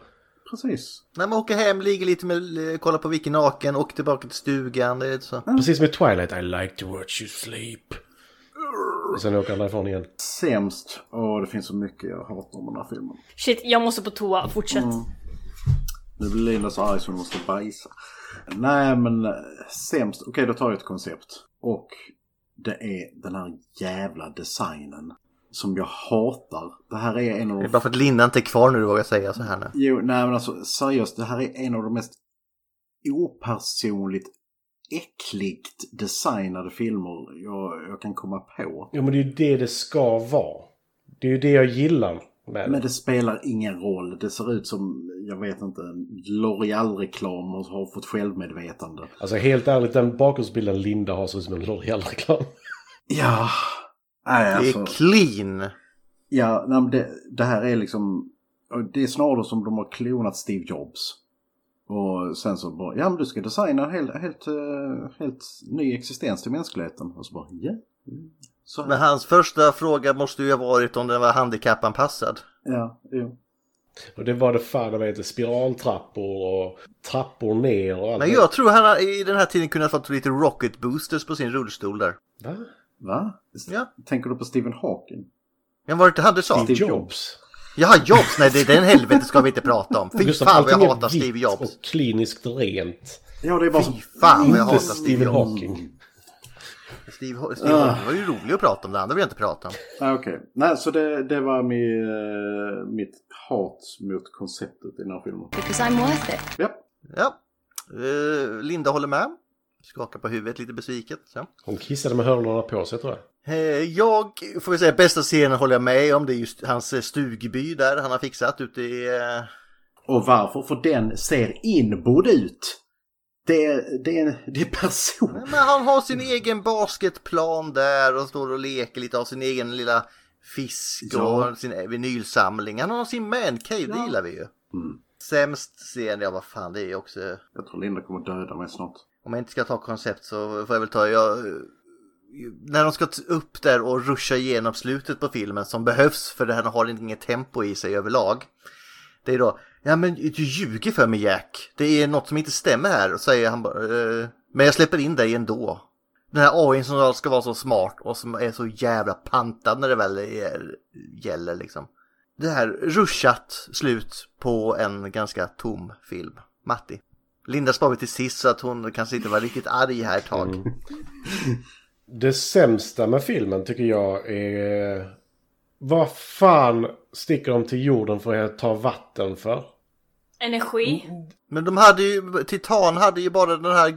Speaker 4: Precis.
Speaker 2: När man åker hem, ligger lite med, eh, kollar på vilken naken, åker tillbaka till stugan, det är så.
Speaker 3: Precis som i Twilight, I like to watch you sleep. Och sen åker han därifrån igen.
Speaker 4: Sämst, och det finns så mycket jag hatar om den här filmen.
Speaker 1: Shit, jag måste på toa. Fortsätt.
Speaker 3: Mm.
Speaker 4: Nu blir Linda så arg så hon måste bajsa. Nej men eh, sämst, okej då tar jag ett koncept. Och det är den här jävla designen som jag hatar. Det här är en av
Speaker 2: Det är
Speaker 4: de
Speaker 2: bara för att Linda inte är kvar nu, vågar jag säga så här nu.
Speaker 4: Jo, nej men alltså seriöst, det här är en av de mest opersonligt äckligt designade filmer jag, jag kan komma på.
Speaker 3: Ja men det är ju det det ska vara. Det är ju det jag gillar med
Speaker 4: Men
Speaker 3: det.
Speaker 4: det spelar ingen roll. Det ser ut som, jag vet inte, en L'Oreal-reklam och har fått självmedvetande.
Speaker 3: Alltså helt ärligt, den bakgrundsbilden Linda har ser ut som en L'Oreal-reklam.
Speaker 4: Ja, nej
Speaker 2: Det
Speaker 4: alltså.
Speaker 2: är clean.
Speaker 4: Ja, nej, men det, det här är liksom... Det är snarare som de har klonat Steve Jobs. Och sen så bara, ja men du ska designa en helt, helt, eh, helt ny existens till mänskligheten. Och så bara, ja. mm, Så
Speaker 2: Men
Speaker 4: här.
Speaker 2: hans första fråga måste ju ha varit om den var handikappanpassad.
Speaker 4: Ja, jo.
Speaker 3: Och det var det fan vad heter spiraltrappor och trappor ner och allt.
Speaker 2: Men jag tror han har i den här tiden kunnat fått lite rocket boosters på sin rullstol där.
Speaker 3: Va?
Speaker 4: Va?
Speaker 2: Ja.
Speaker 4: Tänker du på Stephen Hawking?
Speaker 2: Men var det inte han du sa?
Speaker 3: Steve Jobs.
Speaker 2: Jaha, Jobs! Nej, det, den helvete ska vi inte prata om. Fy
Speaker 3: Gustav,
Speaker 2: fan vad jag
Speaker 3: allting är
Speaker 2: hatar
Speaker 3: vitt
Speaker 2: Steve Jobs.
Speaker 3: och kliniskt rent.
Speaker 4: Ja, det är bara som...
Speaker 2: Fan vad jag hatar
Speaker 3: Inte
Speaker 2: Steve
Speaker 3: Stephen
Speaker 2: Jobs.
Speaker 3: Hawking.
Speaker 2: Steve, Ho- Steve
Speaker 4: Ah.
Speaker 2: Jobs var ju rolig att prata om, det andra vill jag inte prata om.
Speaker 4: Nej, okej. Nej, så det, det var min, eh, mitt hat mot konceptet i den här filmen.
Speaker 11: Because I'm worth it.
Speaker 4: Ja,
Speaker 2: Ja, Eh, Linda håller med. Skakar på huvudet lite besviket. Så.
Speaker 3: Hon kissade med hörlurarna på sig tror jag.
Speaker 2: Eh, Jag får väl säga bästa scenen håller jag med om. Det är just hans eh, stugby där han har fixat ute i... eh,
Speaker 4: Och varför? För den ser inbodd ut. Det är, det är, det är person.
Speaker 2: Men han har sin egen basketplan där och står och leker lite av sin egen lilla fisk
Speaker 4: Ja.
Speaker 2: och sin eh, vinylsamling. Han har sin mancave, det gillar vi ju. Sämst scen, ja vad fan det är också...
Speaker 4: Jag tror Linda kommer döda mig snart.
Speaker 2: Om jag inte ska ta koncept så får jag väl ta... Jag, när de ska t- upp där och ruscha igenom slutet på filmen som behövs för den har inget tempo i sig överlag. Det är då, ja men du ljuger för mig Jack. Det är något som inte stämmer här. Och säger han bara, eh, men jag släpper in dig ändå. Den här AI som ska vara så smart och som är så jävla pantad när det väl är, gäller liksom. Det här ruschat slut på en ganska tom film. Matti. Linda sparar vi till sist så att hon kanske inte var riktigt arg här ett tag.
Speaker 3: Mm. Det sämsta med filmen tycker jag är... Vad fan sticker de till jorden för att ta vatten för?
Speaker 1: Energi.
Speaker 3: Mm.
Speaker 2: Men de hade ju, Titan hade ju bara den här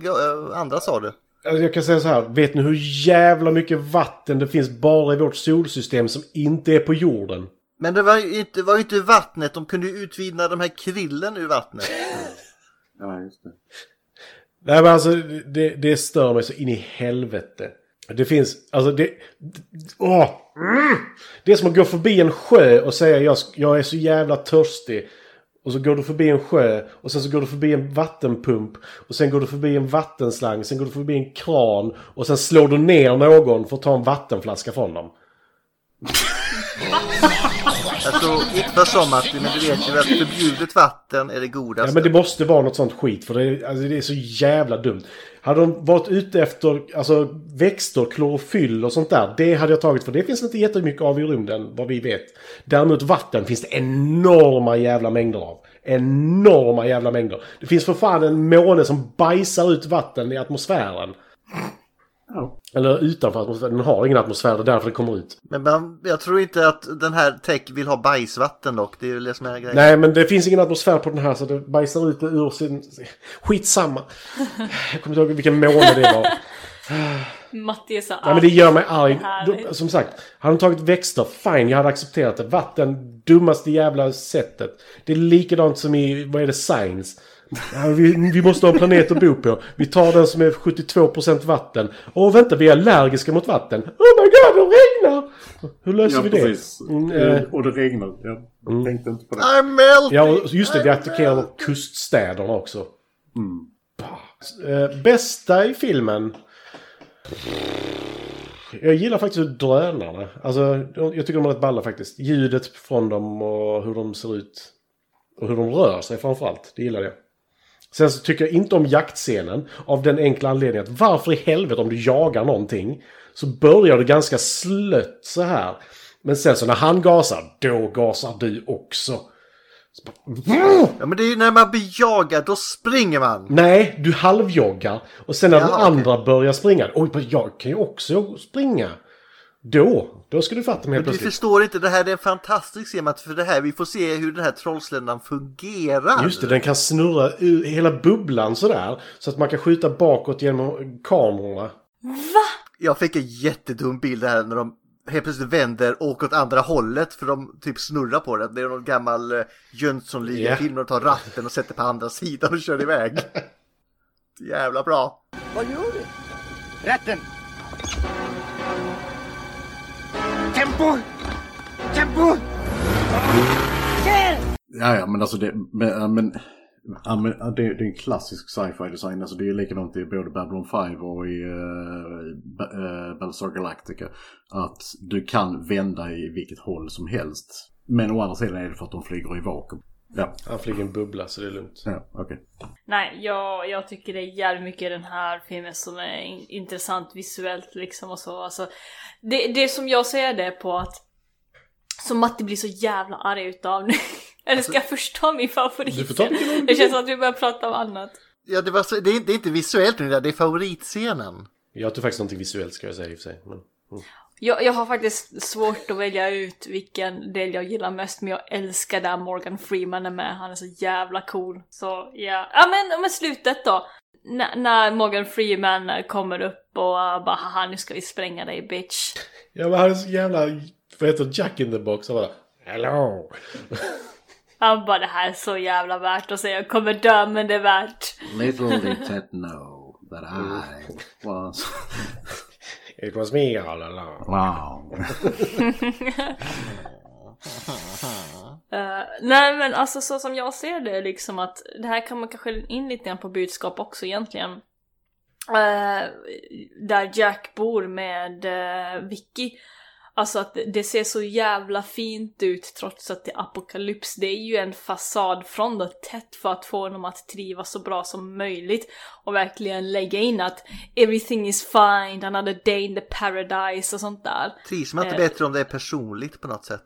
Speaker 2: eh, andra sa du.
Speaker 3: Alltså, Jag kan säga så här, vet ni hur jävla mycket vatten det finns bara i vårt solsystem som inte är på jorden?
Speaker 2: Men det var ju inte, var ju inte vattnet, de kunde ju utvinna de här krillen ur vattnet.
Speaker 4: Ja, just det.
Speaker 3: Nej men alltså det, det stör mig så in i helvete. Det finns, alltså det... Åh! Mm! Det är som att gå förbi en sjö och säga jag, sk- jag är så jävla törstig. Och så går du förbi en sjö och sen så går du förbi en vattenpump. Och sen går du förbi en vattenslang, sen går du förbi en kran. Och sen slår du ner någon för att ta en vattenflaska från dem.
Speaker 2: Jag tror inte som att, men du vet ju att förbjudet vatten är det
Speaker 3: Ja,
Speaker 2: godaste.
Speaker 3: men det måste vara något sånt skit för det är, alltså, det är så jävla dumt. Hade de varit ute efter alltså, växter, klorofyll och sånt där, det hade jag tagit för det finns inte jättemycket av i rymden vad vi vet. Däremot vatten finns det enorma jävla mängder av. Enorma jävla mängder. Det finns för fan en måne som bajsar ut vatten i atmosfären. Eller utanför atmosfären, den har ingen atmosfär, det är därför det kommer ut.
Speaker 2: Men man, jag tror inte att den här Tech vill ha bajsvatten dock. Det är ju det som är grejen.
Speaker 3: Nej, men det finns ingen atmosfär på den här så det bajsar ut det ur sin... Skitsamma. Jag kommer inte ihåg vilken måne det var.
Speaker 1: Matti är så arg.
Speaker 3: Nej, men det gör mig arg.
Speaker 1: Härligt.
Speaker 3: De, som sagt, hade de tagit växter, fine, jag hade accepterat det. Vatten, dummaste jävla sättet. Det är likadant som i, vad är det, science? Ja, vi, vi måste ha en planet att bo på. Vi tar den som är 72% vatten. Åh, vänta, vi är allergiska mot vatten. Oh my god, det regnar! Hur löser
Speaker 4: ja,
Speaker 3: vi det?
Speaker 4: precis.
Speaker 3: Mm, eh.
Speaker 4: Eh, Och det regnar. Jag tänkte inte på det.
Speaker 2: I'm melting!
Speaker 3: Ja, och just det, vi attackerar kuststäderna också. Eh, bästa i filmen? Jag gillar faktiskt drönarna. Alltså, de- jag tycker de är rätt balla faktiskt. Ljudet från dem och hur de ser ut. Och hur de rör sig framförallt. Det gillar jag. Sen så tycker jag inte om jaktscenen. Av den enkla anledningen att varför i helvete om du jagar någonting. Så börjar du ganska slött så här. Men sen så när han gasar, då gasar du också.
Speaker 2: Ja, men det är ju när man blir jagad, då springer man.
Speaker 3: Nej, du halvjoggar. Och sen när
Speaker 2: Ja,
Speaker 3: den andra börjar springa. Oj, men jag kan ju också springa. Då, då ska du fatta mig
Speaker 2: Men
Speaker 3: helt
Speaker 2: du
Speaker 3: plötsligt.
Speaker 2: förstår inte, det här är en fantastisk scen för det här, vi får se hur den här trollsländan fungerar.
Speaker 3: Just det, den kan snurra ur hela bubblan sådär. Så att man kan skjuta bakåt genom kamerorna.
Speaker 2: Jag fick en jättedum bild här när de helt plötsligt vänder och åker åt andra hållet för de typ snurrar på det. Det är någon gammal eh, Jönssonliga-film där de tar ratten och sätter på andra sidan och kör iväg. (laughs) Jävla bra.
Speaker 9: Vad gör du? Rätten! Tempo! Tempo!
Speaker 4: Ja, ja, men alltså det... Men, ja, men, ja, men, ja, det, det är en klassisk sci-fi design. Alltså det är ju likadant i både Babylon 5 och i uh, Battlestar Galactica. Att du kan vända i vilket håll som helst. Men å andra sidan är det för att de flyger i vakuum. Ja,
Speaker 3: Han flyger i en bubbla så det är lugnt.
Speaker 4: ja okej.
Speaker 1: Nej, jag, jag tycker det är jävligt mycket i den här filmen som är in- intressant visuellt liksom och så. Alltså, det, det som jag ser det på att som Matti blir så jävla arg utav nu. (laughs) Eller ska jag förstå min favorit?
Speaker 2: Alltså, Du får ta
Speaker 1: (laughs)
Speaker 2: vilken
Speaker 1: det känns som att vi börjar prata om annat.
Speaker 2: Ja, det, var så, det, är, det är inte visuellt nu, det där, det är favoritscenen.
Speaker 3: Jag tror faktiskt någonting visuellt ska jag säga i och för sig. Men, mm.
Speaker 1: Jag, jag har faktiskt svårt att välja ut vilken del jag gillar mest, men jag älskar där Morgan Freeman är med. Han är så jävla cool. Så ja, ja men, men slutet då. N- när Morgan Freeman kommer upp och uh, bara haha nu ska vi spränga dig bitch.
Speaker 3: Ja, men han är så jävla... Vad heter det? Jack in the box? Han bara... Hello!
Speaker 1: Han bara det här är så jävla värt att säga, jag kommer dö men det är värt.
Speaker 4: Little did Ted know that I was...
Speaker 3: It was me all along.
Speaker 4: Wow.
Speaker 1: Eh, nej men alltså så som jag ser det liksom att det här kan man kanske in lite grann på budskap också egentligen. Eh, där Jack bor med eh, Vicky. Alltså att det- det ser så jävla fint ut trots att det är apokalyps. Det är ju en fasad från det tätt för att få honom att trivas så bra som möjligt och verkligen lägga in att everything is fine, another day in the paradise och sånt där.
Speaker 2: Trivs man inte
Speaker 1: Eh,
Speaker 2: bättre om det är personligt på något sätt?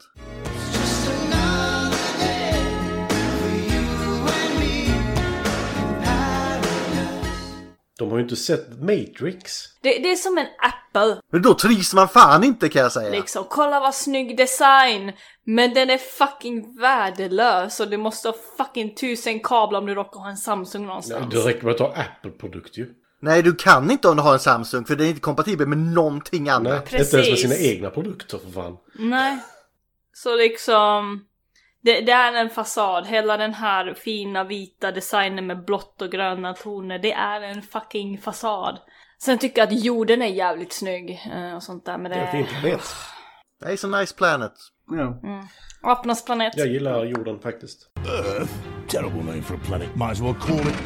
Speaker 3: De har ju inte sett Matrix.
Speaker 1: Det, det är som en apple.
Speaker 2: Men då trivs man fan inte kan jag säga.
Speaker 1: Liksom, kolla vad snygg design! Men den är fucking värdelös och du måste ha fucking tusen kablar om du råkar ha en Samsung någonstans.
Speaker 3: Det räcker med att ta Apple-produkt ju.
Speaker 2: Nej, du kan inte om du har en Samsung för den är inte kompatibel med någonting annat.
Speaker 1: Precis. Inte ens med sina
Speaker 3: Egna produkter för fan.
Speaker 1: Nej. Så liksom... Det, det är en fasad. Hela den här fina vita designen med blått och gröna toner, det är en fucking fasad. Sen tycker jag att jorden är jävligt snygg eh, och sånt där men det...
Speaker 2: Ah,
Speaker 3: planet.
Speaker 2: Det är så nice planet.
Speaker 4: Ja.
Speaker 1: Mm. Apornas planet.
Speaker 2: typ.
Speaker 3: Jag gillar jorden faktiskt.
Speaker 17: Earth? Terrible name for a planet. Might as well call it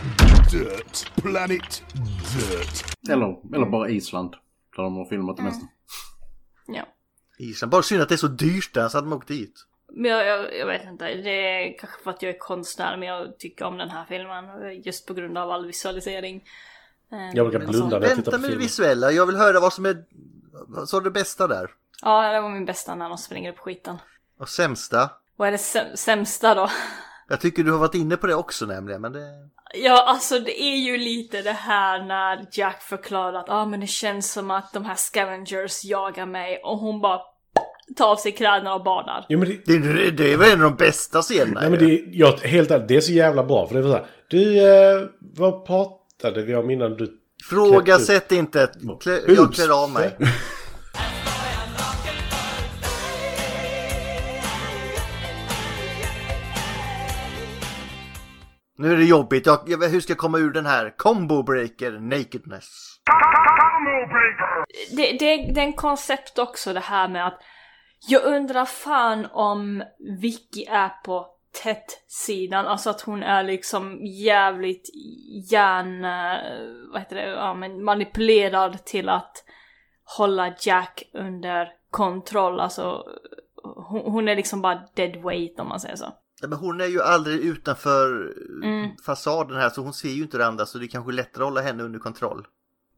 Speaker 17: Dirt. Planet Dirt.
Speaker 4: Eller, eller bara Island. Där de har filmat det mesta.
Speaker 1: Ja.
Speaker 2: Island. Bara synd att det är så dyrt där så att man åkt dit.
Speaker 1: Men jag, jag, jag vet inte, det är kanske för att jag är konstnär men jag tycker om den här filmen just på grund av all visualisering. Eh,
Speaker 3: Jag brukar
Speaker 1: och sånt.
Speaker 3: blunda när jag tittar
Speaker 2: Vänta
Speaker 3: på
Speaker 2: med det
Speaker 3: filmen.
Speaker 2: visuella, jag vill höra vad som är vad som är det bästa där.
Speaker 1: Ja, det var min bästa när de springer upp skiten.
Speaker 2: Och sämsta.
Speaker 1: Vad är det säm- sämsta då? (laughs)
Speaker 2: Jag tycker du har varit inne på det också nämligen, men det...
Speaker 1: Ja, alltså det är ju lite det här när Jack förklarar att ah, men det känns som att de här scavengers jagar mig och hon bara tar av sig kläderna och badar.
Speaker 3: Jo, men det...
Speaker 2: Det, det är väl en av de bästa scenerna
Speaker 3: Nej, men det, jag, helt ärligt, det är så jävla bra. För det är så här, du, eh, vad pratade vi om innan du...
Speaker 2: Frågasätt inte! Klä, jag klär av mig. Nu är det jobbigt, jag, jag, vet- hur ska jag komma ur den här? Combo breaker nakedness.
Speaker 1: Det, det, det är en koncept också det här med att jag undrar fan om Vicky är på tätt-sidan, alltså att hon är liksom jävligt hjärn... eh, Vad heter det? Ja, men manipulerad till att hålla Jack under kontroll, alltså hon, hon är liksom bara dead weight om man säger så.
Speaker 2: Ja, men hon är ju aldrig utanför eh,
Speaker 1: Mm.
Speaker 2: fasaden här så hon ser ju inte det andra så det är kanske lättare att hålla henne under kontroll.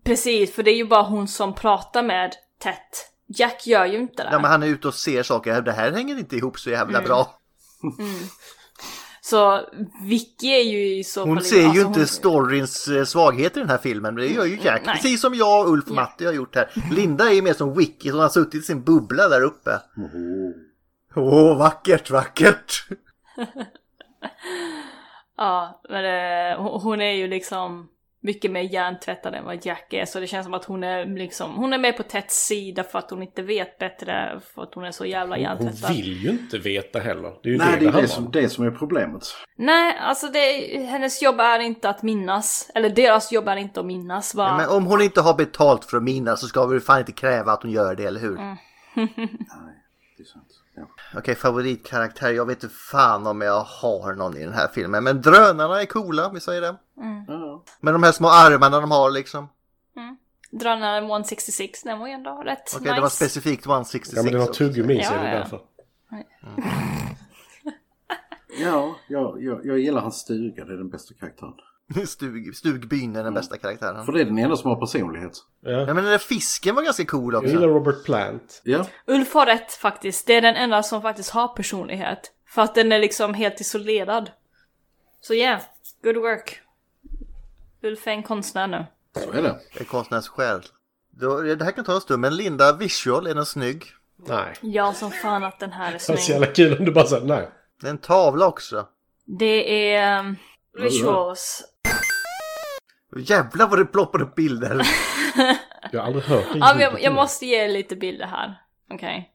Speaker 1: Precis, för det är ju bara hon som pratar med Tet. Jack gör ju inte det.
Speaker 2: Ja, men han är ute och ser saker, det här hänger inte ihop så jävla
Speaker 1: Mm.
Speaker 2: bra.
Speaker 1: Mm. Så Vicky är ju i så
Speaker 2: Hon
Speaker 1: fall...
Speaker 2: ser ju
Speaker 1: alltså, Mm,
Speaker 2: inte storyns eh, svaghet i den här filmen, men det gör ju Jack.
Speaker 1: Nej.
Speaker 2: Precis som jag och Ulf och Matti har gjort här. Linda är ju mer som Wiki, hon har suttit i sin bubbla där uppe. Åh, vackert, vackert!
Speaker 1: Ja, men eh, hon hon är ju liksom mycket mer hjärntvättad än vad Jack är, så det känns som att hon är liksom... Hon är med på Tets sida för att hon inte vet bättre, för att hon är så jävla
Speaker 3: Hon, hon
Speaker 1: hjärntvättad.
Speaker 3: vill ju inte veta heller. Det är ju
Speaker 4: Nej,
Speaker 3: det
Speaker 4: det är det
Speaker 3: handlar
Speaker 4: som,
Speaker 3: om.
Speaker 4: det som är problemet.
Speaker 1: Nej, alltså det, hennes jobb är inte att minnas. Eller deras jobb är inte att minnas. Va?
Speaker 2: Ja, men om hon inte har betalt för att minnas så ska vi fan inte kräva att hon gör det, eller hur?
Speaker 1: Mm.
Speaker 2: Okej, favoritkaraktär. Jag vet inte fan om jag har någon i den här filmen. Men drönarna är coola, vi säger det.
Speaker 1: Mm.
Speaker 2: Men de här små armarna de har liksom.
Speaker 1: Drönaren 166, den var ju ändå rätt
Speaker 2: Okej,
Speaker 1: nice.
Speaker 2: det var specifikt 166.
Speaker 3: Ja, men den har
Speaker 2: också.
Speaker 3: tuggummi, så är det
Speaker 1: Ja, ja.
Speaker 3: därför.
Speaker 4: Ja, jag, jag, jag gillar hans stuga. Det är den bästa karaktären.
Speaker 2: (laughs) Stug, stugbyn är den bästa karaktären.
Speaker 4: För det är den enda som har personlighet.
Speaker 3: Ja,
Speaker 2: men den där fisken var ganska cool också.
Speaker 3: Jag gillar Robert Plant.
Speaker 4: Ja.
Speaker 1: Ulf har rätt faktiskt. Det är den enda som faktiskt har personlighet. För att den är liksom helt isolerad. Så yeah, good work. Ulf är en konstnär nu.
Speaker 4: Så är det.
Speaker 2: Det är konstnärens själ. Då- Det här kan ta en stund, men Linda Visual, är den snygg?
Speaker 3: Nej.
Speaker 1: Ja, som fan att den här är
Speaker 3: Det är så
Speaker 1: snygg.
Speaker 3: jävla kul om du bara säger nej.
Speaker 2: Det är en tavla också.
Speaker 1: Det är... ehm, Rituals.
Speaker 2: Jävlar vad det ploppar upp bilder.
Speaker 3: jag har aldrig hört
Speaker 1: Ja, men jag, jag måste ge er lite bilder här. Okej.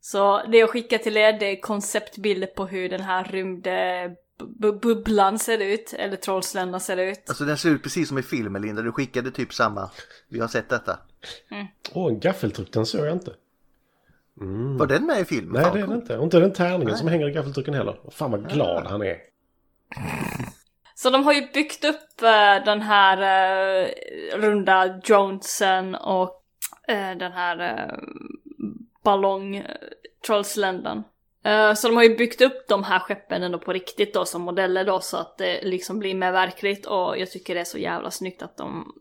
Speaker 1: Så det jag skickar till er, det är konceptbilder på hur den här rymde bu- bu- bubblan ser ut. Eller trollsländan ser ut.
Speaker 2: Alltså den ser ut precis som i filmen Linda, du skickade typ samma. Vi har sett detta.
Speaker 3: Åh, en gaffeltruck, den såg jag inte. Mm.
Speaker 2: Var den med i filmen?
Speaker 3: Nej,
Speaker 2: Fan,
Speaker 3: det är den
Speaker 2: cool.
Speaker 3: inte. Och inte den tärningen
Speaker 2: Nej. Ah.
Speaker 3: som hänger i gaffeltrucken heller. Och Fan vad glad han är.
Speaker 1: Så de har ju byggt upp eh, den här eh, runda Jonesen och eh, den här eh, ballong eh, trollsländan. Eh, så de har ju byggt upp de här skeppen ändå på riktigt då som modeller då så att det liksom blir mer verkligt och jag tycker det är så jävla snyggt att de...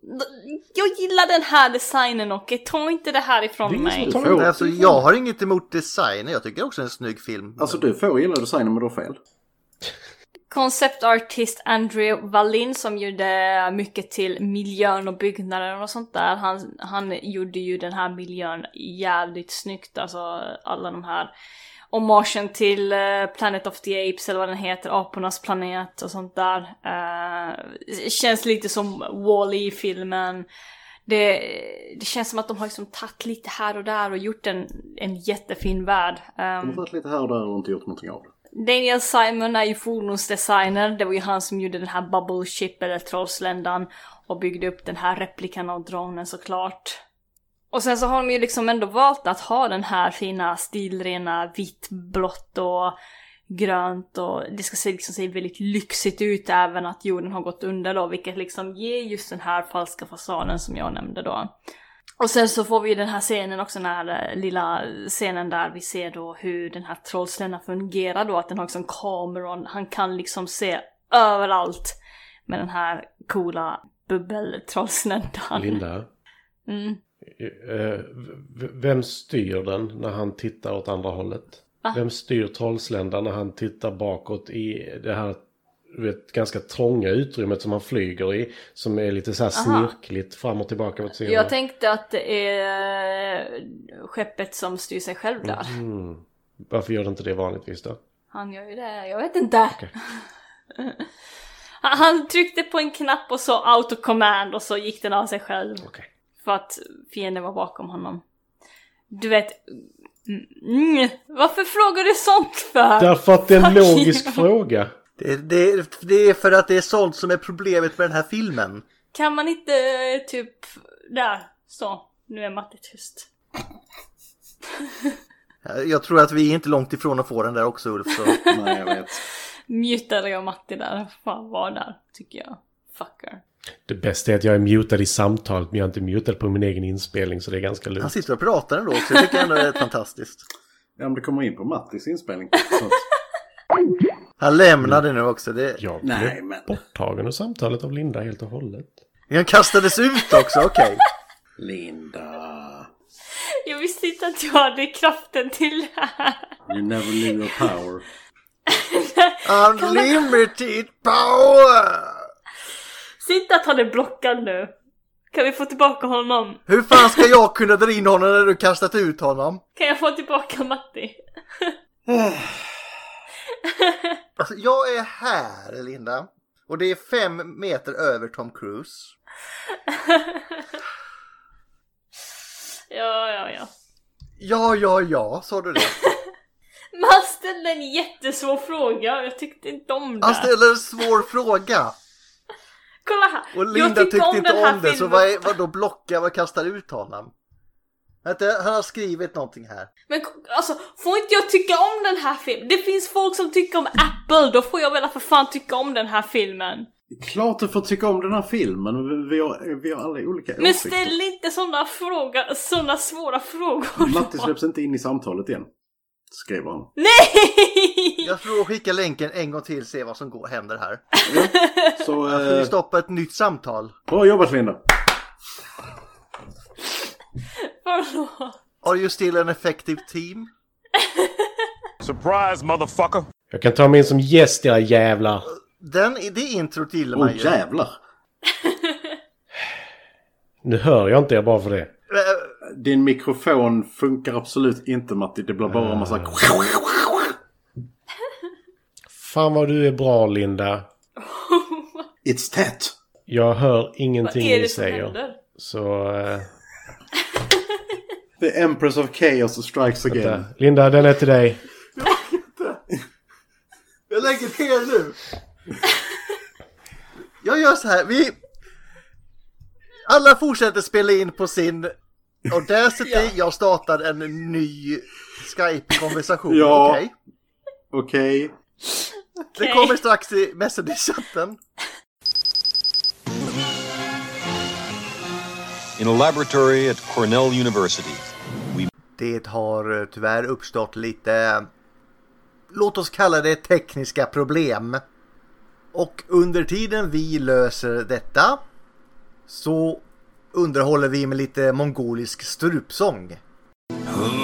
Speaker 1: Jag gillar den här designen och ta inte det här ifrån mig.
Speaker 2: Nej, alltså, jag har inget emot designen, jag tycker också det är en snygg film.
Speaker 4: Alltså du får gilla designen men du har fel.
Speaker 1: Konceptartist Andrew Wallin som gjorde mycket till miljön och byggnaden och sånt där. Han, han gjorde ju den här miljön jävligt snyggt, alltså alla de här hommagen till eh, Planet of the Apes eller vad den heter, apornas planet och sånt där. Eh, känns lite som Wall-E filmen. Det, det känns som att de har liksom tagit lite här och där och gjort en, en jättefin värld.
Speaker 4: De har
Speaker 1: Ehm,
Speaker 4: varit lite här och där och inte gjort någonting av det.
Speaker 1: Daniel Simon är ju fordonsdesigner. Det var ju han som gjorde den här bubble ship eller trollsländan och byggde upp den här replikan av dronen såklart. Och sen så har de ju liksom ändå valt att ha den här fina stilrena vitt, blått och grönt och det ska se, liksom, se väldigt lyxigt ut även att jorden har gått under då vilket liksom ger just den här falska fasaden som jag nämnde då. Och sen så får vi ju den här scenen också, den här eh, lilla scenen där vi ser då hur den här trollsländan fungerar då, att den har liksom kameror, han kan liksom se överallt med den här coola bubbeltrollsländan.
Speaker 3: Linda,
Speaker 1: Mm.
Speaker 3: eh, v- vem styr den när han tittar åt andra hållet?
Speaker 1: Va?
Speaker 3: Vem styr trollsländan när han tittar bakåt i det här du vet, ganska trånga utrymmet som han flyger i? Som är lite så här
Speaker 1: Aha.
Speaker 3: snirkligt fram och tillbaka. åt sidorna.
Speaker 1: Jag tänkte att det är skeppet som styr sig själv där.
Speaker 3: Mhm. Varför gör det inte det vanligtvis då?
Speaker 1: Han gör ju det, jag vet inte. (laughs) Han, han tryckte på en knapp och så auto command och så gick den av sig själv. För att fienden var bakom honom. Du vet... mm, Mm, varför frågar du sånt för?
Speaker 3: Därför att
Speaker 1: (laughs)
Speaker 3: det är en
Speaker 1: Fuck you.
Speaker 3: logisk fråga.
Speaker 2: Det, det, det är för att det är sånt som är problemet med den här filmen.
Speaker 1: Kan man inte eh, typ... Där, så. Nu är Matte tyst.
Speaker 2: Jag tror att vi är inte långt ifrån att få den där också Ulf. Så.
Speaker 4: Nej, jag vet.
Speaker 1: Mutade jag Matti där? Fan, var där, tycker jag. Fucker.
Speaker 3: Det bästa är att jag är mutad i samtalet men jag är inte mutad på min egen inspelning så det är ganska lugnt.
Speaker 2: Han
Speaker 1: Alltså,
Speaker 2: sitter och pratar ändå så jag tycker ändå det är fantastiskt.
Speaker 4: Ja, men det kommer in på Mattis inspelning.
Speaker 2: Han lämnade nu också. Det...
Speaker 3: Jag blev borttagen ur samtalet av Linda helt och hållet.
Speaker 2: Han kastades ut också, okej.
Speaker 4: Linda.
Speaker 1: Jag visste inte att jag hade kraften till det här.
Speaker 4: You never knew your power.
Speaker 2: Unlimited power!
Speaker 1: Säg inte att han är blockad nu. Kan vi få tillbaka honom?
Speaker 2: Hur fan ska jag kunna dra in honom när du kastat ut honom?
Speaker 1: Kan jag få tillbaka Matti?
Speaker 2: Alltså, jag är här, Linda. Och det är fem meter över Tom Cruise.
Speaker 1: Ja, ja, ja.
Speaker 2: Ja, ja, ja, sa du det.
Speaker 1: Men han ställde en jättesvår fråga och jag tyckte inte om det.
Speaker 2: Han ställer en svår fråga.
Speaker 1: Kolla här!
Speaker 2: Och
Speaker 1: Jag
Speaker 2: Linda
Speaker 1: tyckte
Speaker 2: tyckte
Speaker 1: om
Speaker 2: inte
Speaker 1: den här
Speaker 2: om det, så
Speaker 1: filmen.
Speaker 2: vad, är, vad då blockar, vad kastar ut honom? Vänta, han har skrivit någonting här.
Speaker 1: Men k- alltså, får inte jag tycka om den här filmen? Det finns folk som tycker om Apple, då får jag väl för fan tycka om den här filmen.
Speaker 4: Klart du får tycka om den här filmen. Vi- Vi har, vi har alla olika
Speaker 1: Men ställ inte sådana fråga, såna svåra
Speaker 2: (laughs)
Speaker 1: frågor.
Speaker 4: Matti släpps inte in i samtalet igen. Skriver han.
Speaker 2: Jag tror att skicka länken en gång till se vad som går, händer här.
Speaker 4: Så,
Speaker 2: Får vi
Speaker 4: eh,
Speaker 2: stoppa ett nytt samtal?
Speaker 4: bra jobbat Linda.
Speaker 1: Förlåt.
Speaker 2: Are you still an effective team?
Speaker 17: Surprise, motherfucker!
Speaker 3: Jag kan ta mig in som gäst era jävlar.
Speaker 2: Den, det introt gillar
Speaker 4: Oh,
Speaker 3: Åh,
Speaker 2: man ju.
Speaker 3: jävlar. Nu hör jag inte er bara för det.
Speaker 4: Din mikrofon funkar absolut inte Matti. Det blir bara en massa...
Speaker 3: Fan vad du är bra Linda.
Speaker 4: It's tätt.
Speaker 3: Jag hör ingenting
Speaker 4: Vad är det
Speaker 3: ni
Speaker 4: som
Speaker 3: säger.
Speaker 4: händer?
Speaker 3: Så... eh,
Speaker 4: The Empress of Chaos strikes again.
Speaker 3: vänta. Linda, den är till dig.
Speaker 2: Jag lägger till nu. Jag gör så här, vi... Alla fortsätter spela in på sin Audacity. Jag startar en ny Skype-konversation.
Speaker 4: Ja.
Speaker 2: Okej?
Speaker 4: Okej.
Speaker 2: Det kommer strax i Messenger-chatten.
Speaker 18: In a laboratory at Cornell University,
Speaker 2: Det har eh, tyvärr uppstått lite, låt oss kalla det tekniska problem. Och under tiden vi löser detta så underhåller vi med lite mongolisk strupsång. (laughs)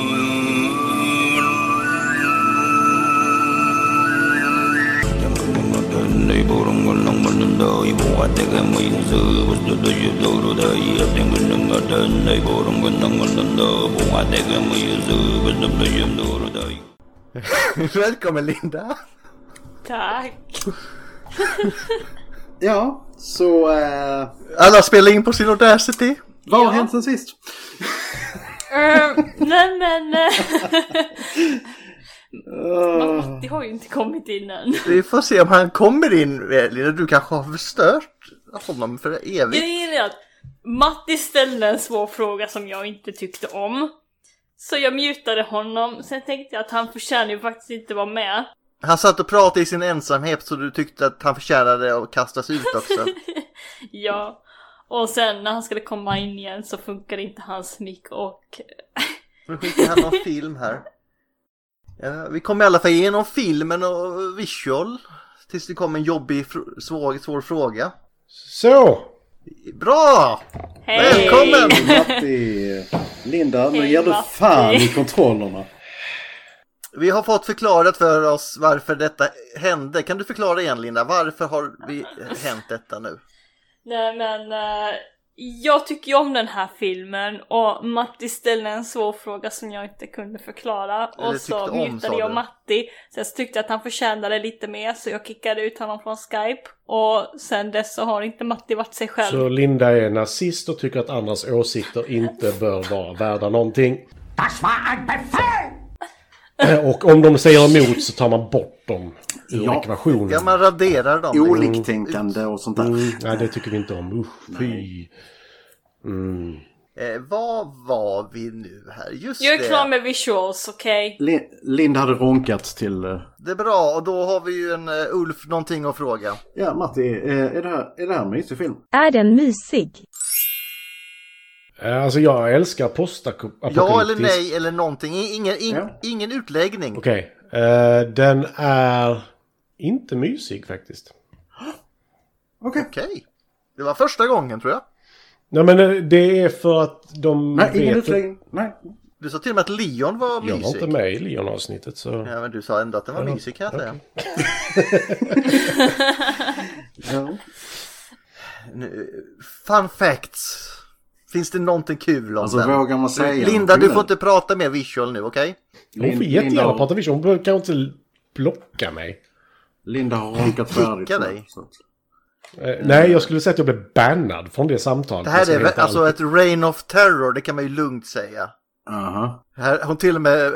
Speaker 2: Välkommen Linda!
Speaker 1: Tack.
Speaker 4: Ja, så... Eh,
Speaker 2: Alla spelar in på sin Audacity.
Speaker 4: vad har hänt sen sist?
Speaker 1: Eh, nej men... Uh, Matti har ju inte kommit in än.
Speaker 2: Vi får se om han kommer in eh, Linda, du kanske har förstört honom för evigt.
Speaker 1: Grejen är att Matti ställde en svår fråga som jag inte tyckte om. Så jag mutade honom, sen tänkte jag att han förtjänar ju faktiskt inte vara med.
Speaker 2: Han satt och pratade i sin ensamhet så du tyckte att han förtjänade att kastas ut också.
Speaker 1: ja. Och sen när han skulle komma in igen så funkade inte hans mick och...
Speaker 2: Nu skickar han
Speaker 1: (laughs)
Speaker 2: någon film här. Ja, vi kom i alla fall igenom filmen och visual. Tills det kom en jobbig, fr- svår, svår fråga.
Speaker 14: Så!
Speaker 2: Bra!
Speaker 1: Hej!
Speaker 2: Välkommen!
Speaker 4: Matti! Linda, nu
Speaker 1: Hej,
Speaker 4: ger du
Speaker 1: Matti.
Speaker 4: fan i kontrollerna.
Speaker 2: Vi har fått förklarat för oss varför detta hände. Kan du förklara igen Linda? Varför har vi hänt detta nu?
Speaker 1: Nej men, eh, jag tycker ju om den här filmen och Matti ställde en svår fråga som jag inte kunde förklara.
Speaker 2: Eller
Speaker 1: Och så
Speaker 2: tyckte om,
Speaker 1: mutade
Speaker 2: sa
Speaker 1: jag
Speaker 2: du.
Speaker 1: Matti. Sen så tyckte jag att han förtjänade lite mer så jag kickade ut honom från Skype. Och sen dess så har inte Matti varit sig själv.
Speaker 3: Så Linda är nazist och tycker att andras åsikter inte bör vara värda någonting. Eh,
Speaker 8: Das war ein Befehl!
Speaker 3: Och om de säger emot så tar man bort dem ur
Speaker 4: Ja.
Speaker 3: ekvationen. Mm,
Speaker 2: Ja, man raderar dem.
Speaker 4: Oliktänkande och sånt där.
Speaker 3: Nej, det tycker vi inte om. Usch, fy. Mm.
Speaker 2: Eh, vad var vi nu här? Just
Speaker 1: jag är
Speaker 2: det.
Speaker 1: klar med visuals, okej?
Speaker 4: Li- Linda hade ronkat till... eh,
Speaker 2: Det är bra och då har vi ju en eh, Ulf någonting att fråga.
Speaker 4: Ja, Matti, eh, är det här, är det här en mysig film?
Speaker 19: Är den mysig?
Speaker 3: Eh, Alltså jag älskar postapokalyptisk...
Speaker 2: Ja eller nej eller någonting. I- Ingen, in,
Speaker 3: Ja.
Speaker 2: ingen utläggning.
Speaker 3: Okej. Eh, den är inte mysig faktiskt.
Speaker 2: Okej. Det var första gången tror jag.
Speaker 3: Nej men eh, det är för att de
Speaker 4: Nej.
Speaker 2: Du sa till och med att Leon var
Speaker 3: Jag var
Speaker 2: mysig.
Speaker 3: inte med i Leon-avsnittet så...
Speaker 2: Ja, men du sa ändå att den var
Speaker 3: Ja,
Speaker 2: mysig kan jag säga. Nu, fun facts. Finns det någonting kul om
Speaker 4: Alltså,
Speaker 2: den?
Speaker 4: vågar man säga
Speaker 2: Linda, du
Speaker 4: någonting
Speaker 2: får
Speaker 4: nu?
Speaker 2: inte prata mer visual nu, okej?
Speaker 3: Hon får
Speaker 4: Lin-
Speaker 3: jättegärna
Speaker 4: Linda-
Speaker 3: prata vision. Hon brukar inte blocka mig.
Speaker 4: Linda har ronkat färdigt.
Speaker 2: Kicka
Speaker 4: nu,
Speaker 2: dig.
Speaker 4: så att-
Speaker 3: Eh, nej, jag skulle säga att jag blev bannad från det samtalet.
Speaker 2: Det här
Speaker 3: Jag
Speaker 2: är
Speaker 3: ska
Speaker 2: väl-
Speaker 3: veta
Speaker 2: alltså
Speaker 3: allt.
Speaker 2: ett rain of terror, det kan man ju lugnt säga.
Speaker 4: Aha.
Speaker 2: Här, hon till och med eh,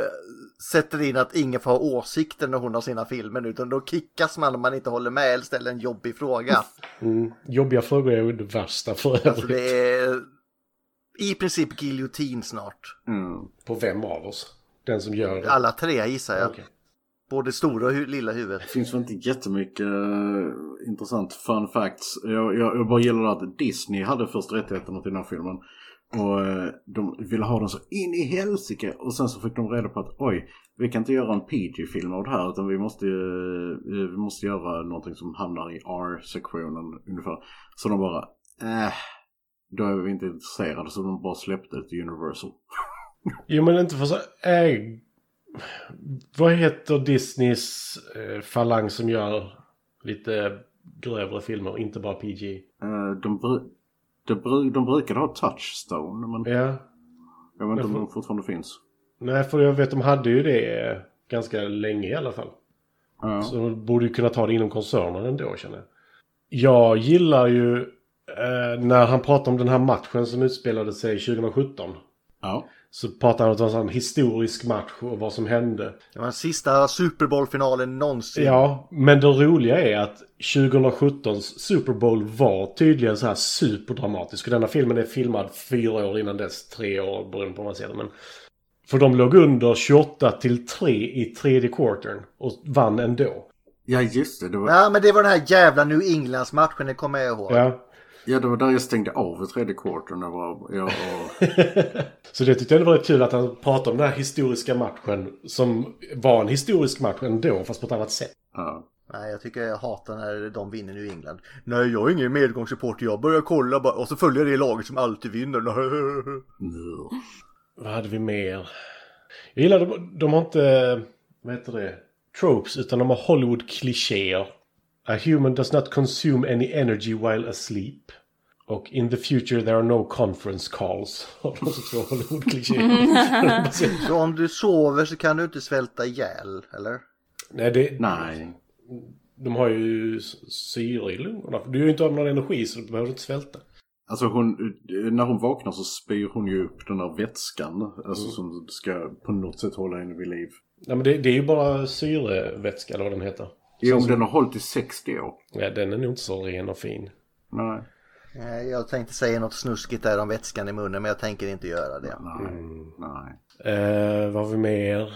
Speaker 2: sätter in att ingen får ha åsikter när hon har sina filmer nu, utan då kickas man om man inte håller med eller ställer en jobbig fråga.
Speaker 3: Mm, jobbiga frågor är ju det värsta för övrigt.
Speaker 2: Alltså det är i princip giljotin snart.
Speaker 3: (laughs)
Speaker 4: Mm.
Speaker 3: På vem av oss? Den som gör det?
Speaker 2: Alla tre gissar jag. Både stora och hu- lilla huvudet.
Speaker 4: Det finns väl inte jättemycket eh, intressant fun facts. Jag, jag, jag bara gillar att Disney hade först rättigheterna till den här filmen. Och eh, de ville ha den så in i helsike. Och sen så fick de reda på att oj, vi kan inte göra en PG-film av det här. Utan vi måste, ju- eh, vi måste göra någonting som hamnar i R-sektionen ungefär. Så de bara, äh, då är vi inte intresserade. Så de bara släppte det till Universal.
Speaker 3: Jo, men inte för så... Äg... Vad heter Disneys eh, falang som gör lite grövre filmer, inte bara PG?
Speaker 4: Eh, De, bru- de, bru- de brukade ha Touchstone. Men
Speaker 3: Ja.
Speaker 4: jag vet inte om
Speaker 3: Jag
Speaker 4: de fortfarande finns.
Speaker 3: Nej, för jag vet de hade ju det eh, ganska länge i alla fall. Så de borde ju kunna ta det inom koncernen ändå, känner jag. Jag gillar ju eh, när han pratar om den här matchen som utspelade sig 2017.
Speaker 4: Ja.
Speaker 3: Så pratar han om att det var en sån historisk match och vad som hände.
Speaker 2: Det var den sista Super Bowl-finalen någonsin.
Speaker 3: Ja, men det roliga är att 2017s Super Bowl var tydligen så här superdramatisk. Och denna filmen är filmad fyra år innan dess, tre år beroende på vad man ser det. Men... För de låg under 28 till 3 i tredje quartern och vann ändå.
Speaker 4: Ja just det, det var,
Speaker 2: Ja, men det var den här jävla New Englands-matchen, det kommer jag ihåg.
Speaker 3: Ja. (laughs)
Speaker 4: ja, det var där jag stängde av i tredje kvarten. Jag var,
Speaker 3: (laughs)
Speaker 4: jag, och,
Speaker 3: Så det tyckte jag var rätt kul att han pratade om den här historiska matchen som var en historisk match ändå, fast på ett annat sätt.
Speaker 4: ja.
Speaker 2: Nej, jag tycker jag hatar när de vinner New England. Nej, jag är ingen medgångssupporter, jag börjar kolla bara och så följer jag det laget som alltid vinner. (laughs)
Speaker 3: Vad hade vi mer? Jag gillar de, de har inte, vad heter det, tropes utan de har Hollywood-klichéer. A human does not consume any energy while asleep. Och in the future there are no conference calls. (laughs) Har de också två Hollywood-klichéer.
Speaker 2: Så om du sover så kan du inte svälta ihjäl, eller?
Speaker 3: (laughs) Nej, det,
Speaker 4: Nej.
Speaker 3: de har ju s- syre i lungorna. Du är ju inte av någon energi så du behöver inte svälta.
Speaker 4: Alltså hon, när hon vaknar så spyr hon ju upp den där vätskan. Alltså
Speaker 3: Mm.
Speaker 4: som ska på något sätt hålla henne vid liv.
Speaker 3: Nej, men det, det är ju bara syrevätska eller vad den heter.
Speaker 4: Jo,
Speaker 3: Sen
Speaker 4: men
Speaker 3: så-
Speaker 4: den har hållit i 60 år.
Speaker 3: Ja, den är nog inte så ren och fin.
Speaker 4: Nej.
Speaker 2: Nej, Eh, Jag tänkte säga något snuskigt där om vätskan i munnen, men jag tänker inte göra det.
Speaker 3: Mm.
Speaker 4: Nej.
Speaker 3: Eh, vad har vi mer?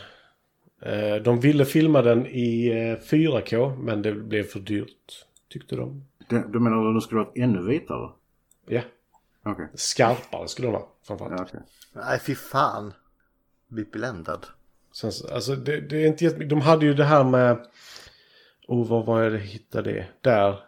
Speaker 3: Eh, de ville filma den i eh, 4K, men det blev för dyrt. Tyckte de.
Speaker 4: Du, du menar att den skulle varit ännu vitare?
Speaker 3: Ja.
Speaker 4: Okej.
Speaker 3: Skarpare skulle den vara framförallt.
Speaker 2: Nej, fy fan. Bipiländad.
Speaker 3: Sen, så- alltså, det, det är inte jättemycket. De hade ju det här med... Oh, vad var jag hittade det? Där.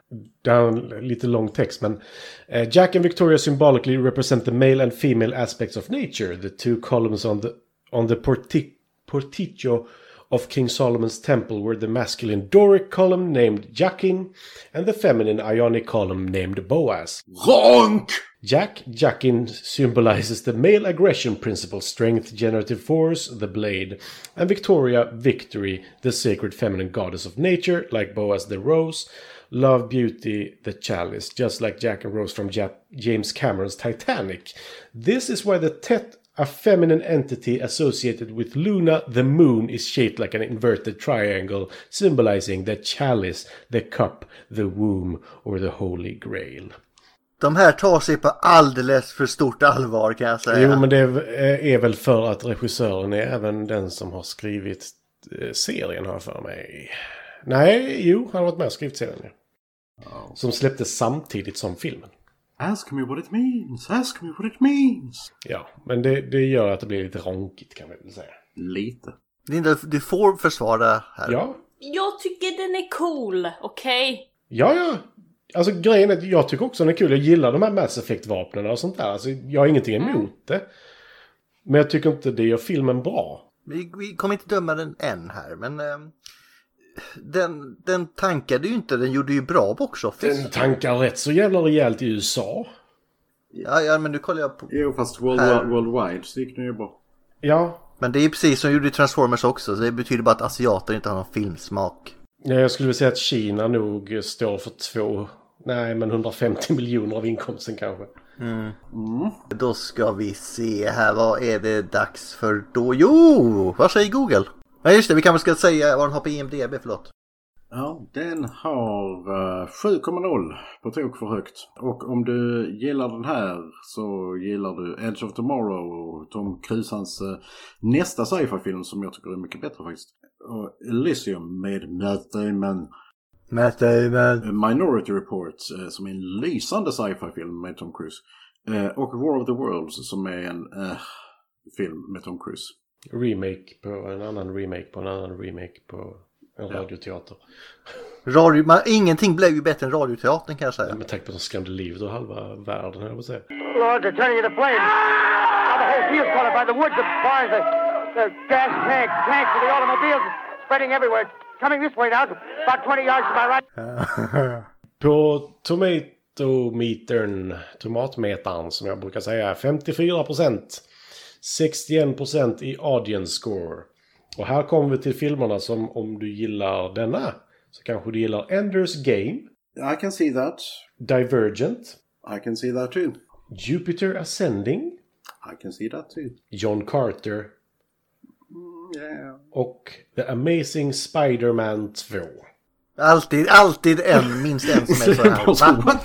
Speaker 3: Där en lite lång text, men... eh, Jack and Victoria symbolically represent the male and female aspects of nature. The two columns on the, on the porti portico of King Solomon's temple were the masculine Doric column named Jachin and the feminine Ionic column named Boaz.
Speaker 17: Wrong!
Speaker 3: Jack, Jackin symbolizes the male aggression principle, strength, generative force, the blade, and Victoria, victory, the sacred feminine goddess of nature, like Boaz the rose, love, beauty, the chalice, just like Jack and Rose from Jap- James Cameron's Titanic. This is why the Tet, a feminine entity associated with Luna, the moon, is shaped like an inverted triangle, symbolizing the chalice, the cup, the womb, or the holy grail.
Speaker 2: De här tar sig på alldeles för stort allvar kan jag säga.
Speaker 3: Jo, men det är, är väl för att regissören är även den som har skrivit eh, serien har jag för mig. Nej, jo, han har varit med och skrivit serien. Ja. Som släpptes samtidigt som filmen.
Speaker 4: Ask me what it means, ask me what it means.
Speaker 3: Ja, men det, det gör att det blir lite ronkigt kan vi väl säga.
Speaker 4: Lite.
Speaker 2: Linda, du får försvara här.
Speaker 3: Ja,
Speaker 1: Jag tycker den är cool, okej?
Speaker 3: ja, ja. Alltså grejen är att jag tycker också den är kul. Jag gillar de här Mass Effect-vapnen och sånt där. Alltså, jag har ingenting emot det. Men jag tycker inte det gör filmen bra.
Speaker 2: Vi, vi kommer inte döma den än här, men ehm, den, den tankade ju inte, den gjorde ju bra box office.
Speaker 3: Den tankar rätt så jävla rejält i USA.
Speaker 2: Ja, ja, men nu kollar jag på...
Speaker 4: Jo, fast world,
Speaker 2: Här.
Speaker 4: worldwide så gick den ju bra.
Speaker 3: Ja.
Speaker 2: Men det är precis som de gjorde i Transformers också, så det betyder bara att asiater inte har någon filmsmak.
Speaker 3: Ja, jag skulle vilja säga att Kina nog står för två, nej men 150 miljoner av inkomsten kanske.
Speaker 2: Då ska vi se här, vad är det dags för då? Jo, vad säger Google? Ja, just det, vi kanske ska säga vad den har på IMDB, förlåt.
Speaker 4: Ja, den har eh, 7,0 på tok för högt. Och om du gillar den här så gillar du Edge of Tomorrow och Tom Crusans eh, nästa sci-fi-film som jag tycker är mycket bättre faktiskt. Och Elysium med Matt Damon. eh,
Speaker 2: Matt Damon.
Speaker 4: Minority Report eh, som är en lysande sci-fi-film med Tom Cruise. Eh, Och War of the Worlds som är en eh, film med Tom Cruise.
Speaker 3: Remake på en annan remake på en annan remake på en radioteater.
Speaker 2: Radio, man, ingenting blev ju bättre än radioteatern kan jag säga.
Speaker 3: Med tanke på att de skrämde livet ur halva världen höll jag på att säga.
Speaker 9: Lord, they're turning into flames. Now the whole field's caught up by the woods, the barns, the, the gas tanks, tanks for the automobiles, spreading everywhere. It's coming this way now, about 20 yards to my right.
Speaker 3: På tomatometern, tomatmetern som jag brukar säga, 54 procent. 61 procent i audience score. Och här kommer vi till filmerna som om du gillar denna så kanske du gillar Enders Game.
Speaker 4: I can see that.
Speaker 3: Divergent.
Speaker 4: I can see that too.
Speaker 3: Jupiter Ascending.
Speaker 4: I can see that too.
Speaker 3: John Carter.
Speaker 4: Yeah.
Speaker 3: Och The Amazing Spider-Man 2.
Speaker 2: Alltid, alltid en, minst en som är så här. Va?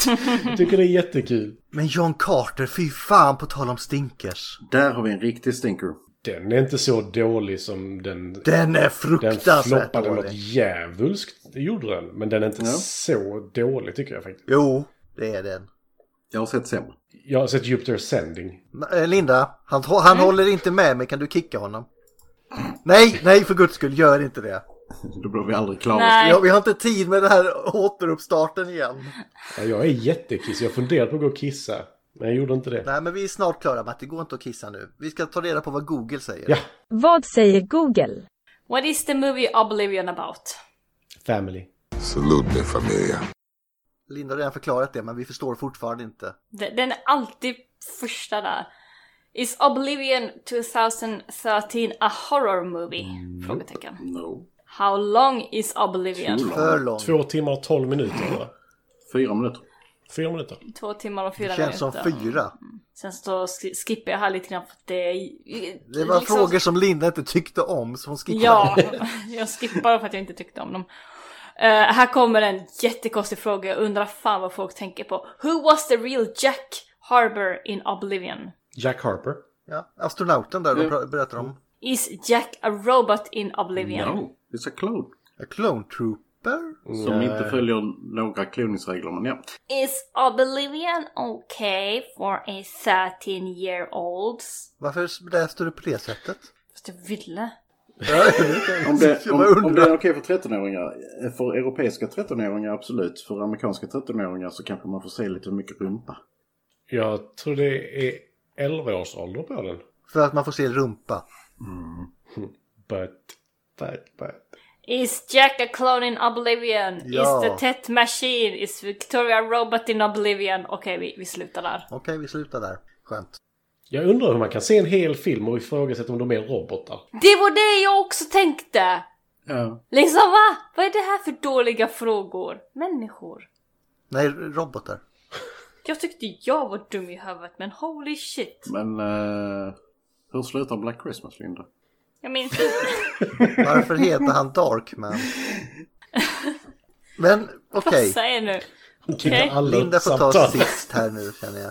Speaker 3: Jag tycker det är jättekul.
Speaker 2: Men John Carter, fy fan på tal om stinkers.
Speaker 4: Där har vi en riktig stinker.
Speaker 3: Den är inte så dålig som den...
Speaker 2: Den är
Speaker 3: Den
Speaker 2: fruktansvärt
Speaker 3: floppade något
Speaker 2: dålig.
Speaker 3: djävulskt, det gjorde den. Men den är inte
Speaker 4: Ja.
Speaker 3: så dålig tycker jag faktiskt.
Speaker 2: Jo, det är den.
Speaker 4: Jag har sett sämre.
Speaker 3: Jag har sett Jupiter Ascending.
Speaker 2: Men, eh, Linda, han, han håller inte med mig. Kan du kicka honom? Nej, nej för guds skull, gör inte det.
Speaker 4: Då blir vi aldrig klara.
Speaker 1: Nej.
Speaker 2: Ja, vi har inte tid med den här återuppstarten igen.
Speaker 3: Ja, jag är jättekiss. Jag funderade på att gå och kissa. Men jag gjorde inte det.
Speaker 2: Nej, men vi är snart klara Matti. Gå inte och kissa nu. Vi ska ta reda på vad Google säger.
Speaker 3: Ja.
Speaker 19: Vad säger Google?
Speaker 1: What is the movie Oblivion about?
Speaker 3: Family.
Speaker 8: Salute me, familia.
Speaker 2: Linda har redan förklarat det, men vi förstår fortfarande inte.
Speaker 1: Den den är alltid första där. Is Oblivion 2013 a horror movie?
Speaker 2: Mm.
Speaker 1: Frågetecken.
Speaker 4: No.
Speaker 1: How long is Oblivion?
Speaker 2: För lång.
Speaker 3: Två timmar och tolv minuter va?
Speaker 4: Fyra minuter.
Speaker 3: Fyra minuter.
Speaker 1: Två timmar och fyra
Speaker 2: Det känns som
Speaker 1: minuter.
Speaker 2: fyra.
Speaker 1: Sen så sk- skippar jag här lite grann för att det är... liksom-
Speaker 2: Det var frågor som Linda inte tyckte om, så hon skippade.
Speaker 1: Ja, (laughs) jag skippar för att jag inte tyckte om dem. Eh, här kommer en jättekonstig fråga, jag undrar fan vad folk tänker på. Who was the real Jack Harbour in Oblivion?
Speaker 3: Jack Harper.
Speaker 2: Ja, astronauten där,
Speaker 3: Mm.
Speaker 2: de pra- berättar om.
Speaker 1: Is Jack a robot in Oblivion?
Speaker 4: No. It's a clone.
Speaker 2: A clone trooper. Flipper?
Speaker 4: Som inte följer några kloningsregler, men ja.
Speaker 1: Is Oblivion okay for a 13 year old?
Speaker 2: Varför läste du på det
Speaker 3: (laughs)
Speaker 2: sättet?
Speaker 1: Fast jag ville.
Speaker 4: Om det,
Speaker 2: Jag bara
Speaker 4: om, om det
Speaker 2: undrar.
Speaker 4: är okej för 13-åringar, eh, för europeiska 13-åringar absolut, för amerikanska 13-åringar så kanske man får se lite mycket rumpa.
Speaker 3: Jag tror det är 11 års ålder på den.
Speaker 2: För att man får se rumpa.
Speaker 3: But, but, but.
Speaker 1: Is Jack a clone in Oblivion?
Speaker 2: Ja.
Speaker 1: Is the Tet Machine? Is Victoria Robot in Oblivion? Okej, vi, vi slutar där.
Speaker 2: Okej, vi slutar där. Skönt.
Speaker 3: Jag undrar hur man kan se en hel film och ifrågasätta om de är robotar.
Speaker 1: Det var det jag också tänkte!
Speaker 4: Ja.
Speaker 1: Liksom va? Vad är det här för dåliga frågor? Människor.
Speaker 2: Nej, robotar.
Speaker 1: Jag tyckte jag var dum i huvudet men holy shit.
Speaker 4: Men eh, hur slutar Black Christmas, Linda?
Speaker 1: Jag minns inte.
Speaker 2: Varför heter han Darkman? Men okej,
Speaker 1: Passa er nu.
Speaker 2: Okej. Linda får ta sist här nu känner jag.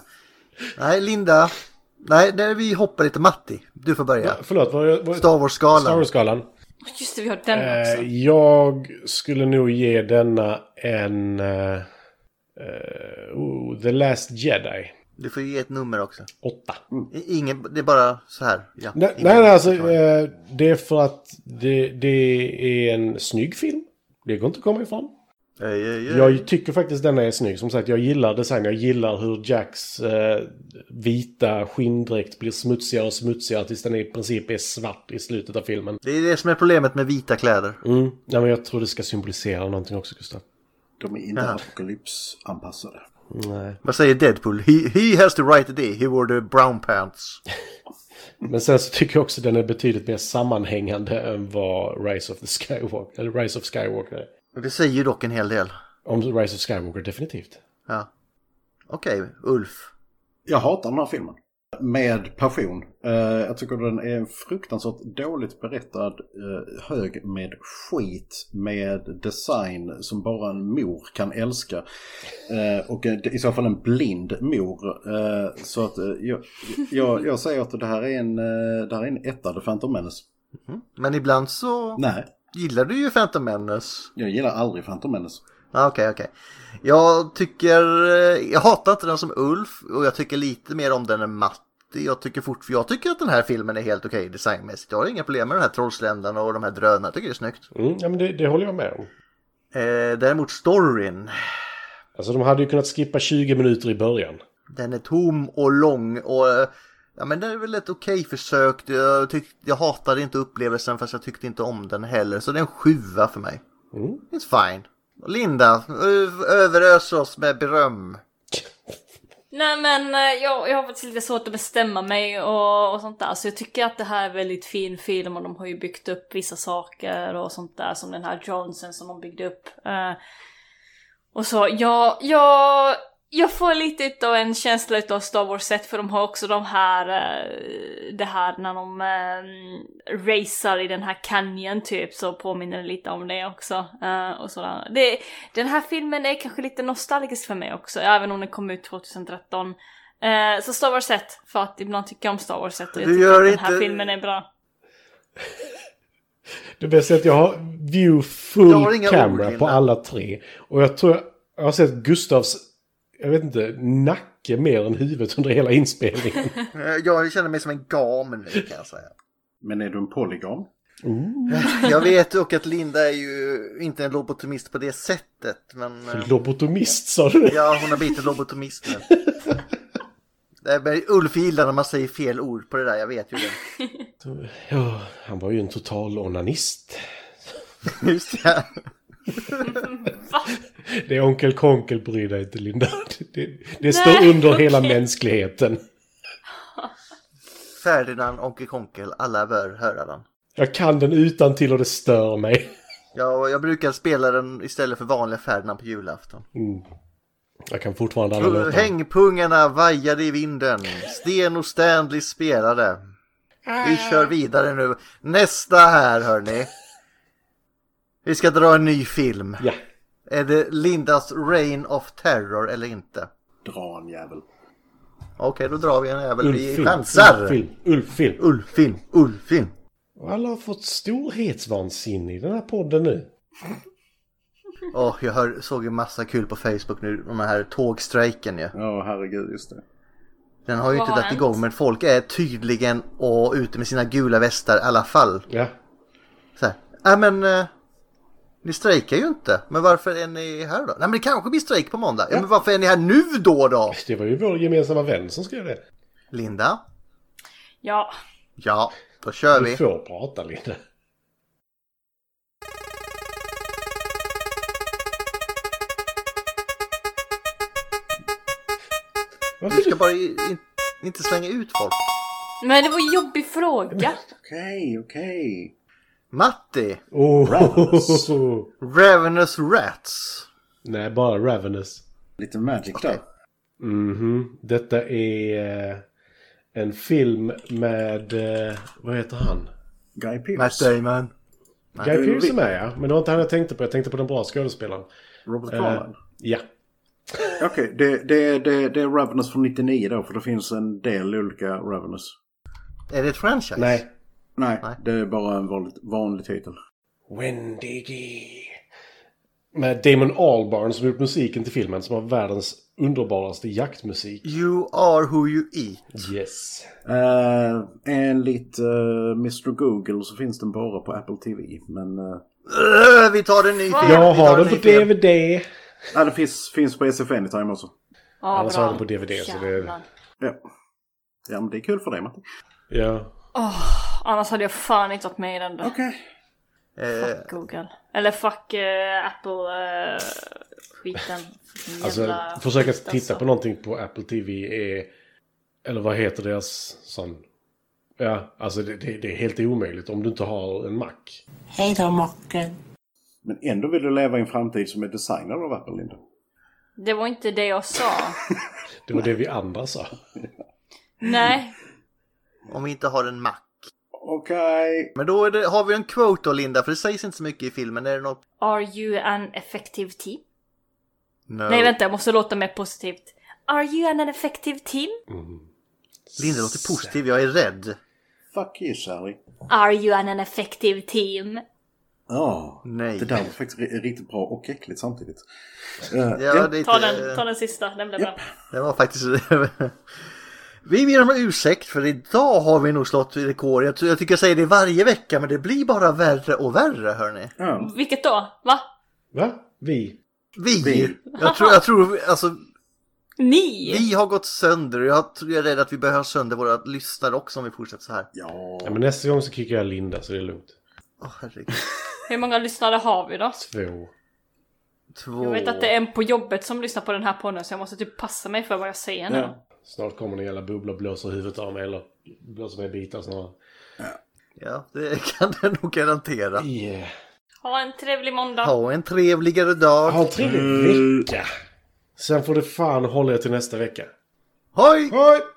Speaker 2: Nej, Linda. Nej, nej, vi hoppar lite Matti. Du får börja.
Speaker 3: förlåt, vad är...
Speaker 2: Star Wars-skalan.
Speaker 3: Star Wars-skalan.
Speaker 1: Just det, vi har den också.
Speaker 3: Eh, jag skulle nog ge denna en... eh, eh, oh, The Last Jedi.
Speaker 2: Du får ge ett nummer också.
Speaker 3: Åtta.
Speaker 2: Ingen, det är bara så här. Ja,
Speaker 3: Nej,
Speaker 2: ingen-
Speaker 3: nej, nej alltså eh, det är för att det, det är en snygg film. Det går inte att komma ifrån.
Speaker 2: Ej, ej, ej.
Speaker 3: Jag tycker faktiskt denna är snygg. Som sagt, jag gillar design. Jag gillar hur Jacks eh, vita skinndräkt blir smutsigare och smutsigare tills den i princip är svart i slutet av filmen.
Speaker 2: Det är det som är problemet med vita kläder.
Speaker 3: Mm. Nej, men jag tror det ska symbolisera någonting också, Gustav.
Speaker 4: De är inte apokalypsanpassade.
Speaker 3: Nej.
Speaker 2: Vad säger Deadpool? He, he has the right idea. He wore the brown pants.
Speaker 3: Men sen så tycker jag också den är betydligt mer sammanhängande än vad Rise of the Skywalker, eller Rise of Skywalker är.
Speaker 2: Och Det säger ju dock en hel del.
Speaker 3: Om Rise of Skywalker, definitivt.
Speaker 2: Ja. Okej, Ulf.
Speaker 4: Jag hatar den här filmen. Med passion. Eh, jag tycker den är en fruktansvärt dåligt berättad eh, hög med skit. Med design som bara en mor kan älska. Eh, och eh, i så fall en blind mor. Eh, så att eh, jag, jag, jag säger att det här är en, eh, det här är en etta, The Phantom Menace.
Speaker 2: Men ibland så
Speaker 4: Nej,
Speaker 2: gillar du ju Phantom Menace.
Speaker 4: jag gillar aldrig Phantom Menace.
Speaker 2: Ja, Okej, okej. Jag tycker... eh, Jag hatar inte den som Ulf och jag tycker lite mer om den än Matti. Jag tycker, fort, jag tycker att den här filmen är helt okej designmässigt. Jag har inga problem med de här trollsländarna och de här drönarna. Jag tycker det är snyggt.
Speaker 3: Mm, ja, men det, det håller jag med om.
Speaker 2: Eh, däremot storyn.
Speaker 3: Alltså de hade ju kunnat skippa 20 minuter i början.
Speaker 2: Den är tom och lång och... eh, Ja men det är väl ett okej försök. Jag, tyck, jag hatade inte upplevelsen fast jag tyckte inte om den heller. Så det är en sjua för mig.
Speaker 3: Mm.
Speaker 2: It's fine. Linda, ö- överös oss med beröm.
Speaker 1: Nej men eh, jag, jag har faktiskt lite svårt att bestämma mig och, och sånt där. Så jag tycker att det här är en väldigt fin film och de har ju byggt upp vissa saker och sånt där. Som den här Johnson som de byggde upp. Eh, och så, jag, jag, jag får lite utav en känsla utav Star Wars set för de har också de här, eh, det här när de eh, racear i den här canyon typ så påminner det lite om det också. Eh, och sådär. Det, den här filmen är kanske lite nostalgisk för mig också, även om den kom ut 2013. Eh, så Star Wars set, för att ibland tycker jag om Star Wars set och jag
Speaker 2: Du
Speaker 1: tycker
Speaker 2: gör
Speaker 1: att den här
Speaker 2: inte-
Speaker 1: filmen är bra.
Speaker 3: Det bästa är att jag har view
Speaker 2: Jag har
Speaker 3: full
Speaker 2: inga ord,
Speaker 3: camera
Speaker 2: Linda.
Speaker 3: på alla tre. Och jag tror jag, jag har sett Gustavs, jag vet inte, nacke mer än huvudet under
Speaker 2: (laughs)
Speaker 3: hela inspelningen.
Speaker 2: Eh, Jag känner mig som en gam nu kan jag säga.
Speaker 4: Men är du en polygam?
Speaker 2: Jag vet dock att Linda är ju inte en lobotomist på det sättet. Men eh,
Speaker 3: Lobotomist sa du?
Speaker 2: ja, hon har blivit en lobotomist (laughs) nu. Nej, men Ulf gillar när man säger fel ord på det där, jag vet ju det.
Speaker 3: Ja, han var ju en total onanist.
Speaker 2: Just det. (laughs)
Speaker 3: Det är onkel Konkel, bry dig inte Linda. Det, det, det står
Speaker 1: Nej,
Speaker 3: under hela
Speaker 1: okej.
Speaker 3: mänskligheten.
Speaker 2: Ferdinand, Onkel Konkel, alla bör höra den.
Speaker 3: Jag kan den utan till och det stör mig.
Speaker 2: Ja, och jag brukar spela den istället för vanliga Ferdinand på julafton.
Speaker 3: Mm. Jag kan fortfarande alla låtar.
Speaker 2: Hängpungarna vajade i vinden. Sten och Stanley spelade. Vi kör vidare nu. Nästa här hörni. Vi ska dra en ny film.
Speaker 3: Ja.
Speaker 2: Är det Lindas Reign of Terror eller inte?
Speaker 4: Dra en jävel.
Speaker 2: Okej, då drar vi en jävel. Vi
Speaker 3: Ulffilm,
Speaker 2: chansar.
Speaker 3: Ulffilm, Ulffilm.
Speaker 2: Ulfin, Ulfin.
Speaker 3: Och alla har fått storhetsvansinne i den här podden nu.
Speaker 2: Åh, jag hör, såg ju massa kul på Facebook nu, den här tågstrejken ju.
Speaker 4: Ja, herregud, just det.
Speaker 2: Den har ju
Speaker 1: Vad
Speaker 2: inte
Speaker 1: har
Speaker 2: dragit
Speaker 1: hänt?
Speaker 2: igång men folk är tydligen och ute med sina gula västar i alla fall.
Speaker 3: Ja.
Speaker 2: Så här, nej men eh, ni strejkar ju inte, men varför är ni här då? Nej men det kanske blir strejk på måndag. Ja. men varför är ni här nu då då?
Speaker 3: Det var ju vår gemensamma vän som skrev det.
Speaker 2: Linda?
Speaker 1: Ja,
Speaker 2: Ja, då kör
Speaker 3: Du
Speaker 2: vi.
Speaker 3: får prata Linda.
Speaker 2: Du ska bara i- in, inte slänga ut folk.
Speaker 1: men det var en jobbig fråga.
Speaker 4: Okej, okej.
Speaker 2: Matti!
Speaker 3: Oh. (laughs)
Speaker 4: Ravenous.
Speaker 2: Ravenous Rats.
Speaker 3: Nej, bara Ravenous.
Speaker 4: Lite magic då.
Speaker 3: Mhm. Detta är eh, en film med, eh, vad heter han?
Speaker 4: Guy Pearce.
Speaker 2: Matt eh, Damon.
Speaker 3: Guy Pearce är med ja, men det var inte han jag tänkte på. Jag tänkte på den bra skådespelaren.
Speaker 4: Robert
Speaker 3: Eh,
Speaker 4: Carlyle.
Speaker 3: ja.
Speaker 4: Okej, det, det, det, det är Ravenous från 99 då, för det finns en del olika Ravenous.
Speaker 2: Är det ett franchise?
Speaker 3: Nej.
Speaker 4: Nej, det är bara en vanlig, vanlig titel.
Speaker 3: Wendiggy. Med Damon Albarn som gjort musiken till filmen som har världens underbaraste jaktmusik.
Speaker 2: You are who you eat.
Speaker 3: Yes.
Speaker 4: Uh, enligt eh, Mr Google så finns den bara på Apple TV. Men... eh,
Speaker 2: Öh, vi tar en ny film.
Speaker 3: Jag
Speaker 2: Vi tar
Speaker 3: har
Speaker 2: en
Speaker 3: den
Speaker 2: ny
Speaker 3: på
Speaker 2: film.
Speaker 3: DVD.
Speaker 4: Ja, den finns, finns på SF Anytime också.
Speaker 1: Ja,
Speaker 3: (laughs) Annars
Speaker 1: bra.
Speaker 3: har den på DVD så det...
Speaker 1: Jävlar.
Speaker 4: Ja. ja, men det är kul för dig Matti.
Speaker 3: Ja.
Speaker 1: Åh, annars hade jag fan inte varit med i den där.
Speaker 4: Okej.
Speaker 2: Eh,
Speaker 1: Fuck Google. Eller fuck eh, Apple-skiten.
Speaker 3: Alltså, försöka titta
Speaker 1: alltså.
Speaker 3: på någonting på Apple TV är... Eller vad heter deras sån... Ja, alltså det, det, det är helt omöjligt om du inte har en Mac.
Speaker 4: Hej då Mocken. Men ändå vill du leva i en framtid som är designad av Apple, Linda.
Speaker 1: Det var inte det jag
Speaker 3: (laughs)
Speaker 1: sa.
Speaker 3: Det var det vi andra sa.
Speaker 1: Nej.
Speaker 2: Om vi inte har en Mac.
Speaker 4: Okej.
Speaker 2: Men då är det, har vi en quote då Linda, för det sägs inte så mycket i filmen. Är det något?
Speaker 1: Are you an effective team?
Speaker 2: No.
Speaker 1: Nej vänta, jag måste låta mer positivt. Are you an effective team?
Speaker 2: Linda låter positiv, jag är rädd.
Speaker 4: Fuck you Sally.
Speaker 1: Are you an effective team?
Speaker 4: Ja,
Speaker 2: Nej.
Speaker 4: det där var faktiskt ri- riktigt bra och äckligt samtidigt. Eh,
Speaker 2: Ja, det är
Speaker 1: Ta
Speaker 2: inte,
Speaker 1: den, ta den sista, den blev bra.
Speaker 2: Det var faktiskt... (laughs) vi ber om ursäkt för idag har vi nog slått rekord. Jag, tror- jag tycker jag säger det varje vecka men det blir bara värre och värre hörni.
Speaker 4: Ja.
Speaker 1: Vilket då? Va?
Speaker 3: Va? Vi?
Speaker 2: Vi!
Speaker 3: Vi.
Speaker 2: Jag tror, jag tror
Speaker 1: (laughs)
Speaker 2: alltså,
Speaker 1: Ni?
Speaker 2: vi har gått sönder och jag, tror, jag är rädd att vi börjar sönder våra lyssnare också om vi fortsätter så här.
Speaker 4: Ja.
Speaker 3: Ja, men nästa gång så kickar jag Linda så det är lugnt.
Speaker 2: Åh herregud.
Speaker 1: Hur många lyssnare har vi då?
Speaker 3: Två.
Speaker 2: Två.
Speaker 1: Jag vet att det är en på jobbet som lyssnar på den här podden så jag måste typ passa mig för vad jag säger nu.
Speaker 3: Snart kommer en jävla bubbla och blåser huvudet av mig eller blåser mig i bitar snarare.
Speaker 2: Ja, det kan det nog garantera.
Speaker 3: Yeah.
Speaker 1: Ha en trevlig måndag.
Speaker 2: Ha en trevligare dag.
Speaker 3: Ha en trevlig vecka! Sen får det fan hålla er till nästa vecka.
Speaker 2: Hoj!
Speaker 3: Hej!